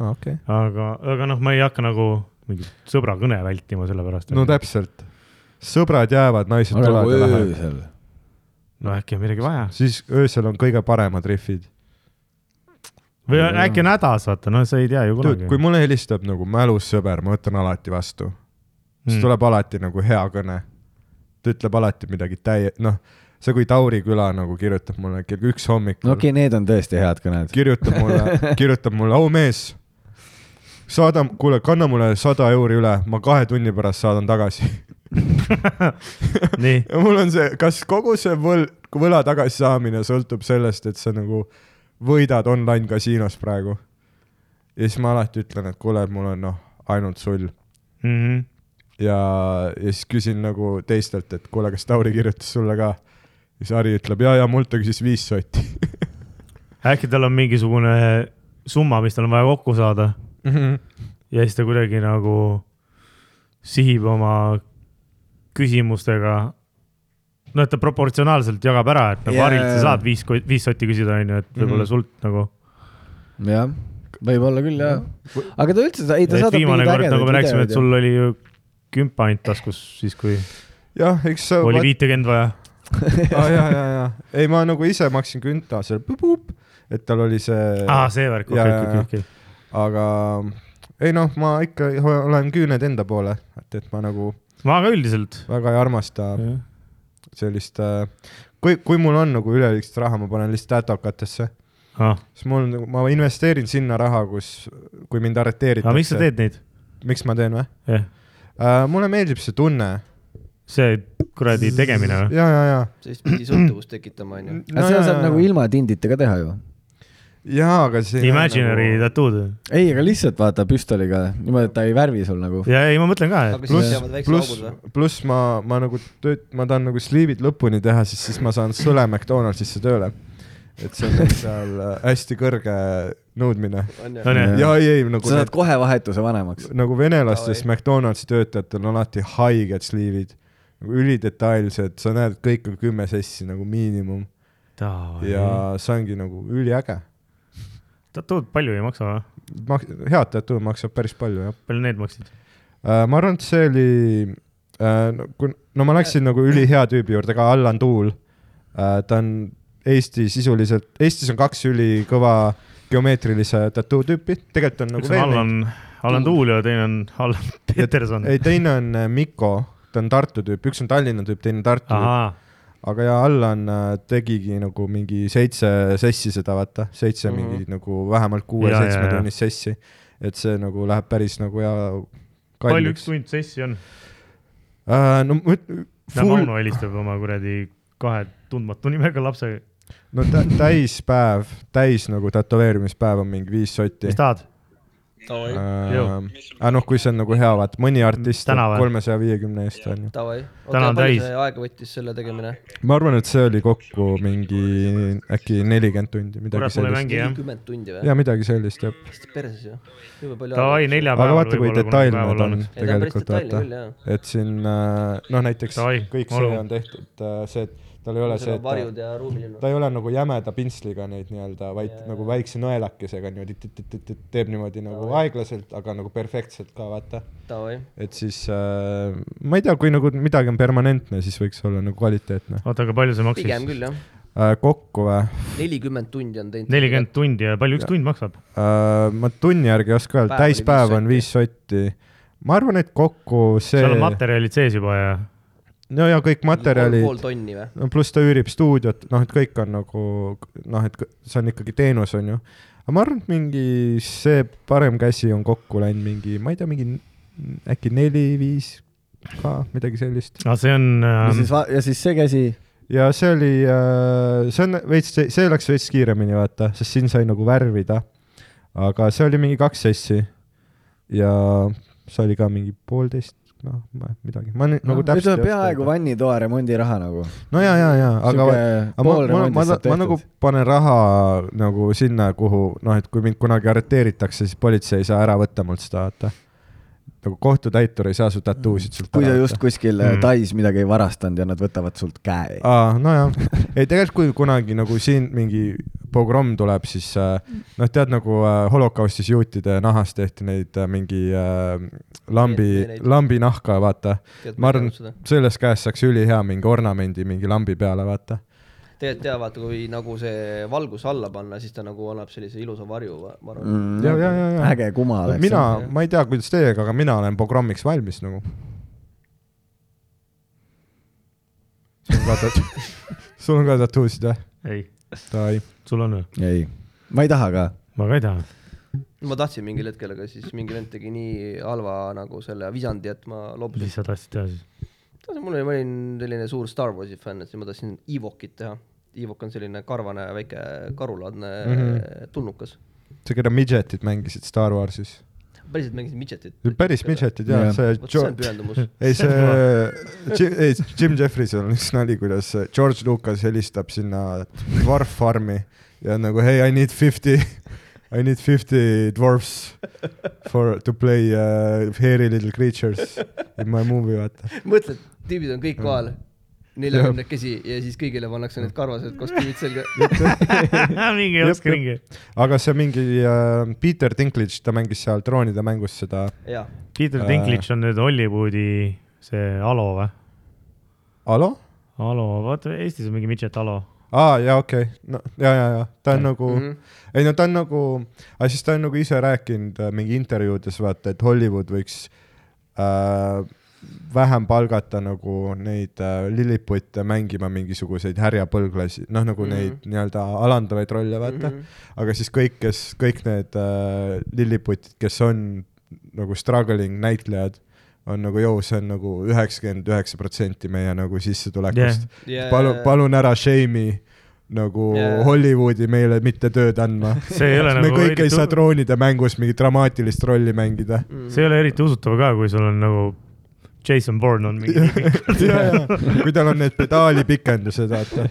Speaker 2: aa , okei okay. .
Speaker 3: aga , aga noh , ma ei hakka nagu mingit sõbra kõne vältima selle pärast .
Speaker 2: no täpselt . sõbrad jäävad , naised tulevad ja lähevad .
Speaker 1: öösel .
Speaker 3: no noh, äkki on midagi vaja
Speaker 2: siis öösel on kõige paremad rihvid .
Speaker 3: või on- äkki on hädas , vaata , no sa ei tea ju
Speaker 2: Dude,
Speaker 3: kunagi .
Speaker 2: kui mulle helistab nagu mälus sõber , ma võtan alati vastu mm. . siis tuleb alati nagu hea kõne . ta ütleb alati midagi täie- , noh , see kui Tauri küla nagu kirjutab mulle kell üks hommikul
Speaker 1: no okei , need on tõesti head kõned .
Speaker 2: kirjutab mulle , kirjutab mulle , au mees , saada , kuule , kanna mulle sada euri üle , ma kahe tunni pärast saadan tagasi .
Speaker 3: nii ,
Speaker 2: ja mul on see , kas kogu see võl- , võla tagasisaamine sõltub sellest , et sa nagu võidad online kasiinos praegu . ja siis ma alati ütlen , et kuule , et mul on noh , ainult sul
Speaker 3: Mhm.
Speaker 2: ja , ja siis küsin nagu teistelt , et kuule , kas Tauri kirjutas sulle ka ? siis Harri ütleb ja , ja mult ta küsis viis sotti
Speaker 3: äkki tal on mingisugune summa , mis tal on vaja kokku saada
Speaker 2: mm .
Speaker 3: Mhm.
Speaker 2: -hmm.
Speaker 3: ja siis ta kuidagi nagu sihib oma küsimustega . no et ta proportsionaalselt jagab ära , et nagu
Speaker 1: Jaa.
Speaker 3: Harilt sa saad viis , viis sotti küsida , onju , et võib-olla
Speaker 2: Mhm.
Speaker 3: sult nagu .
Speaker 1: jah , võib-olla küll jah . aga ta üldse , ei ta
Speaker 3: et
Speaker 1: saadab
Speaker 3: viimane
Speaker 1: mingeid
Speaker 3: kord nagu
Speaker 1: ägedaid
Speaker 3: me rääkisime , et
Speaker 1: videoid .
Speaker 3: sul oli ju kümpa ainult taskus , siis kui
Speaker 2: jah , eks sa .
Speaker 3: oli viitekümmend vaja .
Speaker 2: ah, . ja , ja , ja , ei ma nagu ise maksin künta seal , et tal oli see
Speaker 3: aa , Ah, see värk , okei ,
Speaker 2: Jaa, jaa,
Speaker 3: okei ,
Speaker 2: jaa.
Speaker 3: okei .
Speaker 2: aga ei noh , ma ikka ho- olen küüned enda poole , et , et ma nagu
Speaker 3: ma ka üldiselt .
Speaker 2: väga ei armasta sellist äh, , kui , kui mul on nagu üleliigset raha , ma panen lihtsalt ätokatesse ,
Speaker 3: aga
Speaker 2: siis mul on nagu , ma investeerin sinna raha , kus , kui mind arreteeritakse .
Speaker 3: miks sa ? teed neid ?
Speaker 2: miks ma teen või äh, ?
Speaker 3: jah ,
Speaker 2: mulle meeldib see tunne .
Speaker 3: see kuradi tegemine või ?
Speaker 2: ja , ja , ja .
Speaker 4: siis pidi sõltuvust tekitama , onju .
Speaker 1: aga seda saab nagu . ilma tindita ka teha ju .
Speaker 2: jaa , aga see .
Speaker 3: Imaginary
Speaker 2: Nagu...
Speaker 3: tattoo'd või ?
Speaker 1: ei , aga lihtsalt vaata püstoliga , niimoodi , et ta ei värvi sul nagu .
Speaker 3: ja , ei , ma mõtlen ka , et
Speaker 4: aga siis
Speaker 2: pluss
Speaker 4: jäävad , väiksed
Speaker 2: pluss
Speaker 4: augud või ?,
Speaker 2: pluss ma , ma nagu tööd , ma tahan nagu sliivid lõpuni teha , siis , siis ma saan sõle McDonaldsisse tööle . et see on seal äh, hästi kõrge nõudmine .
Speaker 4: onju .
Speaker 3: on ju .
Speaker 2: ja ei , ei nagu .
Speaker 1: sa saad kohe vahetuse vanemaks .
Speaker 2: nagu venelastes
Speaker 4: Davai.
Speaker 2: McDonaldsi töötajatel on alati haiged sliivid , nagu ülidetailsed , sa näed , et kõik on kümme sessi nagu miinimum ja see ongi nagu üliäge .
Speaker 3: tattood palju ei maksa või ?
Speaker 2: Mak- , head tattoo maksab päris palju jah
Speaker 3: palju need maksid ?
Speaker 2: äh, . ma arvan , et see oli äh, , no, kun- no ma läksin nagu ülihea tüübi juurde ka , Allan Tuul äh, . ta on Eesti sisuliselt , Eestis on kaks ülikõva geomeetrilise tattoo tüüpi , tegelikult on nagu
Speaker 3: üks on
Speaker 2: veel neid.
Speaker 3: Allan , Allan Tuul ja teine on Allan Peterson .
Speaker 2: ei , teine on äh, Mikko , ta on Tartu tüüp , üks on Tallinna tüüp , teine Tartu tüüp .
Speaker 3: ahaa ,
Speaker 2: aga ja Allan äh, tegigi nagu mingi seitse sessi seda vaata , seitse mm
Speaker 4: Mhm.
Speaker 2: -hmm. mingi nagu vähemalt
Speaker 3: Ja, ja, ja.
Speaker 2: kuue-seitsmetunnist sessi . et see nagu läheb päris nagu ja
Speaker 3: palju üks
Speaker 2: kalliks .
Speaker 3: tund sessi on ?
Speaker 2: Uh, no ma ütlen , full
Speaker 3: Mauno , helistab oma kuradi kahe tundmatu nimega lapsega .
Speaker 2: no tä- täispäev , täis nagu tätoveerimispäev on mingi viis sotti
Speaker 3: mis . tahad ?
Speaker 2: Ah.
Speaker 3: Jõu.
Speaker 2: aga noh , kui see on nagu hea , vaat mõni artist
Speaker 3: Täna või?
Speaker 2: kolmesaja viiekümne eest on ju .
Speaker 4: Davai ,
Speaker 3: Täna
Speaker 4: oota
Speaker 3: on ,
Speaker 4: palju
Speaker 3: täis.
Speaker 4: see aega võttis selle tegemine ?
Speaker 2: ma arvan , et see oli kokku mingi äkki nelikümmend tundi , midagi
Speaker 3: kurat , mul ei
Speaker 2: sellist .
Speaker 3: mängi jah .
Speaker 4: nelikümmend tundi või ?
Speaker 2: ja midagi sellist jah .
Speaker 4: hästi perses ju , jube palju
Speaker 3: Davai ,
Speaker 4: aega .
Speaker 2: aga
Speaker 3: neljapäeval .
Speaker 2: vaata , kui detailne ta on
Speaker 4: Ei, ta on päris
Speaker 2: tegelikult ,
Speaker 4: detailne
Speaker 2: vaata
Speaker 4: küll, jah. .
Speaker 2: et siin äh, noh , näiteks
Speaker 3: Davai,
Speaker 2: kõik
Speaker 3: malu.
Speaker 2: see on tehtud äh, see , et tal ei ole see ,
Speaker 4: see .
Speaker 2: et
Speaker 4: varjud ja ruumilinnud
Speaker 2: ta . ta ei ole nagu jämeda pintsliga neid nii-öelda , vaid yeah. nagu väikse nõelakesega niimoodi tüt-tüt-tüt teeb niimoodi nagu aeglaselt , aga nagu perfektselt ka vaata .
Speaker 4: Davai ,
Speaker 2: et siis äh, ma ei tea , kui nagu midagi on permanentne , siis võiks olla nagu kvaliteetne
Speaker 3: oota , aga palju see
Speaker 4: pigem
Speaker 3: maksis ?
Speaker 4: küll jah ,
Speaker 2: äh, . kokku või
Speaker 4: nelikümmend tundi on teinud .
Speaker 3: nelikümmend tundi ja palju üks tund maksab ?
Speaker 2: äh, ? ma tunni järgi ei oska öelda ,
Speaker 4: Päev oli
Speaker 2: täispäev
Speaker 4: viis
Speaker 2: on viis sotti . ma arvan , et kokku see
Speaker 3: seal , on materjalid sees juba ja .
Speaker 2: no ja kõik materjalid
Speaker 4: pool tonni või ?
Speaker 2: no pluss ta üürib stuudiot , noh , et kõik on nagu noh , et kõ- see on ikkagi teenus , on ju . aga ma arvan , et mingi see parem käsi on kokku läinud mingi , ma ei tea , mingi n- äkki neli-viis ka , midagi sellist .
Speaker 3: aga Ah, see on
Speaker 1: ja siis
Speaker 3: äh, ,
Speaker 1: ja siis see käsi ,
Speaker 2: ja see oli , see on veits , see läks veits kiiremini , vaata , sest siin sai nagu värvida . aga see oli mingi kaks sessi ja see oli ka mingi poolteist , noh , midagi , ma nüüd nagu täpselt
Speaker 1: ütleme Noh, peaaegu vannitoa remondiraha nagu .
Speaker 2: no ja , ja , ja , aga
Speaker 1: Sihuke
Speaker 2: aga ma
Speaker 1: pool ,
Speaker 2: ma , ma,
Speaker 1: remondist saab
Speaker 2: ma nagu
Speaker 1: tehtud.
Speaker 2: panen raha nagu sinna , kuhu noh , et kui mind kunagi arreteeritakse , siis politsei ei saa ära võtta mult seda , vaata . nagu kohtutäitur ei saa su tattooosid sult
Speaker 1: kui sa
Speaker 2: ära
Speaker 1: just
Speaker 2: võtta .
Speaker 1: kuskil
Speaker 3: Mm.
Speaker 1: mm. Tais midagi ei varastanud ja nad võtavad sult käe .
Speaker 2: aa , nojah , ei tegelikult , kui kunagi nagu siin mingi pogromm tuleb , siis äh, noh , tead nagu äh, holokaustis juutide nahast tehti neid äh, mingi äh,
Speaker 4: Neid-
Speaker 2: lambi
Speaker 4: neid- ,
Speaker 2: lambinahka , vaata . ma arvan , selles käes saaks ülihea mingi ornamendi mingi lambi peale , vaata .
Speaker 4: tegelikult jaa , vaata kui nagu see valgus alla panna , siis ta nagu annab sellise ilusa varju , ma arvan mm. .
Speaker 1: Mm,
Speaker 2: ja , ja , ja , ja .
Speaker 1: äge kuma oleks .
Speaker 2: mina , ma ei tea , kuidas teiega , aga mina olen pogrommiks valmis nagu . sul ka tat- , sul on ka tattoosid või ?
Speaker 3: ei ,
Speaker 2: Davai .
Speaker 3: sul on või ?
Speaker 1: ei , ma ei taha ka .
Speaker 3: ma ka ei taha .
Speaker 4: ma tahtsin mingil hetkel , aga siis mingi vend tegi nii halva nagu selle visandi , et ma loobusin .
Speaker 3: mis sa tahtsid teha siis ?
Speaker 4: mul oli , ma olin selline suur Star Warsi fänn , et siis ma tahtsin Evokit teha . Evok on selline karvane väike karulaadne mm -hmm. tulnukas .
Speaker 2: sa , keda midgetid mängisid Star Warsis ?
Speaker 4: päriselt mängisin midžetit .
Speaker 2: päris midgetid jaa ,
Speaker 1: Jaa.
Speaker 2: see
Speaker 4: vot see on
Speaker 2: George ,
Speaker 4: pühendumus .
Speaker 2: ei see , ei Jim Jeffrisil on üks nali , kuidas George Lucas helistab sinna dwarf farm'i ja on nagu hey I need fifty , I need fifty dwarfs for to play uh, hairy little creatures in my movie , vaata .
Speaker 4: mõtled , tüübid on kõik kohal , neljakümnekesi ja siis kõigile pannakse need karvased kostüümid selga .
Speaker 3: mingi
Speaker 2: Jep,
Speaker 3: jooks
Speaker 2: jep.
Speaker 3: ringi .
Speaker 2: aga see mingi uh, Peter Dinklage , ta mängis seal troonide mängus seda
Speaker 4: jah ,
Speaker 3: Peter
Speaker 2: Äh.
Speaker 3: Dinklage on nüüd Hollywoodi see Alo või ?
Speaker 2: Alo ?
Speaker 3: Alo , vaata Eestis on mingi midžet Alo .
Speaker 2: aa ah, , jaa , okei okay. , no ja , ja , ja ta on nagu mm ,
Speaker 4: Mhm.
Speaker 2: -hmm. ei no ta on nagu , aga siis ta on nagu ise rääkinud äh, mingi intervjuudes vaata , et Hollywood võiks äh, vähem palgata nagu neid äh, lilliputte mängima mingisuguseid härjapõlglasi , noh nagu mm
Speaker 4: Mhm.
Speaker 2: -hmm. neid nii-öelda alandavaid rolle , vaata mm . -hmm. aga siis kõik , kes , kõik need äh, lilliputid , kes on nagu struggling näitlejad , on nagu , joo , see on nagu üheksakümmend üheksa protsenti meie nagu sissetulekust
Speaker 3: Jah.
Speaker 4: Jaa.
Speaker 2: palun , palun ära shame'i nagu
Speaker 4: Jaa.
Speaker 2: yeah. Hollywoodi meile mitte tööd andma .
Speaker 3: See ei ole
Speaker 2: me
Speaker 3: nagu
Speaker 2: kõik ei
Speaker 3: eriti-
Speaker 2: saa troonide mängus mingit dramaatilist rolli mängida .
Speaker 4: Mm.
Speaker 3: see ei ole eriti usutav ka , kui sul on nagu Jason Bourne on mingi
Speaker 2: kui tal on need pedaalipikendused , vaata .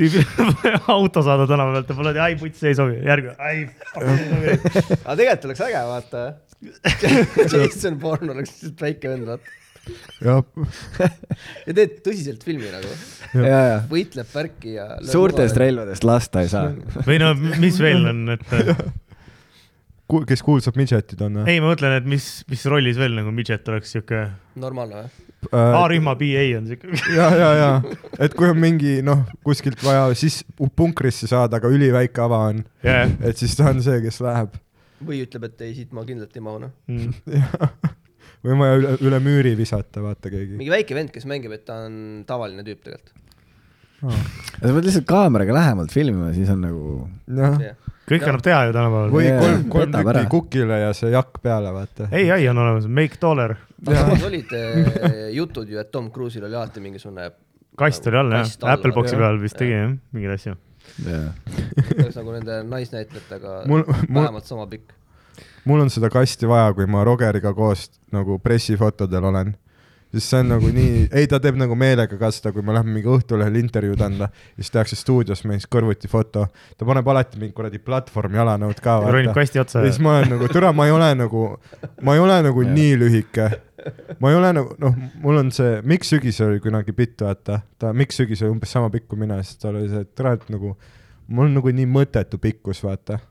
Speaker 3: tüübi auto saada tänava pealt ja pole , ai putsi ei sobi , järgmine , ai fuck .
Speaker 4: aga tegelikult oleks äge , vaata . Jason Bourne oleks lihtsalt väike vend , vaata . ja teed tõsiselt filmi nagu ,
Speaker 1: ja , ja
Speaker 4: võitleb värki ja .
Speaker 1: suurtest . relvadest lasta ei saa .
Speaker 3: või no mis veel on , et
Speaker 2: kes kuulsab midžetid on või ?
Speaker 3: ei , ma mõtlen , et mis , mis rollis veel nagu midžet oleks siuke ,
Speaker 4: normaalne või ?
Speaker 3: A-rühma BA on siuke .
Speaker 2: Äh, ja , ja , ja , et kui on mingi noh , kuskilt vaja siis punkrisse saada , aga üliväike ava on ,
Speaker 3: jah ,
Speaker 2: et siis ta on see , kes läheb .
Speaker 4: või ütleb , et ei , siit ma kindlalt ei mahu , noh .
Speaker 3: Mm.
Speaker 2: või on vaja üle , üle müüri visata , vaata keegi .
Speaker 4: mingi väike vend , kes mängib , et ta on tavaline tüüp tegelikult .
Speaker 1: sa pead lihtsalt kaameraga lähemalt filmima , siis on nagu ,
Speaker 2: jah
Speaker 3: kõik annab teha ju tänapäeval .
Speaker 2: või
Speaker 1: Jaa,
Speaker 2: kolm , kolm
Speaker 1: petab
Speaker 2: tükki
Speaker 1: ära.
Speaker 2: kukile ja see jakk peale , vaata .
Speaker 3: ei , ai on olemas , make dollar ,
Speaker 4: aga samas olid eh, jutud ju , et Tom Cruise'il oli alati mingisugune ,
Speaker 3: kast oli all jah
Speaker 4: Kast , all,
Speaker 3: Apple Boxi
Speaker 2: jah.
Speaker 3: peal vist tegi jah , mingeid asju .
Speaker 1: jah .
Speaker 4: peaks nagu nende naisnäitlejatega
Speaker 2: Mul- mul-
Speaker 4: vähemalt sama pikk .
Speaker 2: mul on seda kasti vaja , kui ma Rogeriga koos nagu pressifotodel olen . sest see on nagu nii , ei ta teeb nagu meelega ka seda , kui me läheme mingi Õhtulehel intervjuud anda , siis tehakse stuudios meil siis kõrvuti foto . ta paneb alati mingi kuradi platvorm jalanõud ka .
Speaker 3: ronib kasti otsa
Speaker 2: ja siis ma olen nagu , türa , ma ei ole nagu , ma ei ole nagu nii lühike . ma ei ole nagu , noh , mul on see , Mikk Sügisel oli kunagi bitt , vaata , ta , Mikk Sügis oli umbes sama pikk kui mina , siis tal oli see , et türa , et nagu mul on nagu nii mõttetu pikkus , vaata .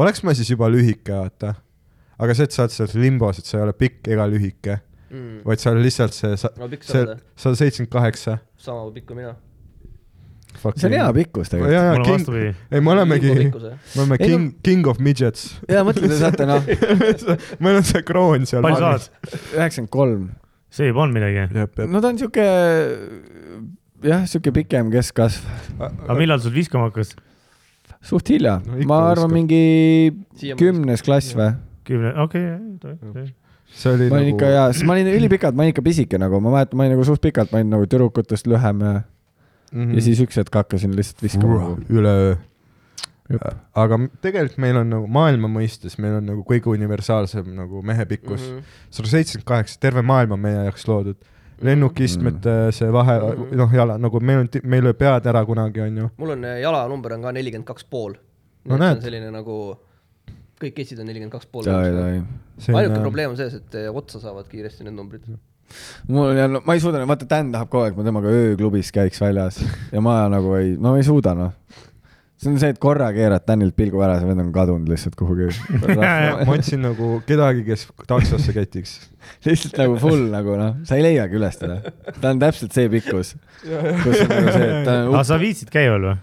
Speaker 2: oleks ma siis juba lühike , vaata . aga see , et sa oled selles limbos , et sa ei ole pikk ega lühike ,
Speaker 4: Mm.
Speaker 2: vaid sa oled lihtsalt see , sa ,
Speaker 4: no pikk sa
Speaker 2: see
Speaker 4: oled ,
Speaker 2: sada seitsekümmend kaheksa .
Speaker 4: sama pikk kui mina .
Speaker 1: see on hea pikkus tegelikult .
Speaker 2: jaa ,
Speaker 3: mul
Speaker 2: jaa ,
Speaker 3: on
Speaker 2: king ,
Speaker 3: vastupidi ,
Speaker 2: ei me olemegi , me oleme
Speaker 1: Ei, no-
Speaker 2: king , king of midgets .
Speaker 1: ja mõtle , te saate noh ,
Speaker 2: meil on see kroon seal .
Speaker 3: palju saad ?
Speaker 1: üheksakümmend kolm .
Speaker 3: see ei pannud midagi .
Speaker 1: no ta on sihuke , jah , sihuke pikem keskkasv ,
Speaker 3: aga millal sul viskama hakkas ?
Speaker 1: suht hilja
Speaker 2: No ikka
Speaker 1: no, , ma arvan ,
Speaker 2: oskab.
Speaker 1: mingi
Speaker 4: Siiamaani
Speaker 1: kümnes klass või .
Speaker 3: kümne , okei okay, ,
Speaker 2: see oli
Speaker 1: ma olin
Speaker 2: nagu
Speaker 1: ikka , jaa , sest ma olin ülipikalt , ma olin ikka pisike nagu , ma mäletan , ma olin nagu suht pikalt , ma olin nagu tüdrukutest lühem ja
Speaker 2: mm
Speaker 1: ja siis üks hetk hakkasin lihtsalt viskama nagu .
Speaker 2: üleöö
Speaker 1: Jep. .
Speaker 2: aga m- tegelikult meil on nagu maailma mõistes , meil on nagu kõige universaalsem nagu mehe pikkus
Speaker 1: Mhm.
Speaker 2: sada seitsekümmend kaheksa , terve maailm on meie jaoks loodud .
Speaker 1: Mhm.
Speaker 2: lennukistmete see vahe
Speaker 4: Mhm. ,
Speaker 2: noh , jala nagu meil on , meil lööb pead ära kunagi , onju .
Speaker 4: mul on eh, jalanumber on ka nelikümmend kaks pool .
Speaker 2: No
Speaker 4: see
Speaker 2: näed.
Speaker 4: on selline nagu , kõik Eestis on nelikümmend kaks pool .
Speaker 1: mul
Speaker 4: ainuke probleem on selles , et eh, otsa saavad kiiresti need numbrid .
Speaker 1: ja no ma ei suuda , vaata Dan tahab kogu aeg , ma temaga ööklubis käiks väljas ja ma nagu ei , no ma ei suuda noh . see on see , et korra keerad Danilt pilgu ära , see vend on kadunud lihtsalt kuhugi .
Speaker 2: ma otsin nagu kedagi , kes taksosse ketiks .
Speaker 1: lihtsalt nagu full nagu noh , sa ei leiagi üles teda . ta on täpselt see pikkus , kus on nagu see , et ta on
Speaker 3: aga Ah, sa viitsid käia veel või ?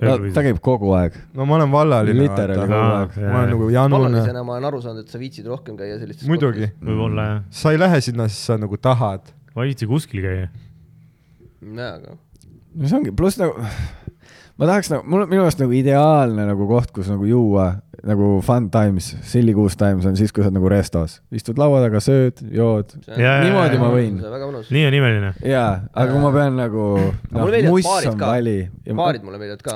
Speaker 1: no, , ta käib kogu aeg .
Speaker 2: no ma olen vallaline .
Speaker 1: Literaali
Speaker 2: ma
Speaker 1: kogu
Speaker 3: aeg.
Speaker 2: olen nagu janune .
Speaker 4: vallalisena ma olen aru saanud , et sa viitsid rohkem käia sellistes .
Speaker 2: muidugi ,
Speaker 3: võib-olla jah ,
Speaker 2: sa ei lähe sinna , sest sa nagu tahad .
Speaker 3: ma ei viitsi kuskil käia .
Speaker 4: nojah , aga
Speaker 1: no see ongi , pluss nagu ma tahaks nagu , mul on minu arust nagu ideaalne nagu koht , kus nagu juua nagu fun times , silly goose times on siis , kui sa oled nagu restos , istud laua taga , sööd , jood
Speaker 3: Jaa,
Speaker 1: niimoodi ma võin.
Speaker 4: väga mõnus .
Speaker 3: nii on imeline .
Speaker 1: jaa , aga kui ma pean nagu ,
Speaker 4: mulle
Speaker 1: noh ,
Speaker 4: meeldivad
Speaker 1: muss
Speaker 4: baarid
Speaker 1: on
Speaker 4: ka.
Speaker 1: vali .
Speaker 4: paarid mulle meeldivad ka .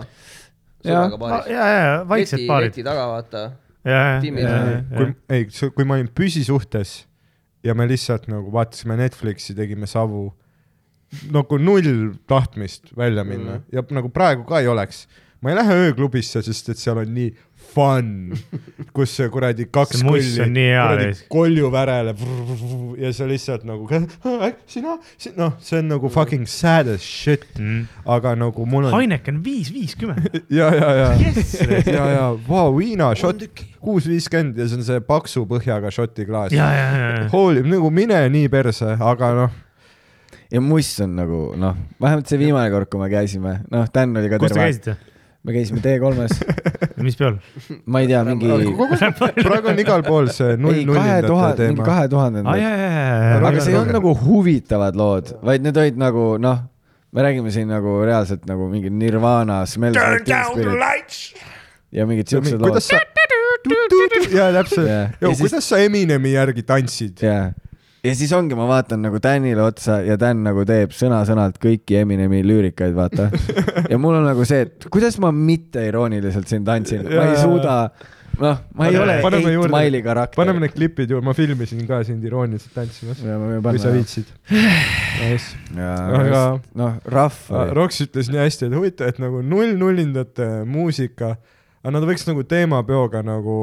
Speaker 1: Jaa.
Speaker 4: sõbraga
Speaker 3: ja ,
Speaker 4: paaris .
Speaker 3: ja , ja vaiksed
Speaker 4: leti ,
Speaker 3: paarid .
Speaker 4: leti taga vaata .
Speaker 3: ja ,
Speaker 4: tiimid.
Speaker 3: ja ,
Speaker 2: kui
Speaker 3: ja ,
Speaker 2: ei , kui ma olin püsisuhtes ja me lihtsalt nagu vaatasime Netflixi , tegime savu , nagu null tahtmist välja minna mm. ja nagu praegu ka ei oleks . ma ei lähe ööklubisse , sest et seal on nii fun , kus see kuradi kaks
Speaker 3: See muss on nii hea
Speaker 2: kuradi
Speaker 3: täis.
Speaker 2: kolju värele vrrrr, ja sa lihtsalt nagu "Äh, sina , noh , see on nagu fucking sad as shit
Speaker 3: Mm.
Speaker 2: mm. , aga nagu mul on
Speaker 3: Heineken viis viiskümmend .
Speaker 2: ja , ja , ja
Speaker 3: Yes!
Speaker 2: ja , ja vau , viina šot , kuus viiskümmend ja see on see paksu põhjaga šoti klaas .
Speaker 3: ja , ja , ja ,
Speaker 2: hoolib nagu mine nii perse , aga noh ,
Speaker 1: ja muss on nagu noh , vähemalt see viimane kord , kui me käisime , noh , Dan oli ka
Speaker 3: kus te
Speaker 1: terve .
Speaker 3: käisite ?
Speaker 1: me käisime T3-s ,
Speaker 3: mis peol ?
Speaker 1: ma ei tea , mingi ,
Speaker 2: praegu on igal pool see null
Speaker 1: ei kahe
Speaker 2: nullindate
Speaker 1: tuhande ,
Speaker 2: teema .
Speaker 1: kahe
Speaker 3: aa , ja ,
Speaker 1: tuhandendad .
Speaker 3: ja , ja , ja ,
Speaker 1: aga see ei olnud nagu huvitavad lood , vaid need olid nagu noh , me räägime siin nagu reaalselt nagu mingi Nirvana , Smells Like Teen Spirit ja mingid siuksed lood
Speaker 2: kuidas . sa ,
Speaker 1: Jaa.
Speaker 2: ja täpselt ,
Speaker 1: Ja siis-
Speaker 2: kuidas sa Eminemi järgi tantsid ?
Speaker 1: jaa . ja siis ongi , ma vaatan nagu Danile otsa ja Dan nagu teeb sõna-sõnalt kõiki Eminemi lüürikaid , vaata . ja mul on nagu see , et kuidas ma mitte irooniliselt siin tantsin , ma ei
Speaker 2: Jaa.
Speaker 1: suuda , noh , ma ei ole
Speaker 2: Paneme
Speaker 1: Eight
Speaker 2: juurde.
Speaker 1: Mile'i karakter .
Speaker 2: paneme need klipid ju , ma filmisin ka sind irooniliselt tantsimas , kui sa
Speaker 1: need .
Speaker 2: viitsid .
Speaker 1: aga
Speaker 2: Aga-
Speaker 1: noh , rahva .
Speaker 2: Roks ütles nii hästi , et huvitav , et nagu null-nullindate muusika , aga nad võiks nagu teemapeoga nagu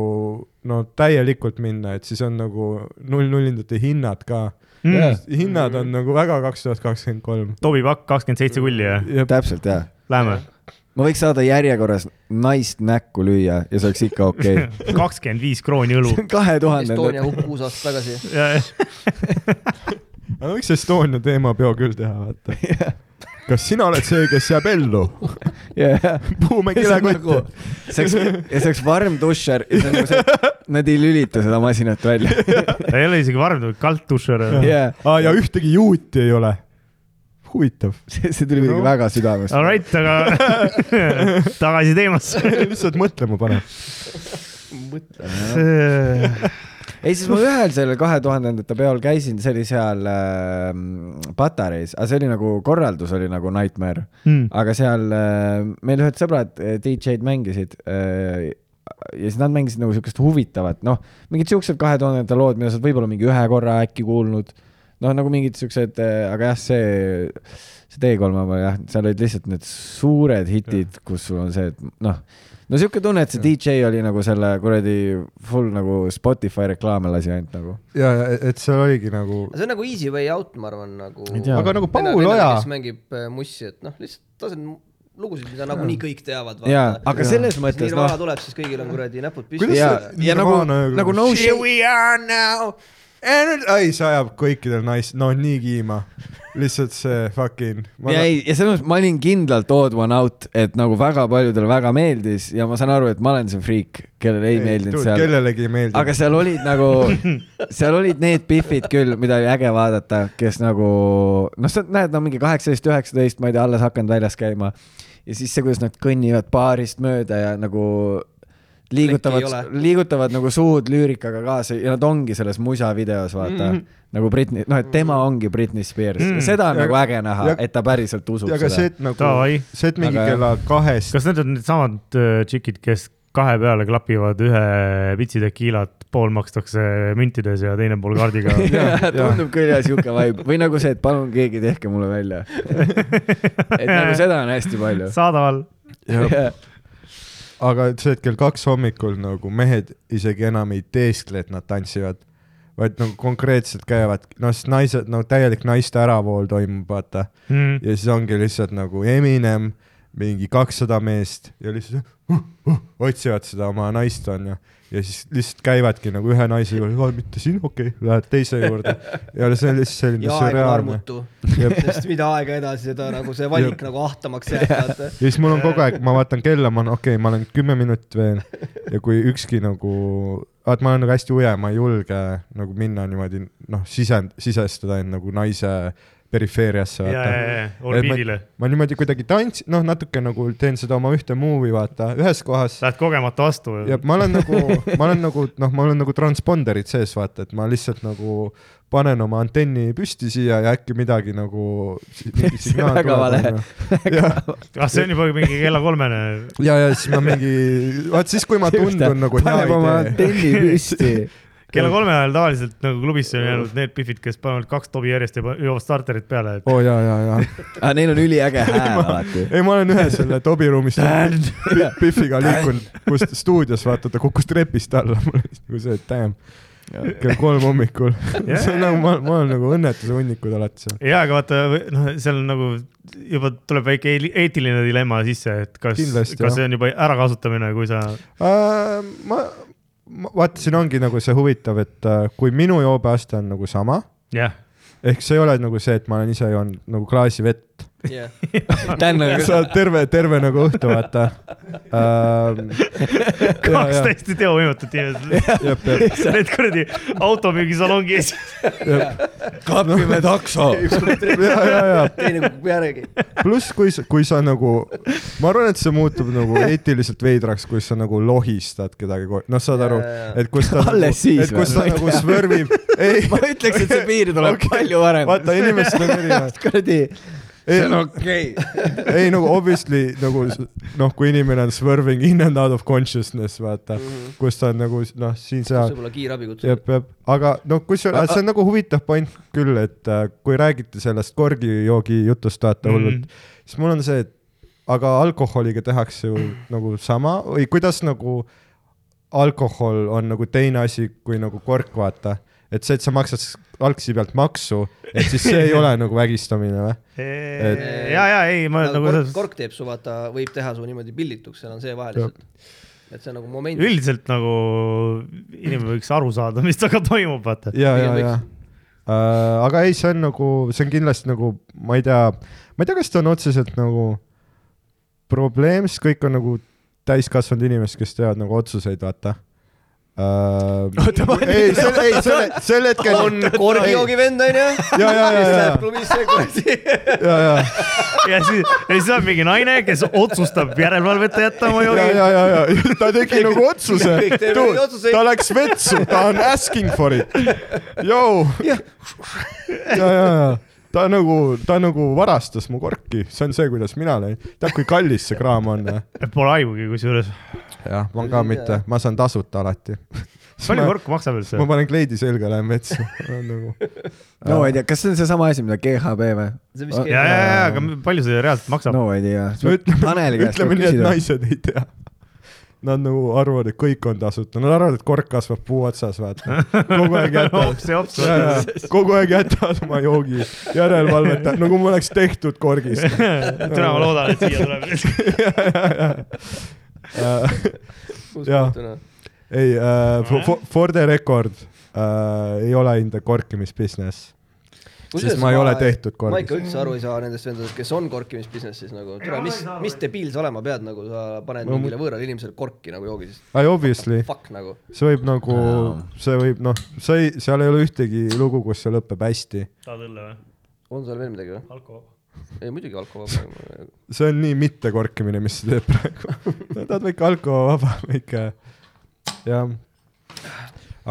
Speaker 2: no täielikult minna , et siis on nagu null-nullindate hinnad ka
Speaker 3: Mm. .
Speaker 2: hinnad on nagu väga kaks tuhat kakskümmend kolm .
Speaker 3: Tobi Pakk kakskümmend seitse kulli ja
Speaker 1: täpselt jaa .
Speaker 3: läheme .
Speaker 1: ma võiks saada järjekorras naist näkku lüüa ja see oleks ikka okei okay. .
Speaker 3: kakskümmend viis krooni õlu .
Speaker 1: kahe
Speaker 4: Estonia
Speaker 1: tuhandendad .
Speaker 4: hukk kuus aastat tagasi .
Speaker 2: aga võiks Estonia teemapeo küll teha , vaata . kas sina oled see , kes jääb ellu ?
Speaker 1: jaa .
Speaker 2: puhume
Speaker 1: see on nagu
Speaker 2: kilekotti .,
Speaker 1: see oleks , ja see oleks varm dušer ja see on nagu see , nad ei lülita seda masinat välja .
Speaker 3: ta ei ole isegi varem tulnud , kaltdušer .
Speaker 1: jaa ,
Speaker 2: aa , ja ühtegi juuti ei ole . huvitav .
Speaker 1: see see tuli muidugi
Speaker 2: No.
Speaker 1: väga südamest .
Speaker 3: All right , aga tagasi teemasse .
Speaker 2: lihtsalt mõtlema paneb .
Speaker 1: ei , siis ma ühel sellel kahe tuhandendate peol käisin , see oli seal äh, Patareis , aga see oli nagu , korraldus oli nagu nightmare .
Speaker 3: Hmm. Mm.
Speaker 1: aga seal äh, meil ühed sõbrad äh, DJ-d mängisid äh, ja siis nad mängisid nagu siukest huvitavat , noh , mingid siuksed kahe tuhandendate lood , mida sa oled võib-olla mingi ühe korra äkki kuulnud . noh , nagu mingid siuksed , aga jah , see , see T3 oma jah , seal olid lihtsalt need suured hitid , kus sul on see , et noh , no siuke tunne , et see DJ oli nagu selle kuradi full nagu Spotify reklaame lasi ainult nagu .
Speaker 2: ja , ja et seal oligi nagu
Speaker 4: see on nagu easy way out , ma arvan , nagu .
Speaker 1: Ei tea.
Speaker 2: aga nagu Paul Oja ,
Speaker 4: kes mängib äh, mussi , et noh , lihtsalt ta on lugusid , mida nagunii kõik teavad .
Speaker 1: jaa , aga selles mõttes
Speaker 4: mõttes . Nirvana
Speaker 1: noh ,
Speaker 4: tuleb , siis kõigil on kuradi näpud
Speaker 2: Kuidas
Speaker 1: ja
Speaker 4: püsti .
Speaker 2: see- ,
Speaker 1: ja nagu
Speaker 2: Nirvana ja- ,
Speaker 1: nagu no
Speaker 2: Here
Speaker 1: shit ,
Speaker 2: we are now and ai , see ajab kõikidel nais- , no nii kiima . lihtsalt see fucking .
Speaker 1: ja ei , ja selles mõttes ma olin kindlalt odd one out , et nagu väga paljudele väga meeldis ja ma saan aru , et ma olen see friik , kellele ei meeldinud seal
Speaker 2: kellelegi ei meeldinud .
Speaker 1: aga seal olid nagu , seal olid need pihvid küll , mida oli äge vaadata , kes nagu noh , sa näed , no mingi kaheksateist , üheksateist , ma ei tea , alles hakanud väljas käima . ja siis see , kuidas nad kõnnivad baarist mööda ja nagu
Speaker 4: Plekki ei
Speaker 1: liigutavad
Speaker 4: ole. ,
Speaker 1: liigutavad nagu suud lüürikaga kaasa ja nad ongi selles musa videos , vaata
Speaker 2: Mhm.
Speaker 1: mm . -hmm. nagu Britney , noh , et tema ongi Britney Spears mm , -hmm. seda on
Speaker 2: Ja-
Speaker 1: ja, nagu äge näha
Speaker 2: ja- ,
Speaker 1: et ta päriselt usub
Speaker 2: ja ka
Speaker 1: seda
Speaker 2: see , et nagu
Speaker 3: Davai. ,
Speaker 2: see , et mingi
Speaker 1: Aga jah.
Speaker 2: kella kahest ,
Speaker 3: kas need on needsamad äh, tšikid , kes kahe peale klapivad ühe pitsi tekiilat , pool makstakse müntides ja teine pool kaardiga ?
Speaker 1: Jaa, tundub küll jah , sihuke vibe või nagu see , et palun keegi tehke mulle välja . et nagu seda on hästi palju .
Speaker 3: saadaval .
Speaker 1: Jaa.
Speaker 2: aga see , et kell kaks hommikul nagu mehed isegi enam ei teeskle , et nad tantsivad , vaid nagu konkreetselt käivad , noh , siis naised , no täielik naiste äravool toimub , vaata
Speaker 3: Hmm. Mhm.
Speaker 2: ja siis ongi lihtsalt nagu Eminem , mingi kakssada meest ja lihtsalt uh, uh, otsivad seda oma naist onju . ja siis lihtsalt käivadki nagu ühe naise juurde , mitte sinu , okei okay. , lähed teise juurde ja see on lihtsalt selline
Speaker 4: ja aeg on
Speaker 2: sürreaalne .
Speaker 4: armutu ,
Speaker 2: Jep.
Speaker 4: sest mida aega edasi , seda nagu see valik
Speaker 2: Jep.
Speaker 4: nagu ahtamaks jääb , vaata .
Speaker 2: ja siis mul on kogu aeg , ma vaatan kella , ma olen okei okay, , ma olen kümme minutit veel ja kui ükski nagu , vaat ma olen nagu hästi uje , ma ei julge nagu minna niimoodi noh , sisend , sisestada end nagu naise perifeeriasse ,
Speaker 3: ja , ja ,
Speaker 2: vaata .
Speaker 3: ja orbiidile .
Speaker 2: ma niimoodi kuidagi tants- , noh , natuke nagu teen seda oma ühte movie , vaata , ühes kohas
Speaker 3: Lähed kogemata vastu .
Speaker 2: ja ma olen nagu , ma olen nagu noh , ma olen nagu transponderid sees , vaata , et ma lihtsalt nagu panen oma antenni püsti siia ja äkki midagi nagu .
Speaker 1: See on väga vale.
Speaker 2: ja ,
Speaker 3: ah , see on juba mingi kella kolmene .
Speaker 2: ja , ja siis ma mingi , vaat siis , kui ma tundun nagu hea
Speaker 1: paneb oma
Speaker 2: idee .
Speaker 1: antenni püsti
Speaker 3: kella kolme ajal tavaliselt nagu klubisse on jäänud need pihvid , kes panevad kaks tobi järjest ja pa- joovad starterit peale , et
Speaker 2: oo oh, ja , ja , ja .
Speaker 1: aga Ah, neil on üliäge hääl alati .
Speaker 2: ei , ma olen ühe selle Tobi ruumis Pi- Piffiga liikunud , kus stuudios vaata ta kukkus trepist alla , mul oli siis nagu see , et damn , kell kolm hommikul . see on nagu , ma , ma olen nagu õnnetuse hunnikud alati seal .
Speaker 3: ja , aga vaata , noh , seal on nagu juba tuleb väike eeli- eetiline dilemma sisse , et kas , kas
Speaker 2: Kindlasti, jah.
Speaker 3: see on juba ärakasutamine , kui sa ,
Speaker 2: Äh, ma , ma vaata , siin ongi nagu see huvitav , et äh, kui minu joobeaste on nagu sama ,
Speaker 3: jah .
Speaker 2: ehk see ei ole nagu see , et ma olen ise joonud nagu klaasi vett .
Speaker 4: jah ,
Speaker 1: Dan on
Speaker 2: sa oled terve , terve nagu õhtu , vaata äh, .
Speaker 3: kaks . täiesti teovõimetut inimest ,
Speaker 2: jep , jep ,
Speaker 3: need kuradi automüügisalongi ees .
Speaker 1: kakskümmend takso .
Speaker 2: ja , ja , ja
Speaker 4: teine kukub nagu järgi .
Speaker 2: pluss , kui sa , kui sa nagu , ma arvan , et see muutub nagu eetiliselt veidraks , kui sa nagu lohistad kedagi , noh , saad aru , et kus ta
Speaker 1: Alles siis
Speaker 2: et kus ta
Speaker 1: või?
Speaker 2: nagu svõrvib , ei ,
Speaker 1: ma ütleks , et see piir tuleb okay. palju varem .
Speaker 2: vaata , inimesed on erinevad .
Speaker 1: kuradi ,
Speaker 2: ei
Speaker 1: see on , okei
Speaker 2: ei nagu obviously nagu s- noh , kui inimene on swerving in and out of consciousness , vaata ,
Speaker 1: Mhm.
Speaker 2: kus ta on nagu noh , siin-seal ,
Speaker 4: võib-olla kiirabi kutsub .
Speaker 2: jep , jep , aga noh , kusjuures see on nagu huvitav point küll , et äh, kui räägite sellest korgijoogi jutust vaata hullult mm , -hmm. siis mul on see , et aga alkoholiga tehakse ju nagu sama või kuidas nagu alkohol on nagu teine asi kui nagu kork , vaata , et see , et sa maksad s- algsi pealt maksu , et siis see ei ole nagu vägistamine või ?
Speaker 4: Et-
Speaker 3: ja , ja ei , ma nagu
Speaker 4: kork , kork teeb su , vaata , võib teha su niimoodi pillituks , seal on see vahe lihtsalt . et see on nagu moment .
Speaker 3: üldiselt nagu inimene võiks aru saada , mis taga toimub , vaata .
Speaker 2: ja , ja ,
Speaker 4: Pigem
Speaker 2: ja . aga ei , see on nagu , see on kindlasti nagu , ma ei tea , ma ei tea , kas ta on otseselt nagu probleem , sest kõik on nagu täiskasvanud inimesed , kes teevad nagu otsuseid , vaata . ei , sel , ei , sel , sel hetkel on
Speaker 4: korgijoogi vend onju .
Speaker 2: ja , ja , ja ,
Speaker 4: kes
Speaker 2: ja ,
Speaker 4: läheb klubisse kuradi .
Speaker 2: ja , ja ,
Speaker 3: ja siis , ja siis on mingi naine , kes otsustab järelevalvet jätta oma
Speaker 2: ja ,
Speaker 3: joogi
Speaker 2: ja , ja , ja ta tegi nagu otsuse
Speaker 4: Kõik teevad . neid otsuseid.
Speaker 2: ta läks vetsu , ta on asking for it . Joo . ja , ja , ja ta nagu , ta nagu varastas mu korki , see on see , kuidas mina näin . tead , kui kallis see kraam on ?
Speaker 3: Pole aimugi , kusjuures .
Speaker 2: jah , ma ka mitte , ma saan tasuta alati .
Speaker 3: palju kork maksab üldse
Speaker 2: ma ? panen kleidi selga , lähen metsa . Nagu...
Speaker 1: no ma ei tea , kas see on seesama asi , mida GHB või ?
Speaker 4: See, mis
Speaker 3: ja , ja , ja , aga palju see reaalselt maksab ?
Speaker 1: no ei tea .
Speaker 2: no ütleme ,
Speaker 1: Taneli käest
Speaker 2: ütleme
Speaker 1: tuleb
Speaker 2: nii , et
Speaker 1: küsida .
Speaker 2: naised ei tea . Nad nagu arvavad , et kõik on tasuta , nad arvavad , et kork kasvab puu otsas , vaata . kogu aeg jätavad
Speaker 3: see ops
Speaker 2: ja , ja kogu aeg jätavad oma joogi järelevalvet , nagu ma oleks tehtud korgist .
Speaker 3: täna ma loodan , et siia tuleb .
Speaker 2: jah.
Speaker 4: keskmine .
Speaker 2: ei uh, , for, for the record uh, ei ole in the korkimisbusiness . Siis ma ei ole tehtud korgis.
Speaker 4: ma ikka üldse aru ei saa nendest vendadest , kes on korkimisbusinessis nagu , tere , mis , mis debiil sa olema pead , nagu sa paned
Speaker 2: No mu-
Speaker 4: mingile võõrale inimesele korki nagu joogis ,
Speaker 2: I obviously ,
Speaker 4: fuck nagu .
Speaker 2: see võib nagu , see võib noh , see ei , seal ei ole ühtegi lugu , kus see lõpeb hästi .
Speaker 3: tahad õlle või ?
Speaker 4: on seal veel midagi või ?
Speaker 3: alkohol .
Speaker 4: ei muidugi alkohol .
Speaker 2: see on nii mittekorkimine , mis sa teed praegu . tahad väike alkoholvaba , väike , jah .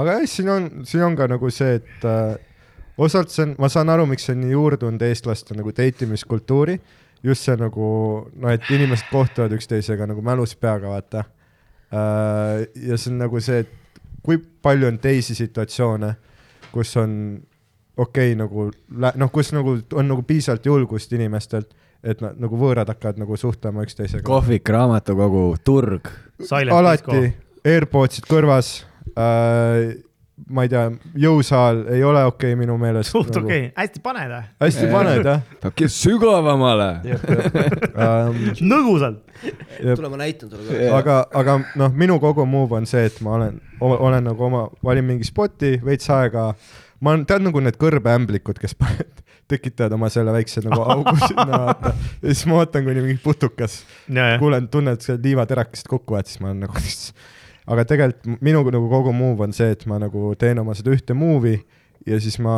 Speaker 2: aga jah , siin on , siin on ka nagu see , et äh, osalt see on , ma saan aru , miks see on nii juurdunud eestlaste nagu date imiskultuuri . just see nagu , no et inimesed kohtuvad üksteisega nagu mälus peaga , vaata äh, . ja see on nagu see , et kui palju on teisi situatsioone , kus on okei okay, nagu , noh , kus nagu on nagu piisavalt julgust inimestelt , et nad nagu võõrad hakkavad nagu suhtlema üksteisega .
Speaker 1: kohvik , raamatukogu , turg .
Speaker 3: Silent
Speaker 2: alati AirPodsid kõrvas äh, . ma ei tea , jõusaal ei ole okei okay minu meelest .
Speaker 3: suht okei . okay. , hästi paned äh? või ?
Speaker 2: Nagu- hästi paned jah
Speaker 1: hakka sügavamale .
Speaker 2: ähm, ?
Speaker 3: nõgusalt .
Speaker 2: jep.
Speaker 4: tule , ma näitan sulle korra .
Speaker 2: aga , aga noh , minu kogu move on see , et ma olen , olen nagu oma , valin mingi spoti , veits aega . ma olen , tead nagu need kõrbeämblikud , kes paned , tekitavad oma selle väikse nagu augu sinna vaata . ja siis ma ootan , kuni mingi putukas kuulen , tunnen , et seal liivaterakesed kukuvad , siis ma olen nagu aga tegelikult minu nagu kogu move on see , et ma nagu teen oma seda ühte movie ja siis ma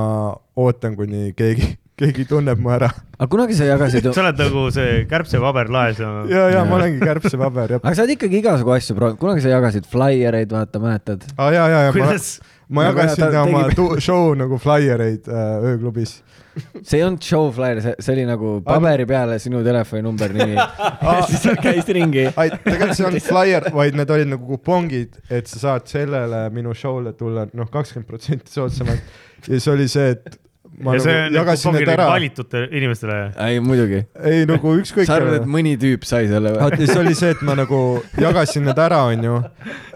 Speaker 2: ootan , kuni keegi keegi tunneb mu ära .
Speaker 1: aga kunagi sa jagasid ju
Speaker 3: sa , oled nagu see kärbsepaber laes ja
Speaker 2: ja , ja ma olengi kärbsepaber jah .
Speaker 1: aga sa oled ikkagi igasugu asju proovinud , kunagi sa jagasid flaiereid , vaata , mäletad ?
Speaker 2: aa ah, ja , ja , ja ma ,
Speaker 3: kuidas ,
Speaker 2: ma
Speaker 1: Aga ta
Speaker 2: jagasin
Speaker 1: tegi-
Speaker 2: oma tu- show nagu flaiereid äh, ööklubis .
Speaker 1: see ei olnud show flyer , see , see oli nagu paberi peale sinu telefoninumber , nimi . siis sa käisid ringi .
Speaker 2: ai , tegelikult see ei olnud flaier , vaid need olid nagu kupongid , et sa saad sellele minu show'le tulla noh , kakskümmend protsenti soodsamalt . ja siis oli see , et ma
Speaker 3: ja
Speaker 2: nagu
Speaker 3: see on
Speaker 2: jagasin
Speaker 3: kupongi
Speaker 2: need ära .
Speaker 3: valitud inimestele .
Speaker 1: ei , muidugi .
Speaker 2: ei nagu ükskõik .
Speaker 1: sa arvad , et mõni tüüp sai selle
Speaker 2: vaata ,
Speaker 1: või ?
Speaker 2: siis oli see , et ma nagu jagasin need ära , onju .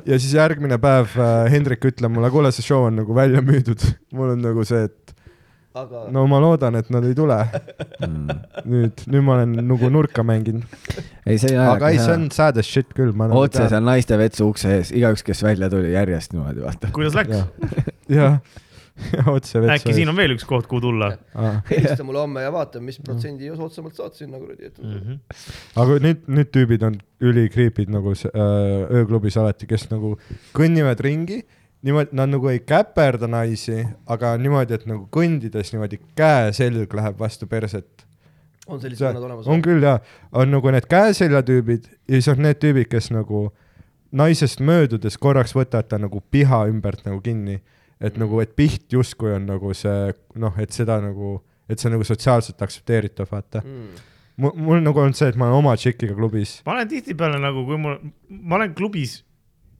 Speaker 2: ja siis järgmine päev äh, Hendrik ütleb mulle , kuule , see show on nagu välja müüdud . mul on nagu see , et
Speaker 4: aga no.
Speaker 2: no ma loodan , et nad ei tule .
Speaker 1: Mm.
Speaker 2: nüüd , nüüd ma olen nagu nurka mänginud .
Speaker 1: ei , see oli
Speaker 2: aga ei , see on
Speaker 1: naljakas .
Speaker 2: sad as shit küll . nagu
Speaker 1: otse seal naiste vetsu ukse ees , igaüks , kes välja tuli järjest niimoodi , vaata .
Speaker 3: kuidas läks ?
Speaker 2: jah , otse vetsu .
Speaker 3: äkki siin on veel üks koht , kuhu tulla
Speaker 2: on .
Speaker 4: helista mulle homme ja vaata , mis protsendi soodsamalt saad sinna kuradi , et
Speaker 3: mm . -hmm.
Speaker 2: aga nüüd , nüüd tüübid on ülikriipid nagu s- öö, ööklubis alati , kes nagu kõnnivad ringi , niimoodi , nad nagu ei käperda naisi , aga niimoodi , et nagu kõndides niimoodi käeselg läheb vastu perset .
Speaker 4: on sellised vennad olemas
Speaker 2: on . küll jaa , on nagu need käeselja tüübid ja siis on need tüübid , kes nagu naisest möödudes korraks võtavad ta nagu piha ümbert nagu kinni .
Speaker 4: Mm.
Speaker 2: et nagu , et piht justkui on nagu see noh , et seda nagu , et see on nagu sotsiaalselt aktsepteeritav , vaata .
Speaker 4: Mm.
Speaker 2: mul , mul nagu on see , et ma olen oma tšikiga klubis
Speaker 3: ma olen tihtipeale nagu , kui mul , ma olen klubis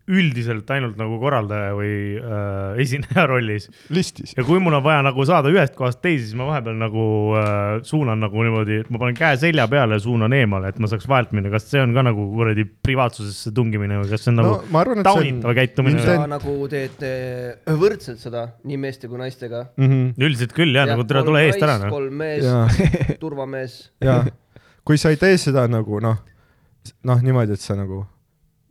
Speaker 3: üldiselt ainult nagu korraldaja või äh, esineja rollis
Speaker 2: listis .
Speaker 3: ja kui mul on vaja nagu saada ühest kohast teise , siis ma vahepeal nagu äh, suunan nagu niimoodi , et ma panen käe selja peale ja suunan eemale , et ma saaks vahelt minna , kas see on ka nagu kuradi privaatsusesse tungimine või kas see on nagu no,
Speaker 2: ma arvan ,
Speaker 3: taunitav käitumine
Speaker 2: ilmselt-
Speaker 3: või ?
Speaker 4: sa nagu teed eh, võrdselt seda nii meeste kui naistega .
Speaker 2: mm . -hmm.
Speaker 3: üldiselt küll jah ja, , nagu tere , tule eest ära noh .
Speaker 4: kolm mees ,
Speaker 2: ja ,
Speaker 4: turvamees .
Speaker 2: ja kui sa ei tee seda nagu noh , noh niimoodi , et sa nagu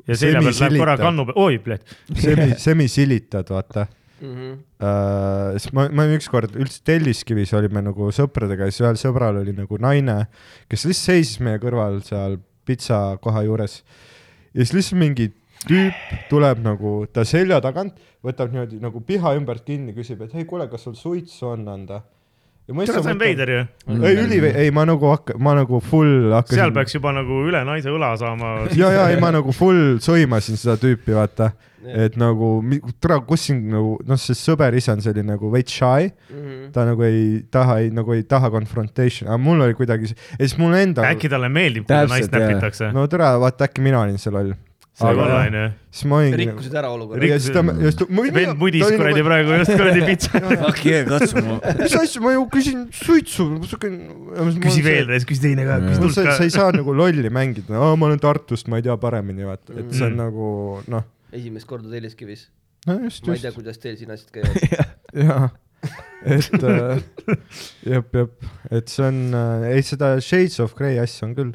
Speaker 3: ja selja pealt läheb korra
Speaker 2: semisilitad.
Speaker 3: kannu peale , oi , plehk .
Speaker 2: semi , semisilitad , vaata
Speaker 4: ma
Speaker 2: äh, . siis ma , ma olin ükskord üldse Telliskivis olime nagu sõpradega ja siis ühel sõbral oli nagu naine , kes lihtsalt seisis meie kõrval seal pitsakoha juures . ja siis lihtsalt mingi tüüp tuleb nagu ta selja tagant , võtab niimoodi nagu piha ümbert kinni , küsib , et hei , kuule , kas sul suitsu on anda ?
Speaker 3: see on veider ju .
Speaker 2: ei , üli , ei ma nagu hakka- , ma nagu full hakkasin .
Speaker 3: seal peaks juba nagu üle naise õla saama .
Speaker 2: ja , ja ei ma nagu full sõimasin seda tüüpi , vaata , et nagu , tore , kus siin nagu noh , see sõber ise on selline nagu veits shy ,
Speaker 4: Mhm.
Speaker 2: ta nagu ei taha , ei nagu ei taha confrontation , aga mul oli kuidagi , ja siis mul endal ,
Speaker 3: äkki talle meeldib , kui ta
Speaker 1: Täpselt,
Speaker 3: naist
Speaker 1: jah.
Speaker 3: näpitakse .
Speaker 2: no tore , vaata äkki mina olin see loll .
Speaker 3: see võib olla onju .
Speaker 2: siis ma olingi .
Speaker 4: rikkusid ära olukorra .
Speaker 2: ja siis ta , ja siis ta . nagu-
Speaker 3: vend mudis kuradi praegu just kuradi pitsa .
Speaker 1: Fuck yeah , katsu mu .
Speaker 2: mis asja , ma ju küsin suitsu , siuke .
Speaker 3: küsi veel , küsi teine ka , küsi
Speaker 2: mul
Speaker 3: tuld
Speaker 2: see , sa ei
Speaker 3: ka .
Speaker 2: saa nagu lolli mängida , ma olen Tartust , ma ei tea paremini , vaata , et
Speaker 4: Mhm.
Speaker 2: see on nagu noh ,
Speaker 4: esimest korda Telliskivis .
Speaker 2: no just ,
Speaker 4: ma ei tea ,
Speaker 2: just ,
Speaker 4: kuidas teil siin asjad käivad .
Speaker 2: jaa . et äh, jep , jep , et see on , ei seda Shades of Grey asja on küll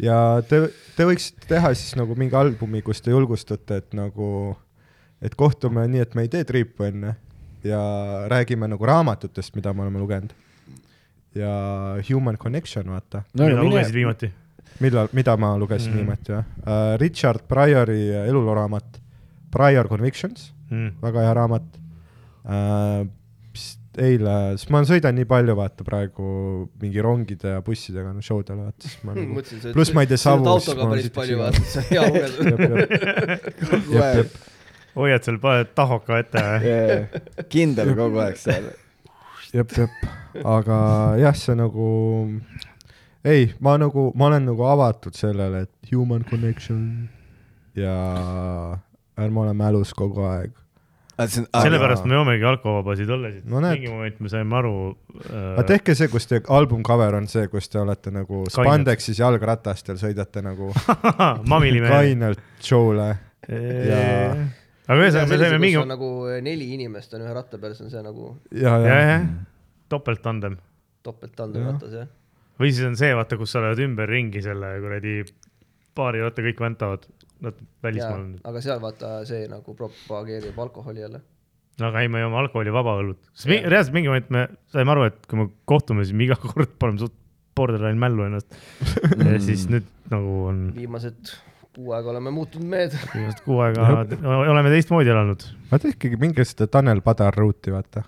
Speaker 2: ja te , te võiksite teha siis nagu mingi albumi , kus te julgustate , et nagu , et kohtume nii , et me ei tee triipu enne ja räägime nagu raamatutest , mida me oleme lugenud ja Human Connection , vaata .
Speaker 1: no
Speaker 3: mida
Speaker 1: aga mine
Speaker 3: lugesid , viimati ?
Speaker 2: millal , mida ma lugesin mm.
Speaker 3: Mm.
Speaker 2: viimati jah uh, , Richard Pryori eluloraamat Pryor Convictions ,
Speaker 3: Mm.
Speaker 2: väga hea raamat uh, . eile , sest ma sõidan nii palju , vaata praegu mingi rongide ja bussidega no, show del , vaata siis ma nagu .
Speaker 4: mõtlesin , sa
Speaker 2: pluss ma ei tee
Speaker 4: sa oled
Speaker 2: savu, siis
Speaker 4: autoga
Speaker 2: ma
Speaker 4: päris
Speaker 2: siit
Speaker 4: palju
Speaker 2: siia-
Speaker 4: vaatad , sa hea lugenud .
Speaker 1: kogu aeg .
Speaker 3: hoiad seal , paned tahoka ette .
Speaker 1: kindel kogu aeg seal .
Speaker 2: jep , jep , aga jah , see nagu , ei , ma nagu , ma olen nagu avatud sellele , et human connection ja ärme ole mälus kogu aeg .
Speaker 1: Ah,
Speaker 3: sellepärast me joomegi alkovabasid olles , et
Speaker 2: No näed.
Speaker 3: mingi moment me saime aru . äh,
Speaker 2: aga tehke see , kus teie album cover on see , kus te olete nagu spandeksis jalgratastel sõidate nagu
Speaker 3: mamilimehe .
Speaker 2: kainelt show'le . Jaa.
Speaker 3: aga ühesõnaga , me saime mingi ,
Speaker 4: nagu neli inimest on ühe ratta peal , see on see nagu
Speaker 2: ja , ja ,
Speaker 3: jah , jah , topelttandem
Speaker 4: topelttandem ratas jah .
Speaker 3: või siis on see , vaata , kus sa oled ümberringi selle kuradi baari , vaata kõik väntavad , nad välismaal on .
Speaker 4: aga seal vaata see nagu propageerib alkoholi jälle .
Speaker 3: no aga ei , me joome alkoholivaba õlut , sest mi- reaalselt mingi moment me saime aru , et kui me kohtume , siis me iga kord paneme suht borderline mällu ennast . ja siis nüüd nagu on
Speaker 2: Mm.
Speaker 4: viimased kuu aega oleme muutunud mehed .
Speaker 3: viimased kuu aega oleme teistmoodi elanud .
Speaker 2: ma tehkegi mingi seda Tanel Padar ruuti , vaata .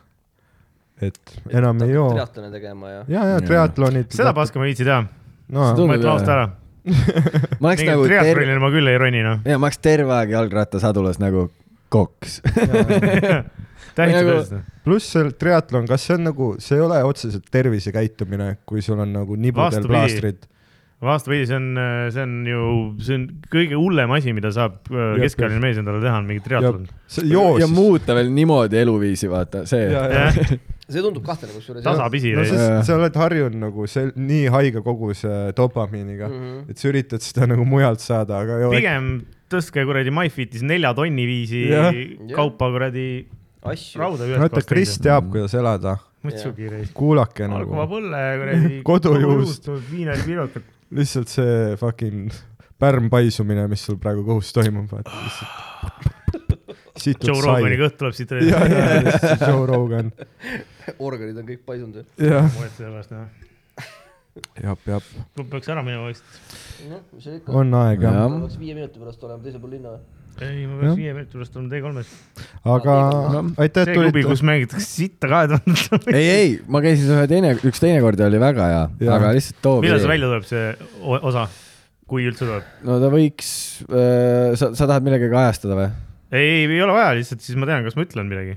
Speaker 2: et enam ei joo .
Speaker 4: triatlone tegema ja .
Speaker 2: ja , ja triatlonid .
Speaker 3: seda paska ma ei viitsi teha ,
Speaker 2: no,
Speaker 1: Seda- .
Speaker 3: ma ütlen ausalt ära .
Speaker 1: ma oleks nagu terve ,
Speaker 3: triatlonil ma küll ei roni noh .
Speaker 1: ja ma oleks terve aeg jalgrattasadulas nagu koks .
Speaker 3: täitsa
Speaker 1: Nagu-
Speaker 3: tõesti .
Speaker 2: pluss seal triatlon , kas see on nagu , see ei ole otseselt tervisekäitumine , kui sul on nagu nibudel
Speaker 3: Vastupidi.
Speaker 2: plaastrid .
Speaker 3: vastupidi , see on , see on ju , see on kõige hullem asi , mida saab äh,
Speaker 2: Jah,
Speaker 3: keskealine mees endale teha , on mingi triatlon .
Speaker 2: sa joo
Speaker 1: ja
Speaker 2: siis .
Speaker 1: muuta veel niimoodi eluviisi , vaata see .
Speaker 2: Ja, ja.
Speaker 4: see tundub kahtlane kusjuures .
Speaker 3: tasapisi
Speaker 2: no
Speaker 3: täitsa .
Speaker 2: siis sa oled harjunud nagu see nii haige koguse dopamiiniga mm ,
Speaker 4: Mhm.
Speaker 2: -hmm. et sa üritad seda nagu mujalt saada , aga ei ole .
Speaker 3: pigem tõstke kuradi MyFitis nelja tonni viisi
Speaker 2: Jah.
Speaker 3: kaupa kuradi
Speaker 4: asju .
Speaker 3: rauda ühest
Speaker 2: vaata ,
Speaker 3: kohast
Speaker 2: Kris
Speaker 3: teise .
Speaker 2: teab , kuidas elada .
Speaker 3: mõtlesin kiire .
Speaker 2: kuulake
Speaker 3: alguva
Speaker 2: nagu ,
Speaker 3: põlle ja kuradi
Speaker 2: Kodujuust. .
Speaker 3: viinari pirokat .
Speaker 2: lihtsalt see fucking pärm paisumine , mis sul praegu kohus toimub , vaata lihtsalt . siit
Speaker 3: Ah. Joe
Speaker 2: tuleb sai
Speaker 3: Rogani . kõht tuleb siit .
Speaker 2: ja , ja , lihtsalt Joe Rogan .
Speaker 4: organid on kõik paisunud .
Speaker 2: jah ,
Speaker 3: muretse pärast noh .
Speaker 2: jah , jah ,
Speaker 3: ma peaks ära minema vist .
Speaker 4: noh , mis seal ikka .
Speaker 2: on aeg jah .
Speaker 1: jah ,
Speaker 4: peaks viie minuti pärast olema teisel pool linna .
Speaker 3: ei , ma
Speaker 2: Jah.
Speaker 3: peaks viie minuti pärast olema T3-s .
Speaker 2: aga aitäh , et
Speaker 3: see klubi ,
Speaker 2: tulite .
Speaker 3: kus mängitakse sitta kahe tuhande .
Speaker 1: ei , ei , ma käisin ühe teine , üks teine kord ja oli väga hea ,
Speaker 2: Jaa.
Speaker 1: aga lihtsalt too .
Speaker 3: millal see välja tuleb , see o- osa ? kui üldse tuleb ?
Speaker 1: no ta võiks , sa , sa tahad millegagi ajastada või ?
Speaker 3: ei , ei ole vaja lihtsalt , siis ma tean , kas ma ütlen midagi .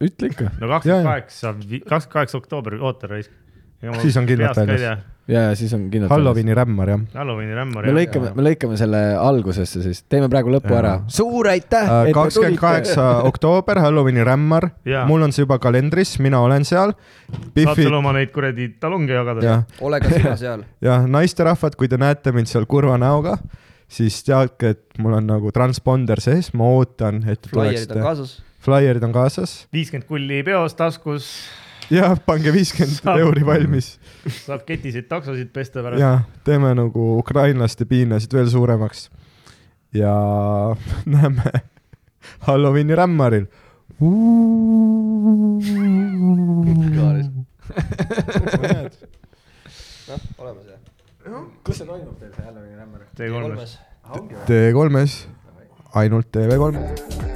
Speaker 1: ütle ikka .
Speaker 3: no
Speaker 2: Jaa,
Speaker 3: kakskümmend
Speaker 2: jaa.
Speaker 3: kaheksa , kakskümmend kaheksa oktoober , oota raisk .
Speaker 2: Siis on kindlalt väljas. .
Speaker 1: ja , ja siis on kindlalt .
Speaker 2: Halloweeni rämmar jah .
Speaker 3: Halloweeni rämmar .
Speaker 1: me lõikame , me lõikame selle algusesse siis , teeme praegu lõpu
Speaker 2: Jaa.
Speaker 1: ära . suur aitäh , Eh, et te
Speaker 2: Äh, kakskümmend
Speaker 1: tulite .
Speaker 2: kaheksa oktoober , Halloweeni rämmar
Speaker 3: Jaa. .
Speaker 2: mul on see juba kalendris , mina olen seal .
Speaker 3: saad
Speaker 2: Biffi
Speaker 3: seal , oma neid kuradi talonge jagada .
Speaker 2: jah ,
Speaker 4: ole ka sina seal .
Speaker 2: ja naisterahvad , kui te näete mind seal kurva näoga , siis teadke , et mul on nagu transponder sees , ma ootan , et te
Speaker 4: flaierid on
Speaker 2: tuleksite .
Speaker 4: kaasas .
Speaker 2: Flyerid on kaasas
Speaker 3: viiskümmend kulli peos , taskus ,
Speaker 2: ja pange viiskümmend
Speaker 3: Saab.
Speaker 2: euri valmis
Speaker 3: saab ketisid taksosid pesta pärast .
Speaker 2: ja teeme nagu ukrainlaste piinasid veel suuremaks . ja näeme Halloweeni rämmaril .
Speaker 4: noh , Noh, oleme seal .
Speaker 1: kus see toimub teil , see Halloweeni rämmer ?
Speaker 3: T3-s .
Speaker 2: T3-s ,
Speaker 4: kolmes .
Speaker 2: ainult TV3-s .